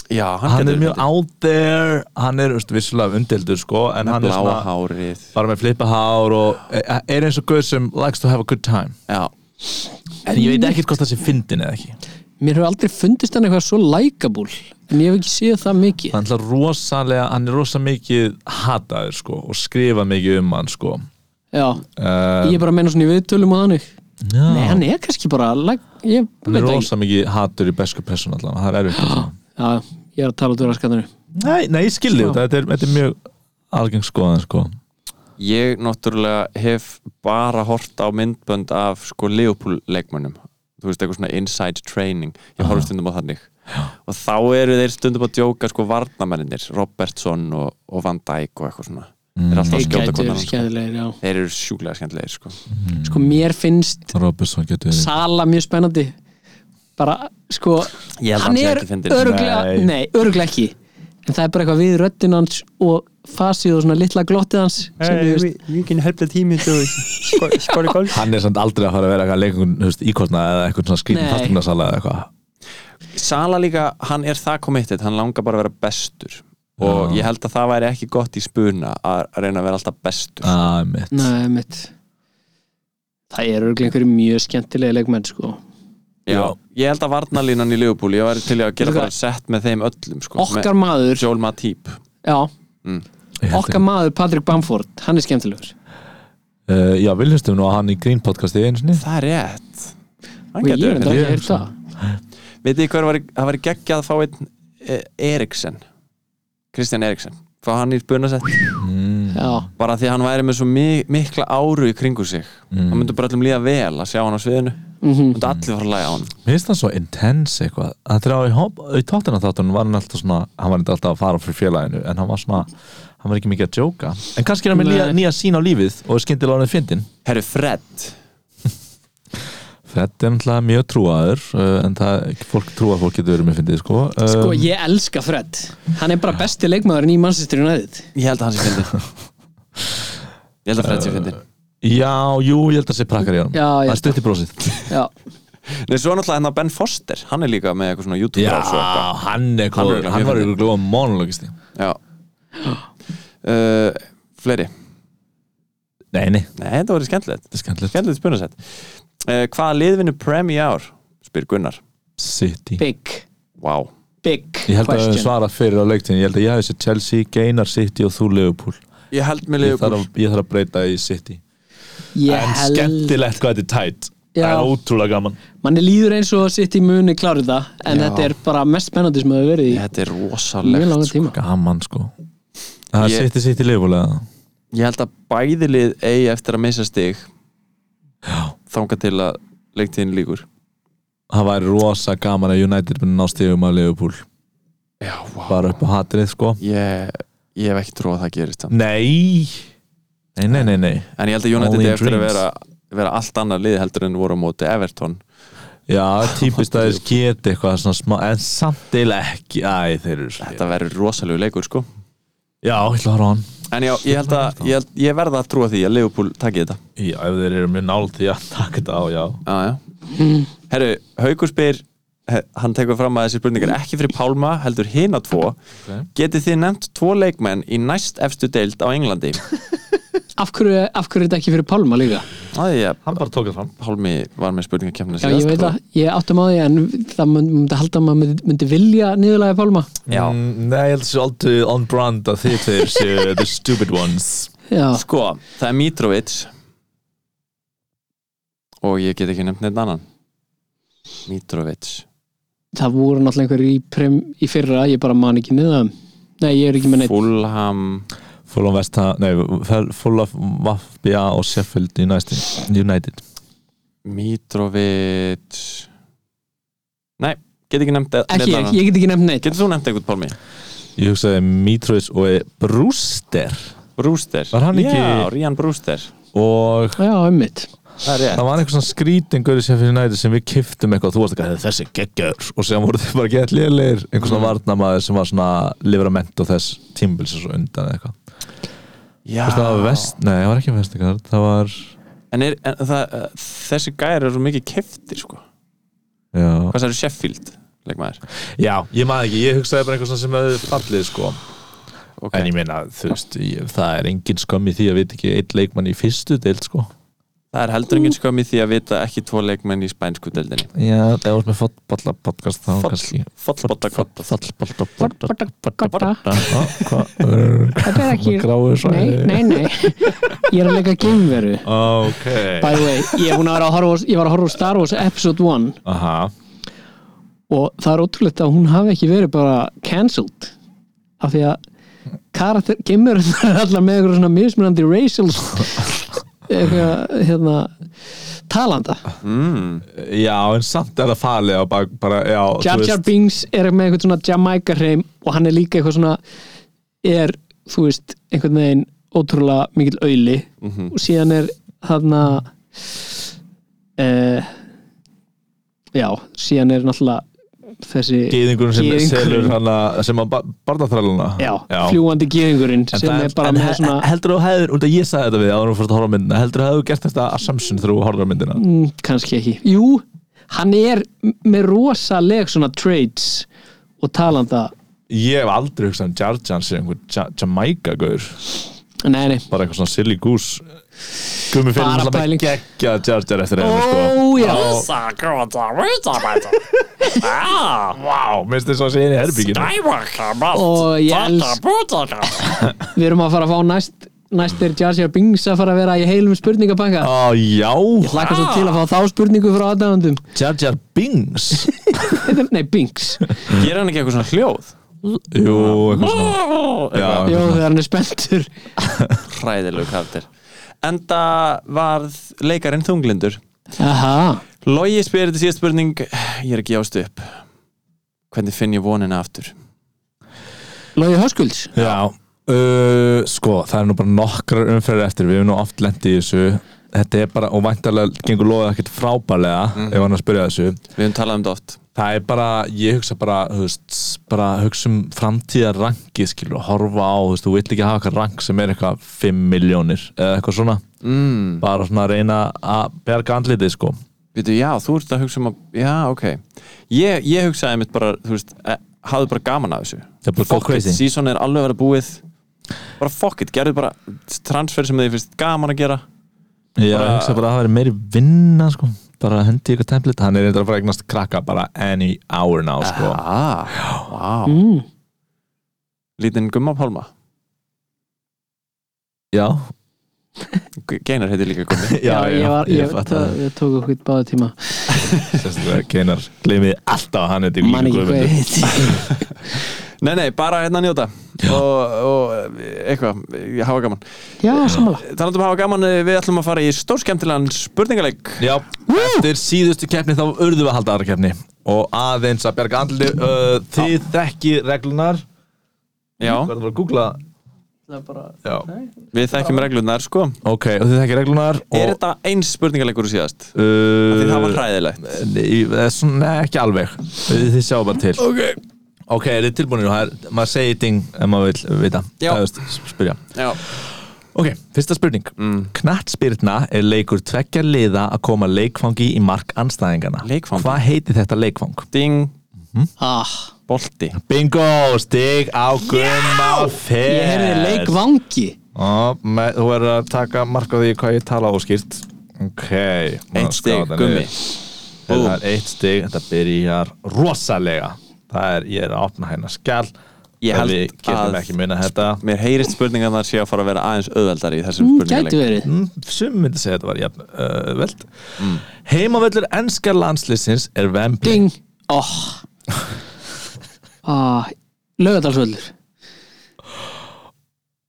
[SPEAKER 2] Já,
[SPEAKER 3] Hann er
[SPEAKER 2] getur
[SPEAKER 3] mjög
[SPEAKER 2] verið.
[SPEAKER 3] out there Hann er veist, vissulega umdeldur sko En hann er
[SPEAKER 2] bláa
[SPEAKER 3] svona,
[SPEAKER 2] hárið
[SPEAKER 3] bara með flippa hár Og eh, er eins og guð sem likes to have a good time
[SPEAKER 2] Já,
[SPEAKER 3] En ég veit ekkert hvort það sé fyndin eða ekki
[SPEAKER 6] mér hefur aldrei fundist hann eitthvað svo likeable en ég hef ekki séð það mikið
[SPEAKER 3] hann er rosalega, hann er rosa mikið hataður sko og skrifa mikið um hann sko
[SPEAKER 6] já.
[SPEAKER 2] Um.
[SPEAKER 3] uh,
[SPEAKER 6] ég er bara að meina svona í viðtölum og þannig
[SPEAKER 3] já,
[SPEAKER 6] nei, hann er kannski bara like, ég
[SPEAKER 3] hann er
[SPEAKER 6] veit það ekki
[SPEAKER 3] rosa mikið hatur í besku pressun allan, það er erfitt að segja. Sko.
[SPEAKER 6] já, ég er að tala út úr raskatinu
[SPEAKER 3] [gasps] nei, nei, ég skildi
[SPEAKER 6] Já.
[SPEAKER 3] þetta, þetta er, þetta er mjög algeng skoðan sko
[SPEAKER 2] ég náttúrulega hef bara hort á myndbönd af sko Leopold leikmönnum þú veist, eitthvað svona inside training ég horfði stundum á þannig og þá eru þeir stundum að djóka sko varnamennir Robertson og, og Van Dijk og eitthvað svona þeir eru
[SPEAKER 6] Mm.
[SPEAKER 2] alltaf að skjóta konan sko.
[SPEAKER 6] skemmtilegir, já
[SPEAKER 2] þeir eru sjúklega skemmtilegir sko.
[SPEAKER 6] sko mér finnst
[SPEAKER 3] Robertson getur verið
[SPEAKER 6] Sala mjög spennandi bara sko
[SPEAKER 2] Ég held að
[SPEAKER 6] hann
[SPEAKER 2] hann sé
[SPEAKER 6] er
[SPEAKER 2] ekki fyndinn.
[SPEAKER 6] örglega
[SPEAKER 3] Nei.
[SPEAKER 6] nei. örglega ekki en það er bara eitthvað við röddinn hans og fasið og svona litla glottið hans sem við veist
[SPEAKER 2] you can help the team into score goals
[SPEAKER 3] hann er samt aldrei að fara að vera eitthvað leikungun íkostna eða eitthvað svona skrýtum
[SPEAKER 6] Nei.
[SPEAKER 3] fastunarsala eða eitthvað
[SPEAKER 2] Sala líka, hann er það committed hann langar bara að vera bestur og ég held að það væri ekki gott í spuna að reyna að vera alltaf bestur
[SPEAKER 3] ah, mitt.
[SPEAKER 6] nei, mitt það er örglega einhverju mjög skemmtilega leikmenn sko
[SPEAKER 2] Já,
[SPEAKER 3] Já.
[SPEAKER 2] ég held að varnalínan í Liverpool ég var til í að gera
[SPEAKER 6] Líka-
[SPEAKER 2] bara sett með þeim öllum sko,
[SPEAKER 6] okkar maður
[SPEAKER 2] með Joel Matip
[SPEAKER 6] já
[SPEAKER 3] Ég held
[SPEAKER 6] okkar maður Patrick Bamford hann er skemmtilegur
[SPEAKER 3] ekki. uh, já, viljumstum nú að hann í Green podcasti einu sinni
[SPEAKER 2] Það er rétt
[SPEAKER 6] og ég er
[SPEAKER 2] Við
[SPEAKER 6] enda ekki
[SPEAKER 3] ég
[SPEAKER 6] að
[SPEAKER 3] hugsa.
[SPEAKER 6] heyrta
[SPEAKER 2] veitum hvað var, það var geggjað að fá einn e, Eriksen Kristján Eriksen fá hann í spunasett
[SPEAKER 3] Mm.
[SPEAKER 6] já
[SPEAKER 2] bara því að hann væri með svo mi mikla áru í kringu sig mm. hann myndi bara allum líða vel að sjá hann á sviðinu
[SPEAKER 6] mm
[SPEAKER 2] myndi allir fara að læga á hann
[SPEAKER 3] Mér finnst hann svo intense eitthvað Það er á í, hop- í tóttina þáttunum var hann alltaf svona Hann var eitthvað alltaf að fara fyrir félaginu En hann var svona, hann var ekki mikið að djóka En kannski er hann með nýja,
[SPEAKER 6] Nei.
[SPEAKER 3] nýja sín á lífið Og er skyndilega hann fyndin
[SPEAKER 2] Herru Fred
[SPEAKER 3] Þetta er náttúrulega mjög trúaður uh, En það, fólk trúa að fólk getur verið með fyndið sko. Um,
[SPEAKER 6] sko ég elska Fred hann er bara besti leikmaðurinn í Manchester United
[SPEAKER 2] ég held að hann sé
[SPEAKER 6] [laughs]
[SPEAKER 2] fyndin ég held að Fred sé
[SPEAKER 6] Uh.
[SPEAKER 2] fyndin
[SPEAKER 3] Já, jú, ég held að sé prakkar í honum
[SPEAKER 6] Já, ég
[SPEAKER 3] Það
[SPEAKER 6] held
[SPEAKER 3] er stutt í brósið
[SPEAKER 6] já
[SPEAKER 2] Nei, svo er náttúrulega hennar Ben Foster hann er líka með eitthvað svona YouTube rás og eitthvað
[SPEAKER 3] hann er
[SPEAKER 2] Hann er
[SPEAKER 3] góð
[SPEAKER 2] örugglega
[SPEAKER 3] Hann
[SPEAKER 2] mjög
[SPEAKER 3] var
[SPEAKER 2] fyndinn.
[SPEAKER 3] ykkur glóða monologisti
[SPEAKER 2] Já uh, Fleiri
[SPEAKER 3] Nei, nei,
[SPEAKER 2] Nei, þetta voru skemmtilegt
[SPEAKER 3] þetta er skemmtilegt
[SPEAKER 2] Skemmtilegt spunasett uh, Hvaða lið vinnur Prem í ár? Spyr Gunnar
[SPEAKER 3] City
[SPEAKER 6] big
[SPEAKER 2] Vá
[SPEAKER 6] big
[SPEAKER 3] Ég held að við
[SPEAKER 6] question.
[SPEAKER 3] höfum svarað fyrir á leiktin Ég held að ég hafi sér Chelsea, Geinar, City og þú Liverpool
[SPEAKER 2] Ég held með
[SPEAKER 3] Ég
[SPEAKER 2] Liverpool
[SPEAKER 3] þarf, að- ég þarf að breyta í City
[SPEAKER 6] Ég
[SPEAKER 3] En
[SPEAKER 6] held-
[SPEAKER 3] skemmtilegt hvað þetta er tætt
[SPEAKER 6] Já.
[SPEAKER 3] Það er ótrúlega gaman
[SPEAKER 6] manni líður eins og sitt í muni klárið það en
[SPEAKER 2] Já.
[SPEAKER 6] þetta er bara mest spennandi sem hefur verið í
[SPEAKER 2] Þetta er
[SPEAKER 6] mjög
[SPEAKER 2] rosalegt
[SPEAKER 6] langan tíma
[SPEAKER 3] Gaman sko Það er
[SPEAKER 2] Ég-
[SPEAKER 3] City City lifulega
[SPEAKER 2] Ég held að bæði lið eigi eftir að missa stig Þanga til að leiktiðin líkur
[SPEAKER 3] Það væri rosa gaman að United byrja ná stigum að Liverpool
[SPEAKER 2] Já, vá
[SPEAKER 3] Bara upp á hatrið sko
[SPEAKER 2] Ég, ég hef ekki trú að það gerist samt.
[SPEAKER 3] Nei Nei, nei, nei, nei
[SPEAKER 2] En ég held að United
[SPEAKER 3] Only
[SPEAKER 2] eigi eftir að
[SPEAKER 3] dreams.
[SPEAKER 2] vera, vera allt annað lið heldur en voru á móti Everton
[SPEAKER 3] Já, típist að þeir geta eitthvað svona smá En samt eila ekki Æ, þeir eru svo
[SPEAKER 2] Þetta verður rosalegu leikur sko
[SPEAKER 3] Já, ég ætla að horfa á hann
[SPEAKER 2] En já, ég held að ég, held, ég verða að trúa því að Liverpool takki þetta
[SPEAKER 3] Já, ef þeir eru mjög nált því að taka þetta á, já
[SPEAKER 2] Já, já. Herru, Haukur spyr he- hann tekur fram að þessi spurningar ekki fyrir Pálma heldur hina tvo getið þið nefnt tvo leikmenn í næst efstu deild á Englandi
[SPEAKER 6] af hverju, af hverju er þetta ekki fyrir Pálma líka?
[SPEAKER 2] Æja,
[SPEAKER 3] Hann bara tók það fram
[SPEAKER 2] Pálmi var með spurningakefna
[SPEAKER 6] Já, ég veit að ég áttum á því en það myndi, myndi halda að maður myndi, myndi vilja niðurlega Pálma
[SPEAKER 2] Já,
[SPEAKER 3] Mm, Nei, ég held þessu aldrei on brand að þið þeir [laughs] séu the stupid ones
[SPEAKER 6] Já,
[SPEAKER 2] sko, það er Mitrovic og ég get ekki nefnt neitt annan Mitrovic
[SPEAKER 6] það voru náttúrulega einhverjir í, prem, í fyrra ég bara man ekki með það nei, ég er ekki með neitt
[SPEAKER 2] Fulham
[SPEAKER 3] Full of West Ham, nei, fel- Full of Vafbja og Sheffield United, United.
[SPEAKER 2] Mitrovic Nei, get ekki nefnt e-
[SPEAKER 6] ekki, ég, ég get ekki nefnt neitt
[SPEAKER 2] Getur þú nefnt eitthvað, Pálmi?
[SPEAKER 3] Ég hugsaði Mitrovic og Brewster
[SPEAKER 2] Brewster
[SPEAKER 3] Var hann ekki-
[SPEAKER 2] Já, Rían Brewster
[SPEAKER 3] og
[SPEAKER 6] já, ummitt
[SPEAKER 2] Það er rétt
[SPEAKER 3] það var einhver svona skrítingur í Sheffield United sem við kiftum eitthvað og þú varst ekki að þessi geggjör og sem voru þið bara gett liðleir einhver svona varnamaður sem var svona livrament og þess tímbils og svo undan eða eitthvað
[SPEAKER 2] Já
[SPEAKER 3] Þú veist, það var vest, nei það var ekki vest það var,
[SPEAKER 2] En, er, en það, uh, þessi gæri eru svo mikið keftir, sko
[SPEAKER 3] já
[SPEAKER 2] Hvað særu Sheffield, leikmaður?
[SPEAKER 3] já, ég maður ekki, ég hugsaði bara einhver svona sem hefði fallið sko
[SPEAKER 2] Okay.
[SPEAKER 3] en ég meina, þú veist, ég, það er engin skömmi því að við ekki eitt leikmann í fyrstu deild sko
[SPEAKER 2] Það er heldur enginn skömmi því að vita ekki tvo leikmenn í spænsku deildinni
[SPEAKER 3] já, það var með fotbolla podcast þá
[SPEAKER 2] Fall-
[SPEAKER 3] kannski
[SPEAKER 2] Fotbolta kotta
[SPEAKER 3] Þetta
[SPEAKER 6] er ekki-
[SPEAKER 3] gráður svo
[SPEAKER 6] nei, nei, nei ég er að leika gameveru
[SPEAKER 3] Ok
[SPEAKER 6] by the way, ég, hún var að horfa, á- ég var að horfa á Star Wars Episode 1
[SPEAKER 3] Aha
[SPEAKER 6] og það er ótrúlegt að hún hafi ekki verið bara cancelled af því að karakter, gameveru er allar með eitthvað svona mismunandi racial eitthvað, hérna talanda
[SPEAKER 2] mm.
[SPEAKER 3] Já, en samt er það falið og bara, bara já,
[SPEAKER 6] Jar Jar Binks er með einhvern svona Jamaica hreim og hann er líka eitthvað svona er, þú veist, einhvern veginn ótrúlega mikill auðli
[SPEAKER 3] Mhm.
[SPEAKER 6] og síðan er þarna uh, já, síðan er náttúrulega þessi
[SPEAKER 3] Gýðingur sem
[SPEAKER 6] Gyðingurinn.
[SPEAKER 3] selur hana sem að barnathræluna
[SPEAKER 6] já, fljúandi gýðingurinn sem er bara með svona
[SPEAKER 3] heldur þú hefur, út að ég sagði þetta við áður og fórst að horfa á myndina, heldur þú hefur gert þetta að samsun þegar þú horfa á myndina
[SPEAKER 6] mm, kannski ekki, jú hann er m- með rosaleg svona traits og talanda
[SPEAKER 3] Ég hef aldrei hugsað um Jar Jar sem einhver Ja- Jamaica-gaur
[SPEAKER 6] nei, nei,
[SPEAKER 3] bara eitthvað svona silly goose Gumi fyrir
[SPEAKER 6] Bara
[SPEAKER 3] alltaf með
[SPEAKER 6] pæling.
[SPEAKER 3] geggja Jar Jar eftir sko. einu
[SPEAKER 6] ó já
[SPEAKER 3] Vá, minnst þið svo að segja inn í herbygginu
[SPEAKER 6] og ég els [laughs] við erum að fara að fá næst næst er Jar Jar Binks að fara að vera í heilum spurningabanka
[SPEAKER 3] Á, já
[SPEAKER 6] ég hlakka svo til að fá þá spurningu frá aðdæfandum
[SPEAKER 3] Jar Jar Binks
[SPEAKER 6] [laughs] nei, Binks,
[SPEAKER 2] Gera hann ekki eitthvað svona hljóð?
[SPEAKER 3] Jú, eitthvað svona Já,
[SPEAKER 2] Já.
[SPEAKER 6] jú þegar hann er spenntur
[SPEAKER 2] Hræðilegu karakter Enda varð leikarinn þunglindur
[SPEAKER 6] aha,
[SPEAKER 2] Logi spyrir þetta síðast spurning Ég er ekki jást upp Hvernig finn ég vonina aftur?
[SPEAKER 6] Lógi Höskulds
[SPEAKER 3] Já, uh, sko, það er nú bara nokkrar umferðir eftir, við hefum nú oft lent í þessu Þetta er bara, og væntalega gengur loðið ekkert frábærlega ef hann er að spyrja þessu
[SPEAKER 2] Við höfum talað um þetta oft
[SPEAKER 3] Það er bara, ég hugsa bara, þú veist, bara hugsa um framtíðar rankið, skilur, horfa á, þú veist, þú vill ekki hafa eitthvað rank sem er eitthvað 5 miljónir eða eitthvað svona,
[SPEAKER 2] mm.
[SPEAKER 3] bara svona að reyna að berga andlitið, sko.
[SPEAKER 2] Vitu, já, þú ert að hugsa um að Já, ok Ég, ég hugsaði mitt bara, þú veist eh, Hafðu bara gaman að þessu
[SPEAKER 3] Það er bara go
[SPEAKER 2] Fuck it,
[SPEAKER 3] crazy.
[SPEAKER 2] season er alveg að vera búið Bara fuck it, gerðu bara transfer sem þið finnst gaman að gera
[SPEAKER 3] Ég
[SPEAKER 2] bara-
[SPEAKER 3] hugsa bara að það veri meiri vinna, sko, bara hendi ykkur template, hann er eitthvað að fara að eignast krakka bara any hour now, sko.
[SPEAKER 2] ah, wow.
[SPEAKER 6] mm.
[SPEAKER 2] Lítinn gummapálma
[SPEAKER 3] Já,
[SPEAKER 2] Geinar heitir líka gummi
[SPEAKER 3] [laughs]
[SPEAKER 6] já, ég, var, ég,
[SPEAKER 3] fatt
[SPEAKER 6] það,
[SPEAKER 3] að
[SPEAKER 6] ég tók okkur báða tíma
[SPEAKER 3] sérstaklega Keinar gleymið alltaf að hann heiti
[SPEAKER 6] mann ekki hvað
[SPEAKER 3] Guðmundur.
[SPEAKER 6] heit
[SPEAKER 2] Nei, nei, bara hérna að njóta og, og eitthvað, ég hafa gaman
[SPEAKER 6] [laughs] já, samanlega
[SPEAKER 2] Talandum að hafa gaman, eh, við ætlum að fara í stórskemmtilegan spurningaleik
[SPEAKER 3] Já, eftir síðustu keppni þá urðum við að halda aðra keppni og aðeins að berga andli uh, þið þekki reglunar
[SPEAKER 2] Já,
[SPEAKER 3] verðum að googla Já.
[SPEAKER 2] við þekkjum reglunar, sko
[SPEAKER 3] ok, og þið þekki reglunar
[SPEAKER 2] Er
[SPEAKER 3] og
[SPEAKER 2] þetta eins spurningaleikur úr síðast?
[SPEAKER 3] uh,
[SPEAKER 2] Þið hafa hræðilegt
[SPEAKER 3] Nei, það er svona nei, ekki alveg Þið þið sjáum bara til
[SPEAKER 2] Ok
[SPEAKER 3] Ok, er þið tilbúinir? Það er- Maður segir ting ef maður vil vita
[SPEAKER 2] Já.
[SPEAKER 3] Eða, þú veist, Spyrja
[SPEAKER 2] Já,
[SPEAKER 3] Ok, fyrsta spurning mm. er leikur tveggja liða að koma leikfangi í mark anstæðingana
[SPEAKER 2] Leikfangi?
[SPEAKER 3] Hvað heiti þetta leikfang?
[SPEAKER 2] ding,
[SPEAKER 6] ah,
[SPEAKER 2] bolti
[SPEAKER 3] Bingo, stig á gumma fer
[SPEAKER 6] ég heyrði leikvangi
[SPEAKER 3] Ó, með, Þú verður að taka mark á því hvað ég tala óskýrt Ok
[SPEAKER 2] Eitt stig, gummi
[SPEAKER 3] Það er eitt stig, þetta byrjar rosalega Það er, ég er að opna hérna skjall
[SPEAKER 2] ég
[SPEAKER 3] að við
[SPEAKER 2] held
[SPEAKER 3] getum
[SPEAKER 2] að
[SPEAKER 3] ekki minna þetta
[SPEAKER 2] mér heyrist spurningar þar sé að fara að vera aðeins auðveldari í þessum
[SPEAKER 6] Mm, Gæti
[SPEAKER 2] spurningaleik
[SPEAKER 6] verið
[SPEAKER 3] Mm, sum myndi segja að þetta var jafn uh, veld
[SPEAKER 2] Mm.
[SPEAKER 3] heimavöllur enska landslýsins er Vembley
[SPEAKER 6] Ding oh. ah, Lögadalsvöldur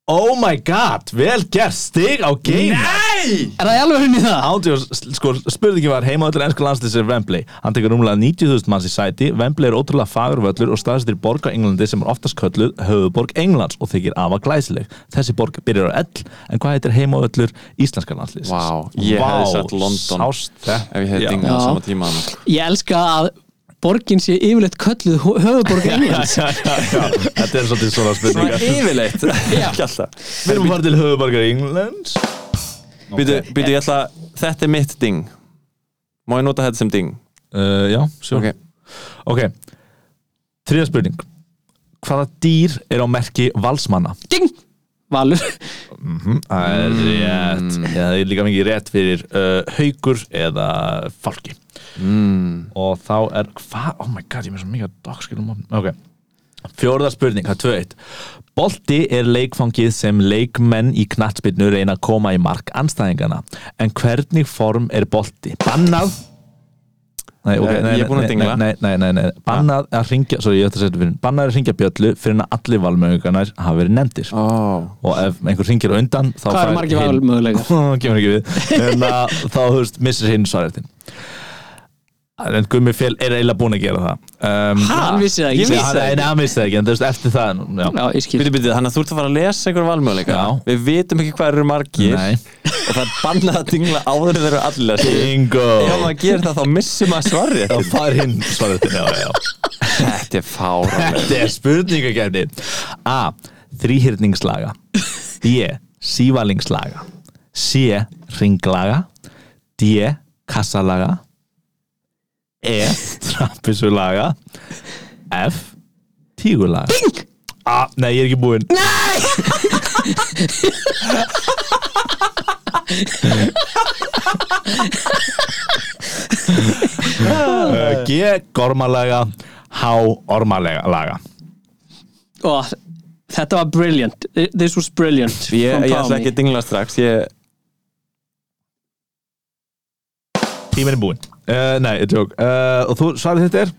[SPEAKER 3] oh my god, vel gert stig á game nei
[SPEAKER 6] Er það alveg henni það?
[SPEAKER 3] Ándjós, sko, spurningi var heimavöllur enska landslýsins er Vembley hann tekur rúmlega 90.000 manns í sæti Vembley er ótrúlega fagur völlur og staðsettir í borg á Englandi sem er oftast kölluð höfuborg Englands og þykir afa glæsileg þessi borg byrjar á L en hvað heitir heimavöllur íslenska landslýsins
[SPEAKER 2] Vá, ég hefði sagt London.
[SPEAKER 3] sást þetta.
[SPEAKER 2] ef ég hefði
[SPEAKER 3] Já.
[SPEAKER 2] dingað á
[SPEAKER 6] Já.
[SPEAKER 2] sama tíma annars.
[SPEAKER 6] Ég elska að borgin sé yfirleitt kölluð hö- höfuðborg Englands
[SPEAKER 3] [laughs] Já, já, já. þetta er svolítið svona
[SPEAKER 2] Svona
[SPEAKER 3] spurningar
[SPEAKER 2] yfirleitt [laughs] ekki alltaf
[SPEAKER 3] Við erum að fara til höfuborgar Englands
[SPEAKER 2] býtu, býtu, ég ætla, þetta er mitt ding má ég nota þetta sem ding
[SPEAKER 3] uh, Já, sjó
[SPEAKER 2] ok,
[SPEAKER 3] ok, þriða spurning Hvaða dýr er á merki valsmanna?
[SPEAKER 6] Ding Valur
[SPEAKER 3] Það er rétt
[SPEAKER 2] Mm.
[SPEAKER 3] Það er líka mikið rétt fyrir uh, haukur eða fálki mm. Og þá er Hvað? Oh my god, ég er með svo mikið að dagskilum Ok Fjórða spurning, það er tvö eitt Bolti er leikfangið sem leikmenn í knattspyrnu reyna að koma í mark anstæðingana En hvernig form er bolti? Bannað Nei, ok,
[SPEAKER 2] Eh,
[SPEAKER 3] nei,
[SPEAKER 2] ég er búinn að
[SPEAKER 3] nei,
[SPEAKER 2] dingla.
[SPEAKER 3] nei, nei, nei, nei, nei. Bannað að ringja, sorry, ég ætti að segja þetta fyrir Bannað að ringja bjöllu fyrir en að allir valmöðingarnar hafa verið nefndir
[SPEAKER 2] ó
[SPEAKER 3] og ef einhver ringir á undan þá
[SPEAKER 6] Hvað
[SPEAKER 3] fær
[SPEAKER 6] eru margir
[SPEAKER 3] hinn- [laughs]
[SPEAKER 6] valmöguleikar?
[SPEAKER 3] kemur ekki við en
[SPEAKER 6] [laughs]
[SPEAKER 3] að, þá þú veist, missir hinn svareftin en Gummi Fjell er eiginlega búinn að gera það um,
[SPEAKER 6] Hann vissi það
[SPEAKER 3] ég
[SPEAKER 6] ekki.
[SPEAKER 3] vissi
[SPEAKER 6] Ég vissi
[SPEAKER 3] það ekki, Nei, hann vissi það ekki en þú veist, eftir það já.
[SPEAKER 6] Já, ég skil
[SPEAKER 2] býtu, býtu, þannig að þú ert að fara að lesa einhver valmöðleika
[SPEAKER 3] Já.
[SPEAKER 2] við vitum ekki hvað eru margir
[SPEAKER 3] Nei.
[SPEAKER 2] og það er bannað að dingla áður en þeir eru allir að segja
[SPEAKER 3] bingo
[SPEAKER 2] ef
[SPEAKER 6] Oh
[SPEAKER 2] maður gerir það þá missum maður svarið
[SPEAKER 3] þá fær hinn svareftin já, já.
[SPEAKER 2] þetta er fára
[SPEAKER 3] þetta er spurningakefni A. Þrýhyrningslaga B. Sývalingslaga C. Ringlaga D. Kassalaga E. Trappissulaga F. Tígulaga Bing! A. Nei, ég er ekki búinn Nei! G. Gormalaga H. Ormalaga laga.
[SPEAKER 6] oh, Þetta var brilliant This was brilliant
[SPEAKER 2] ég,
[SPEAKER 6] From
[SPEAKER 2] ég ætla
[SPEAKER 6] Pálmi.
[SPEAKER 2] ekki að dingla strax ég,
[SPEAKER 3] Tíminn er búinn uh, Nei, ég tjók uh, Og þú svarið þetta er?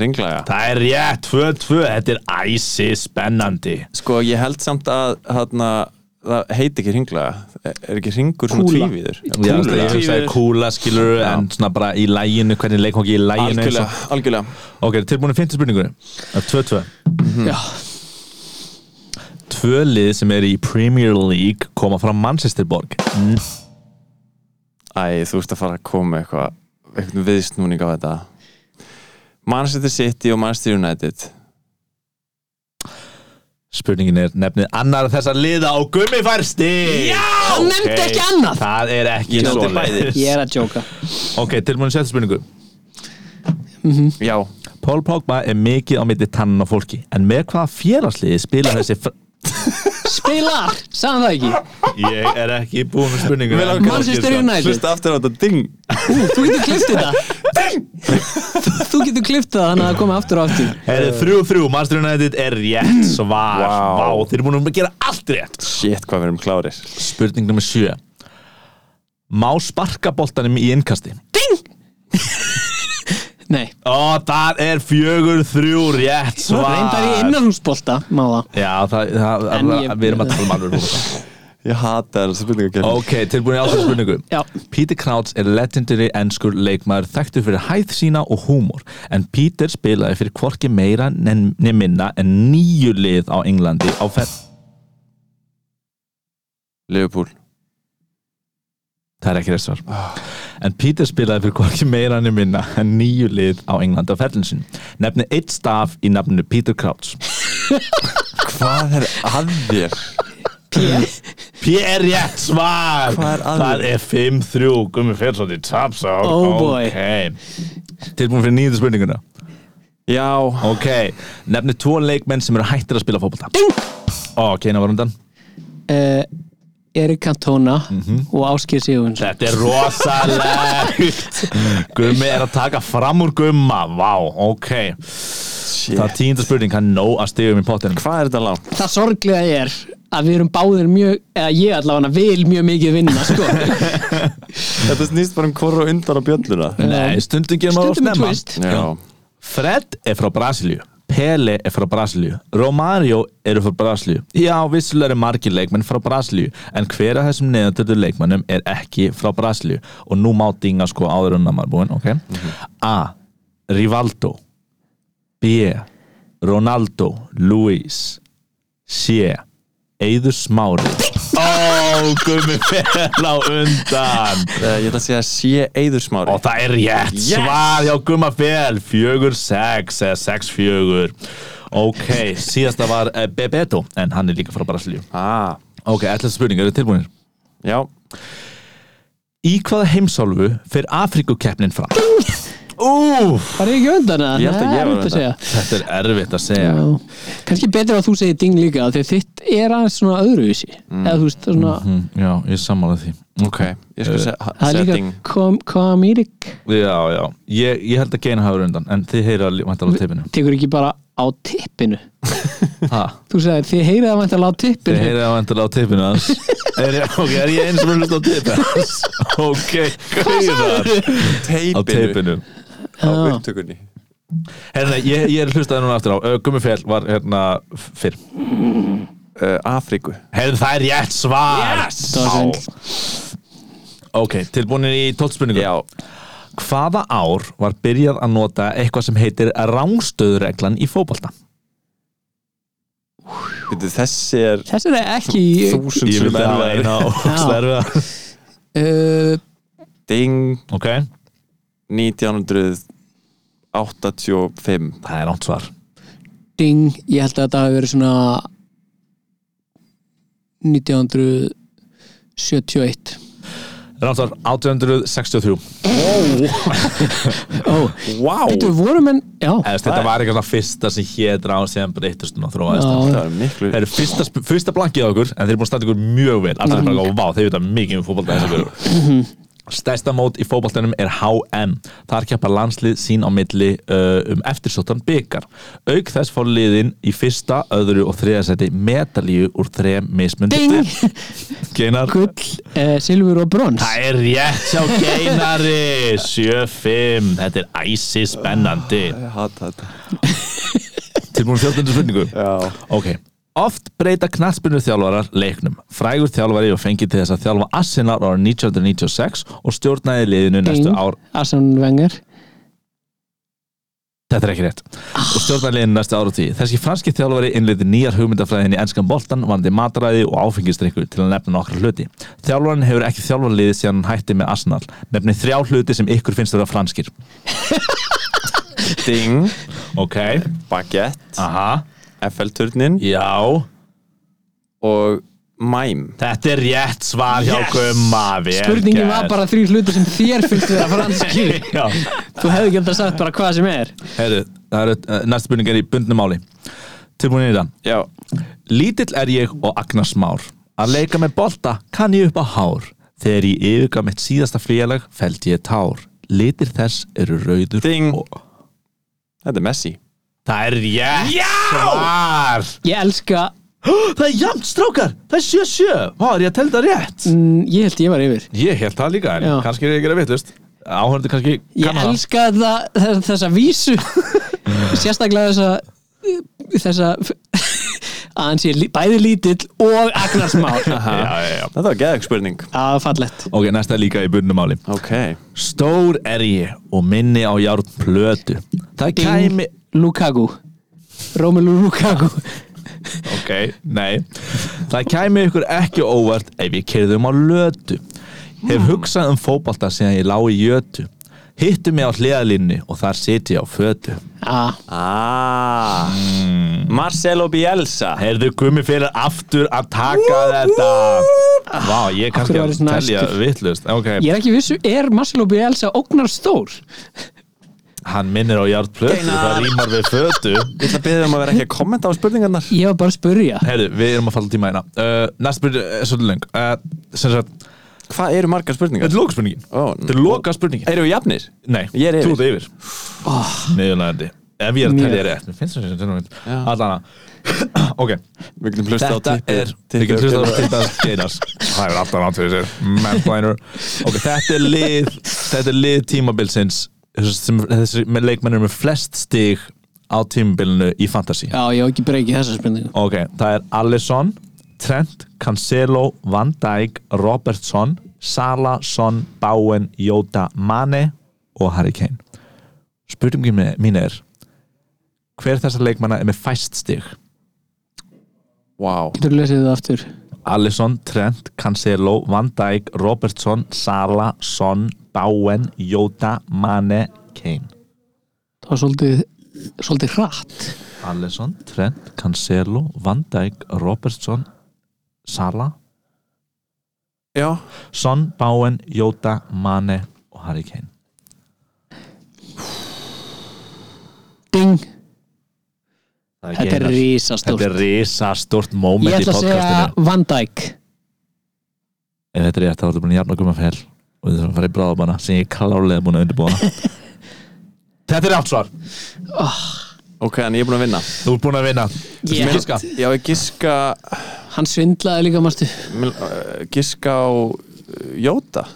[SPEAKER 2] ringlaga
[SPEAKER 3] Það er rétt, 2-2 Þetta er æsi spennandi
[SPEAKER 2] Sko, ég held samt að hana, það heiti ekki ringlaga er ekki ringur svona
[SPEAKER 6] Kúla.
[SPEAKER 2] tvívíður
[SPEAKER 3] Já,
[SPEAKER 2] Kúla.
[SPEAKER 3] ég hugsaði kúla skilur En svona bara í læginu, hvernig leikvangi í læginu
[SPEAKER 2] algjörlega,
[SPEAKER 3] eins
[SPEAKER 2] algjörlega
[SPEAKER 3] og- Ok, tilbúinu fyndu spurningunni Það er 2-2
[SPEAKER 6] Já,
[SPEAKER 3] Tvö lið sem eru í Premier League koma frá Manchesterborg N-
[SPEAKER 2] Æ, þú ert að fara að koma með eitthvað eitthvað viðsnúning á þetta Manchester City og Manchester United
[SPEAKER 3] Spurningin er nefnið annar þessar liða á gummifærsti Já,
[SPEAKER 6] Hann nefndi ekki annað.
[SPEAKER 3] Það er ekki
[SPEAKER 2] Ég nefndi
[SPEAKER 3] svoleiðis.
[SPEAKER 6] [laughs] ég er að jóka
[SPEAKER 3] Ok, tilbúinu setja spurningu
[SPEAKER 2] Já,
[SPEAKER 3] Paul Pogba er mikið á milli tannan á fólki en með hvaða félagsliði spila þessi fr...
[SPEAKER 6] Spilar, sagðan það ekki
[SPEAKER 3] ég er ekki búin með spurningu
[SPEAKER 2] Mig langar-
[SPEAKER 6] Manchester United,
[SPEAKER 2] hlusta aftur á þetta ding
[SPEAKER 6] þú getur kliftið það Þú getur kliftið það þannig að það komi aftur og aftur
[SPEAKER 3] er þrjú þrjú, Manchester United er rétt
[SPEAKER 2] Vá.
[SPEAKER 3] svar Eh. Vá, þeir eru búin að gera allt rétt
[SPEAKER 2] Shit, hvað við erum klárir
[SPEAKER 3] spurning nummer sjö má sparka boltanum í innkasti
[SPEAKER 6] Nei,
[SPEAKER 3] og það er fjögur þrjú rétt svar
[SPEAKER 6] reyndar í innanhúsbolta má það
[SPEAKER 3] já, það, það,
[SPEAKER 6] En
[SPEAKER 3] það,
[SPEAKER 6] ég-
[SPEAKER 3] við erum að tala um alveg núna.
[SPEAKER 2] Ég hata þessa spurningakeppni
[SPEAKER 3] [laughs] ok, tilbúin í ásveg spurningu
[SPEAKER 6] Já,
[SPEAKER 3] Peter Crouch er legendary ennskur leikmaður þekktur fyrir hæð sína og húmor en Peter spilaði fyrir hvorki meira en minna en nýju lið á Englandi á ferð
[SPEAKER 2] Liverpool
[SPEAKER 3] Það er ekki rétt svar
[SPEAKER 2] Ah.
[SPEAKER 3] En Peter spilaði fyrir hvorki meira en minna en nýju lið á Englandi á ferðlinsin Nefni eitt staf í nafninu Peter Crouch
[SPEAKER 2] Hvað er að þér?
[SPEAKER 3] P er rétt svar
[SPEAKER 2] Hvað er að
[SPEAKER 3] Það
[SPEAKER 2] þér?
[SPEAKER 3] er 5-3 Gummi Felsson í tapsál
[SPEAKER 6] Oh boy.
[SPEAKER 3] Tilbúin fyrir nýju spurninguna
[SPEAKER 2] Já,
[SPEAKER 3] Ok, nefni hérna tvo leikmenn sem eru hættir að spila fótbolta Ding! Ó, Keina var undan
[SPEAKER 6] uh, Erik Cantona
[SPEAKER 2] Mhm.
[SPEAKER 6] og Áskir Sigurðsson
[SPEAKER 3] Þetta er rosalegt
[SPEAKER 2] [laughs]
[SPEAKER 3] Gummi er að taka fram úr gumma Vá, ok Það er tíunda spurning, hann er nóg að stigum í pottinum
[SPEAKER 2] Hvað er þetta langt?
[SPEAKER 6] það sorglega er að við erum báðir mjög, eða ég allavega vil mjög mikið vinna sko.
[SPEAKER 2] [laughs] Þetta snýst bara um korra undan á bjölluna
[SPEAKER 3] Nei, stundum gerum við á
[SPEAKER 6] stundum er
[SPEAKER 3] snemma
[SPEAKER 6] twist
[SPEAKER 2] Já,
[SPEAKER 3] Fred er frá Brasilíu Pele er frá Brasilíu Romario eru frá Brasilíu Já, vissulega eru margir leikmenn frá Brasilíu En hver af þessum neðandöldu leikmennum er ekki frá Brasilíu Og nú má dinga sko áður en að maður búin okay? A. Rivaldo B. Ronaldo Luis C. Eiður Smári Ó, gummi [laughs] fel á undan
[SPEAKER 2] Eh, ég ætla að segja sé eður smári
[SPEAKER 3] Og það er rétt
[SPEAKER 2] Yes!
[SPEAKER 3] svar hjá Gumma Fel Fjögur sex eða sex fjögur Ok, síðasta var eh, Bebeto En hann er líka frá Brasilíu
[SPEAKER 2] ah,
[SPEAKER 3] Ok, ætlaðu spurning, eru tilbúinir?
[SPEAKER 2] Já,
[SPEAKER 3] Í hvaða heimsálfu fyrir Afrikukeppnin fram? Úf,
[SPEAKER 6] var ég ekki undan að
[SPEAKER 2] Ég held að ég var undan.
[SPEAKER 3] þetta er erfitt að segja
[SPEAKER 6] Já. kannski betur að þú segir ding líka þegar þitt er aðeins svona öðruvísi eða þú veist það er svona
[SPEAKER 2] Mhm.
[SPEAKER 3] mm, Já, ég sammála því
[SPEAKER 2] ok Ég skal segja
[SPEAKER 6] það er
[SPEAKER 2] setting
[SPEAKER 6] líka kom, komírik
[SPEAKER 3] Já, já, ég, ég held að geina hafa verið undan En þið heyra vantar á tippinu
[SPEAKER 6] tekur ekki bara á tippinu
[SPEAKER 3] [laughs] Ha,
[SPEAKER 6] þú segir þið heyrið að mænt að láta hérna.
[SPEAKER 3] Þið
[SPEAKER 6] tippinu
[SPEAKER 3] heyrið á endala á tippinu [laughs] hans er, ég- Ok, er ég eins og verið á tippinu hans? [laughs] Ok, gauðar á
[SPEAKER 2] Teipinu
[SPEAKER 3] teipinu
[SPEAKER 2] Á
[SPEAKER 6] Já.
[SPEAKER 2] upptökunni
[SPEAKER 3] Herna, ég, ég er hlustaði núna aftur á Ö, Gummi Fjell var hérna fyrr
[SPEAKER 2] uh, Afríku
[SPEAKER 3] Herðu það er rétt svar yes!
[SPEAKER 6] Það var svindl.
[SPEAKER 3] Ok, tilbúinir í tóltspunningu
[SPEAKER 2] Já,
[SPEAKER 3] Hvaða ár var byrjað að nota eitthvað sem heitir rángstöðureglan í fótbolta?
[SPEAKER 2] veitu, þessi er
[SPEAKER 6] þess er ekki
[SPEAKER 2] þúsund sem er
[SPEAKER 3] eina
[SPEAKER 2] [laughs]
[SPEAKER 3] og
[SPEAKER 6] uh,
[SPEAKER 2] Ding
[SPEAKER 3] Ok,
[SPEAKER 2] 1985
[SPEAKER 3] það er ránt svar
[SPEAKER 6] ding ég held að þetta hafi verið svona 1971
[SPEAKER 3] Ránt svar 1863
[SPEAKER 6] Ó,
[SPEAKER 2] Vá,
[SPEAKER 6] Þetta voru menn, já
[SPEAKER 3] Eða, Þetta var eitthvað svona fyrsta sem hétt rán sem breytist og þróaðist
[SPEAKER 6] Já.
[SPEAKER 2] það er miklu
[SPEAKER 3] Það eru fyrsta, sp- fyrsta blankið á okkur en þeir eru búin að standa ykkur mjög vel Allir er bara að gá, vá, þeir vita mikið um fótbolta þess að vera Stærsta mót í fótboltanum er HM Þar keppa landslið sín á milli uh, um eftirsóttan byggar Auk þess fá liðin í fyrsta, öðru og þriða seti medalíu úr þrem mismundi
[SPEAKER 6] Ding,
[SPEAKER 3] Geinar
[SPEAKER 6] gull, eh, silfur og brons
[SPEAKER 3] Það er rétt hjá Geinari 7-5 Þetta er æsi spennandi
[SPEAKER 2] Ég hata þetta
[SPEAKER 3] Tilbúin fjöldandu spurningu
[SPEAKER 2] Já,
[SPEAKER 3] Ok, oft breyta knattspinnu þjálfarar leiknum. Frægur þjálfari og fengið til þess að þjálfa Arsenal ára 1996 og stjórnaði liðinu næstu ár
[SPEAKER 6] Arsene Wenger
[SPEAKER 3] Þetta er ekki rétt.
[SPEAKER 6] Ah.
[SPEAKER 3] Og stjórnaði liðinu næstu ára tíð. Þessi franski þjálfari innleiti nýjar hugmyndafræðin í enskan boltan, varandi matræði og áfengistrykku til að nefna nokkra hluti. Þjálfarin hefur ekki þjálfað liðið síðan hann hætti með Arsenal. Nefni þrjá hluti sem ykkur finnst vera franskir.
[SPEAKER 2] ding
[SPEAKER 3] Ok.
[SPEAKER 2] Baguette,
[SPEAKER 3] Aha.
[SPEAKER 2] FL-turnin
[SPEAKER 3] Já.
[SPEAKER 2] og Mime
[SPEAKER 3] Þetta er rétt svar hjá Gumma. Vel
[SPEAKER 6] Spurningin var
[SPEAKER 3] gert.
[SPEAKER 6] bara þrjú hluti sem þér finnst vera franski
[SPEAKER 3] [laughs] Já.
[SPEAKER 6] Þú hefði gett að sagt bara hvað sem er
[SPEAKER 3] Herru, það eru uh, næst spurning er í bundnum máli Tilbúin í það
[SPEAKER 2] Já,
[SPEAKER 3] Lítill er ég og Agnar Már Að leika með bolta kann ég upp á hár Þegar ég yfirga mitt síðasta félag Feld ég tár Litir þess eru rauður
[SPEAKER 2] Ding.
[SPEAKER 3] og...
[SPEAKER 2] þetta er Messi
[SPEAKER 3] Það er rétt Já! svar
[SPEAKER 6] Ég elska,
[SPEAKER 3] Það er jæmt strákar, það er sjö sjö Vá, er ég að telda rétt?
[SPEAKER 6] mm, ég held ég var yfir
[SPEAKER 3] Ég held það líka, en
[SPEAKER 6] Já.
[SPEAKER 3] kannski er ég að gera vittlust Áhörðu kannski
[SPEAKER 6] Ég
[SPEAKER 3] kann það.
[SPEAKER 6] elska það, þess, þessa vísu [laughs] Sérstaklega þessa þessa [laughs] að hann sé lí- bæði lítill og
[SPEAKER 3] [laughs]
[SPEAKER 6] agnarsmál Það
[SPEAKER 3] Já, já, já
[SPEAKER 2] Þetta var geðug spurning
[SPEAKER 6] er fallett
[SPEAKER 3] Ok, næsta er líka í bundnum máli
[SPEAKER 2] Ok,
[SPEAKER 3] Stór er ég og minni á járn plötu Það kæmi
[SPEAKER 6] Lukaku Romelu Lukaku
[SPEAKER 3] Ok, nei Það kæmi ykkur ekki óvart ef ég keirðum á lötu
[SPEAKER 6] Hmm.
[SPEAKER 3] Hef hugsað um fótbolta síðan ég lá í jötu Hittu mig á hliðalínni og þar siti ég á fötu
[SPEAKER 6] ah.
[SPEAKER 2] ah Marcelo Bielsa
[SPEAKER 3] Heyrðu gummi fyrir aftur að taka þetta Vá, ég er kannski
[SPEAKER 6] Af hverju var
[SPEAKER 3] að
[SPEAKER 6] ég svona
[SPEAKER 3] telja
[SPEAKER 6] æstur?
[SPEAKER 3] vittlust Ok,
[SPEAKER 6] Ég er ekki vissu, er Marcelo Bielsa ógnar stór?
[SPEAKER 3] Hann minnir á jarðplötu, það rýmar við fötu
[SPEAKER 6] [laughs]
[SPEAKER 2] Ég ætla að byrja um að vera ekki að kommenta á spurningarnar
[SPEAKER 6] Ég var bara að spurja
[SPEAKER 3] Herru, við erum að falla tíma hérna uh, Næst byrju, uh, svolítið löng uh, Sem sagt,
[SPEAKER 2] Hvað eru margar spurningar?
[SPEAKER 3] þetta er loka spurningin
[SPEAKER 2] Ó,
[SPEAKER 3] Þetta er loka spurningin
[SPEAKER 2] Eru við jafnir?
[SPEAKER 3] Nei,
[SPEAKER 2] ég er yfir.
[SPEAKER 3] þú ert yfir oh. Niðurlæðandi Ef ég er að
[SPEAKER 6] Mjög.
[SPEAKER 3] telja rétt, mér finnst það sem þetta Allana [clears throat] Ok,
[SPEAKER 2] Við getum hlusta á
[SPEAKER 3] þetta
[SPEAKER 2] tippi
[SPEAKER 3] er Við getum hlustað á Tindans Geiras Það er alltaf rátt fyrir sér Mennblænur Ok, þetta er lið Þetta er lið tímabilsins sem, Þessi leikmenn eru með flest stig á tímabilinu í Fantasí
[SPEAKER 6] Já, ég hef ekki breykið þessa spurningu
[SPEAKER 3] Ok, það er Alisson Trent, Cancelo, Van Dijk Robertson, Sala Son, Bowen, Jota, Mane og Harry Kane Spurningin mín- mín er Hver þessar leikmanna er með fæst stig?
[SPEAKER 2] Vá
[SPEAKER 6] Getur lesið það aftur
[SPEAKER 3] Alisson, Trent, Cancelo, Van Dijk, Robertson, Sala, Son, Bowen, Jota, Mane, Kane.
[SPEAKER 6] Það var svolítið, svolítið hratt
[SPEAKER 3] Alisson, Trent, Cancelo, Van Dijk, Robertson, Sala,
[SPEAKER 2] Já
[SPEAKER 3] Son, Bowen, Jota, Mane og Harry Kane.
[SPEAKER 6] Ding,
[SPEAKER 3] Það
[SPEAKER 6] þetta er
[SPEAKER 3] Kane.
[SPEAKER 6] risastórt
[SPEAKER 3] Þetta er risastórt
[SPEAKER 6] Ég
[SPEAKER 3] moment í
[SPEAKER 6] ætla að segja
[SPEAKER 3] podcastinu.
[SPEAKER 6] Van Dijk
[SPEAKER 3] Ef þetta er rétt, þá er þetta búin að jarna og gumma fel og við þurfum að fara í bráðabana sem ég er klárlega búin að undirbúa. [laughs] þetta er rátt svar.
[SPEAKER 2] Ok, en ég er búin að vinna
[SPEAKER 3] Þú ert búin að vinna.
[SPEAKER 6] Ég-
[SPEAKER 3] Viltu giska?
[SPEAKER 2] Já, ég giska
[SPEAKER 6] Hann svindlaði líka mástu
[SPEAKER 2] mil- uh, Giska á uh, Jóta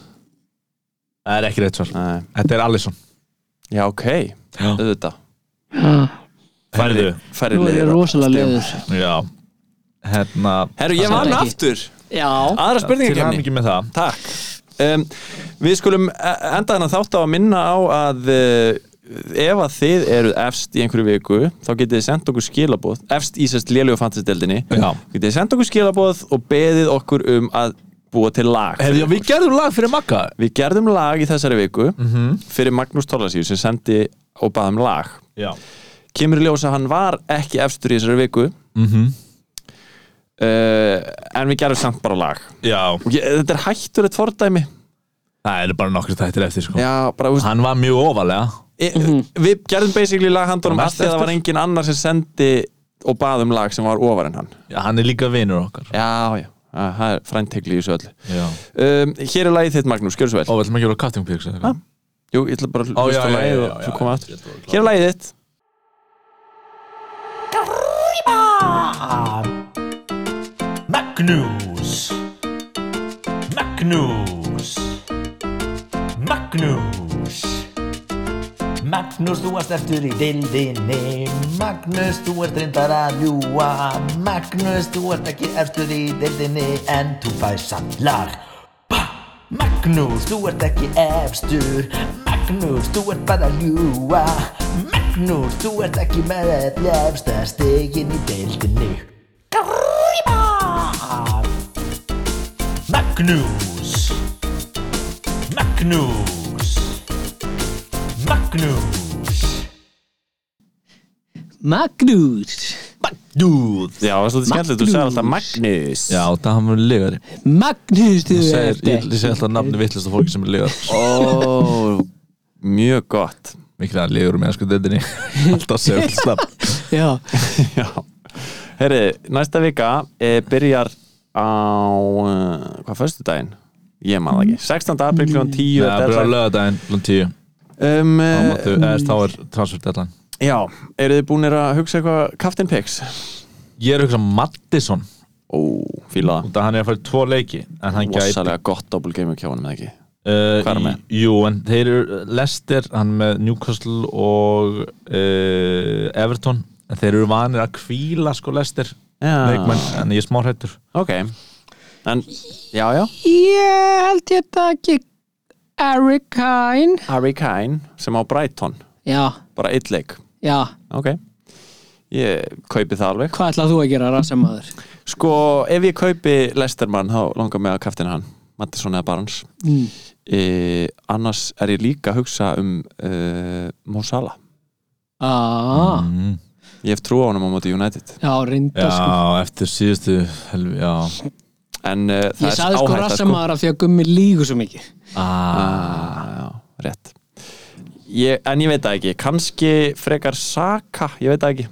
[SPEAKER 3] Það er ekki rétt svar.
[SPEAKER 2] Nei.
[SPEAKER 3] Þetta er Alisson.
[SPEAKER 2] Já, ok
[SPEAKER 3] Já.
[SPEAKER 2] Auðvitað
[SPEAKER 3] Færðu.
[SPEAKER 2] Færri
[SPEAKER 6] Nú er ég
[SPEAKER 2] leiðir
[SPEAKER 6] rosalega leiður
[SPEAKER 3] Já Hérna
[SPEAKER 2] Herru, ég
[SPEAKER 6] Það
[SPEAKER 2] vann
[SPEAKER 6] er ekki.
[SPEAKER 2] aftur
[SPEAKER 6] Já,
[SPEAKER 2] Aðra spurningin
[SPEAKER 3] Til hann ekki með það
[SPEAKER 2] Takk um, Við skulum eh, enda þennan þátt á að minna á að uh, ef að þið eruð efst í einhverju viku þá getið þið sendt okkur skilabóð efst í sérst lélegu fantasy-deldinni
[SPEAKER 3] Já.
[SPEAKER 2] getið þið sendt okkur skilabóð og beðið okkur um að búa til lag
[SPEAKER 3] Herðu, já, við gerðum lag fyrir Magga
[SPEAKER 2] Við gerðum lag í þessari viku
[SPEAKER 3] Mhm.
[SPEAKER 2] fyrir Magnús Tólasíu sem sendi og bað um lag
[SPEAKER 3] Já
[SPEAKER 2] kemur í ljós að hann var ekki efstur í þessari viku
[SPEAKER 3] Mhm.
[SPEAKER 2] uh, en við gerðum samt bara lag
[SPEAKER 3] Já
[SPEAKER 2] Og ég, þetta er hættulegt fordæmi
[SPEAKER 3] Það eru bara nokkur þættir eftir sko
[SPEAKER 2] Já, bara, úst,
[SPEAKER 3] Hann var mjög ofalega
[SPEAKER 2] e, við gerðum basically laghandunum
[SPEAKER 3] Mest
[SPEAKER 2] af því að það var
[SPEAKER 3] Mhm. eftir.
[SPEAKER 2] engin annar sem sendi og bað um lag sem var ofar en hann
[SPEAKER 3] já, Hann er líka vinur okkar
[SPEAKER 2] já, já, Æ, það er fræntekli í þessu öllu
[SPEAKER 3] Já
[SPEAKER 2] um, hér er lagið þitt Magnús, gjör svo vel
[SPEAKER 3] Ó, við ætlum að gera cutting picks eða eitthvað?
[SPEAKER 2] jú, ég ætla bara að
[SPEAKER 3] Ó, já,
[SPEAKER 2] hlusta á
[SPEAKER 3] já, já,
[SPEAKER 2] lagið
[SPEAKER 3] já,
[SPEAKER 2] og svo
[SPEAKER 3] já,
[SPEAKER 2] koma
[SPEAKER 3] já,
[SPEAKER 2] aftur
[SPEAKER 3] ég ætla að klára.
[SPEAKER 2] hér er lagið þitt
[SPEAKER 5] Magnús Magnús Magnús Magnús, þú varst eftir í dildinni Magnús, þú varst reyndar að ljúa Magnús, þú varst ekki eftir í dildinni En þú fæst samt lag bah! Magnús, þú ert ekki efstur Magnús, þú ert bara að ljúa Magnús, þú ert ekki með eftir stegin í deildinni Grýma! Magnús Magnús Magnús
[SPEAKER 6] Magnús
[SPEAKER 3] Dude
[SPEAKER 2] já, það var svolítið skemmtilegt, þú sagði alltaf Magnús
[SPEAKER 3] Já, það hann var legari
[SPEAKER 6] Magnús, þú
[SPEAKER 3] Ég
[SPEAKER 6] ert
[SPEAKER 3] segi
[SPEAKER 6] ekki
[SPEAKER 3] alltaf nafni vittlust af fólki sem er legar
[SPEAKER 2] ó, mjög gott
[SPEAKER 3] Mikið að legur með sko dildinni Alltaf segja alls nafn
[SPEAKER 6] Já,
[SPEAKER 2] [laughs] já, herri, næsta vika e, byrjar á uh, hvað, föstu daginn? Ég man það ekki, 16. apríl kl. 10
[SPEAKER 3] Það er
[SPEAKER 2] deadline.
[SPEAKER 3] bara lögadaginn, lón tíu
[SPEAKER 2] um,
[SPEAKER 3] Þá
[SPEAKER 2] eh,
[SPEAKER 3] máttu- eða, Þá er transfer deadline
[SPEAKER 2] Já, eru þið búinir að hugsa eitthvað Captain Picks?
[SPEAKER 3] Ég er að hugsa um Mattisson
[SPEAKER 2] Ó, fíla það
[SPEAKER 3] Það hann er að fara í tvo leiki En hann gæti
[SPEAKER 2] Vossalega gott double game hjá honum eða ekki
[SPEAKER 3] Uh,
[SPEAKER 2] Hvað er hann með?
[SPEAKER 3] í- Jú, en þeir eru Lester, hann er með Newcastle og uh, Everton en þeir eru vanir að kvíla sko Lester
[SPEAKER 2] Já.
[SPEAKER 3] leikmenn, en ég er smá hrættur
[SPEAKER 2] Ok En, já, já
[SPEAKER 6] ég held ég þetta ekki Eric Kine
[SPEAKER 2] Harry Kane sem á Brighton
[SPEAKER 6] Já,
[SPEAKER 2] Bara eitt leik
[SPEAKER 6] já,
[SPEAKER 2] Ok Ég kaupi það alveg
[SPEAKER 6] hvað ætlað þú að gera rassamaður?
[SPEAKER 2] Sko, ef ég kaupi Lestermann þá langar mig að kaftina hann Mattisson eða Barnes
[SPEAKER 6] Mm.
[SPEAKER 2] e, Annars er ég líka að hugsa um uh, Mo Salah
[SPEAKER 6] Ah,
[SPEAKER 3] mm.
[SPEAKER 2] Ég hef trú á honum á móti United
[SPEAKER 6] já, reynda sko
[SPEAKER 3] Já, eftir síðustu helvi, já
[SPEAKER 2] En uh, það
[SPEAKER 6] Ég
[SPEAKER 2] er
[SPEAKER 6] saði sko
[SPEAKER 2] áhætta
[SPEAKER 6] rassamaður af því að gummi lígu svo mikið
[SPEAKER 3] ah.
[SPEAKER 2] Já, rétt ég, en ég veit það ekki, kannski frekar Saka, ég veit það ekki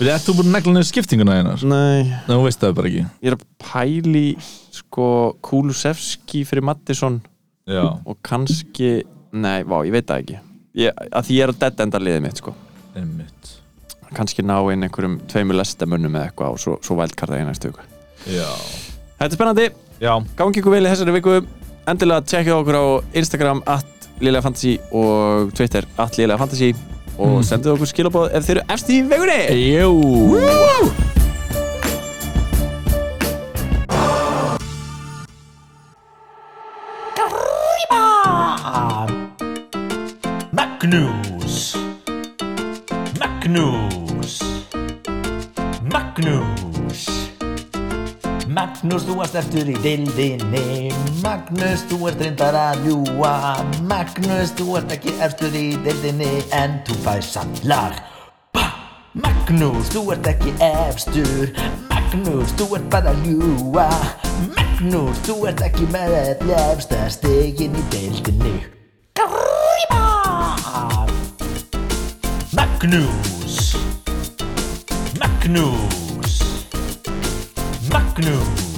[SPEAKER 3] Við ert þú búin að negla niður skiptinguna einar?
[SPEAKER 2] Nei,
[SPEAKER 3] Nei, þú veist það bara ekki
[SPEAKER 2] ég er að pæli sko Kulusevski fyrir Mattisson
[SPEAKER 3] Já,
[SPEAKER 2] og kannski, nei, vá, ég veit það ekki ég, að því ég er að dead enda liðið mitt sko,
[SPEAKER 3] einmitt
[SPEAKER 2] kannski ná inn einhverjum tveimur lestamönnum eða eitthvað og svo, svo vældkarta í næstu viku
[SPEAKER 3] Já
[SPEAKER 2] Þetta er spennandi,
[SPEAKER 3] Já,
[SPEAKER 2] gangi ykkur vel í þessari viku endilega tjekkið okkur á Instagram at Lilega Fantasy og Twitter at Lilega Fantasy og sendið okkur skilabóð ef þeir eru efst í vegunni
[SPEAKER 3] Jú
[SPEAKER 5] Magnús Magnús Magnús Magnús, þú varst eftir í dildinni Magnús, þú ert reyndar að ljúa Magnús, þú ert ekki eftir í dildinni En þú fæst samt lag ba! Magnús, þú ert ekki efstur Magnús, þú ert bara að ljúa Magnús, þú ert ekki með efsta stegin í deildinni Gríma! Magnús Magnús Magnús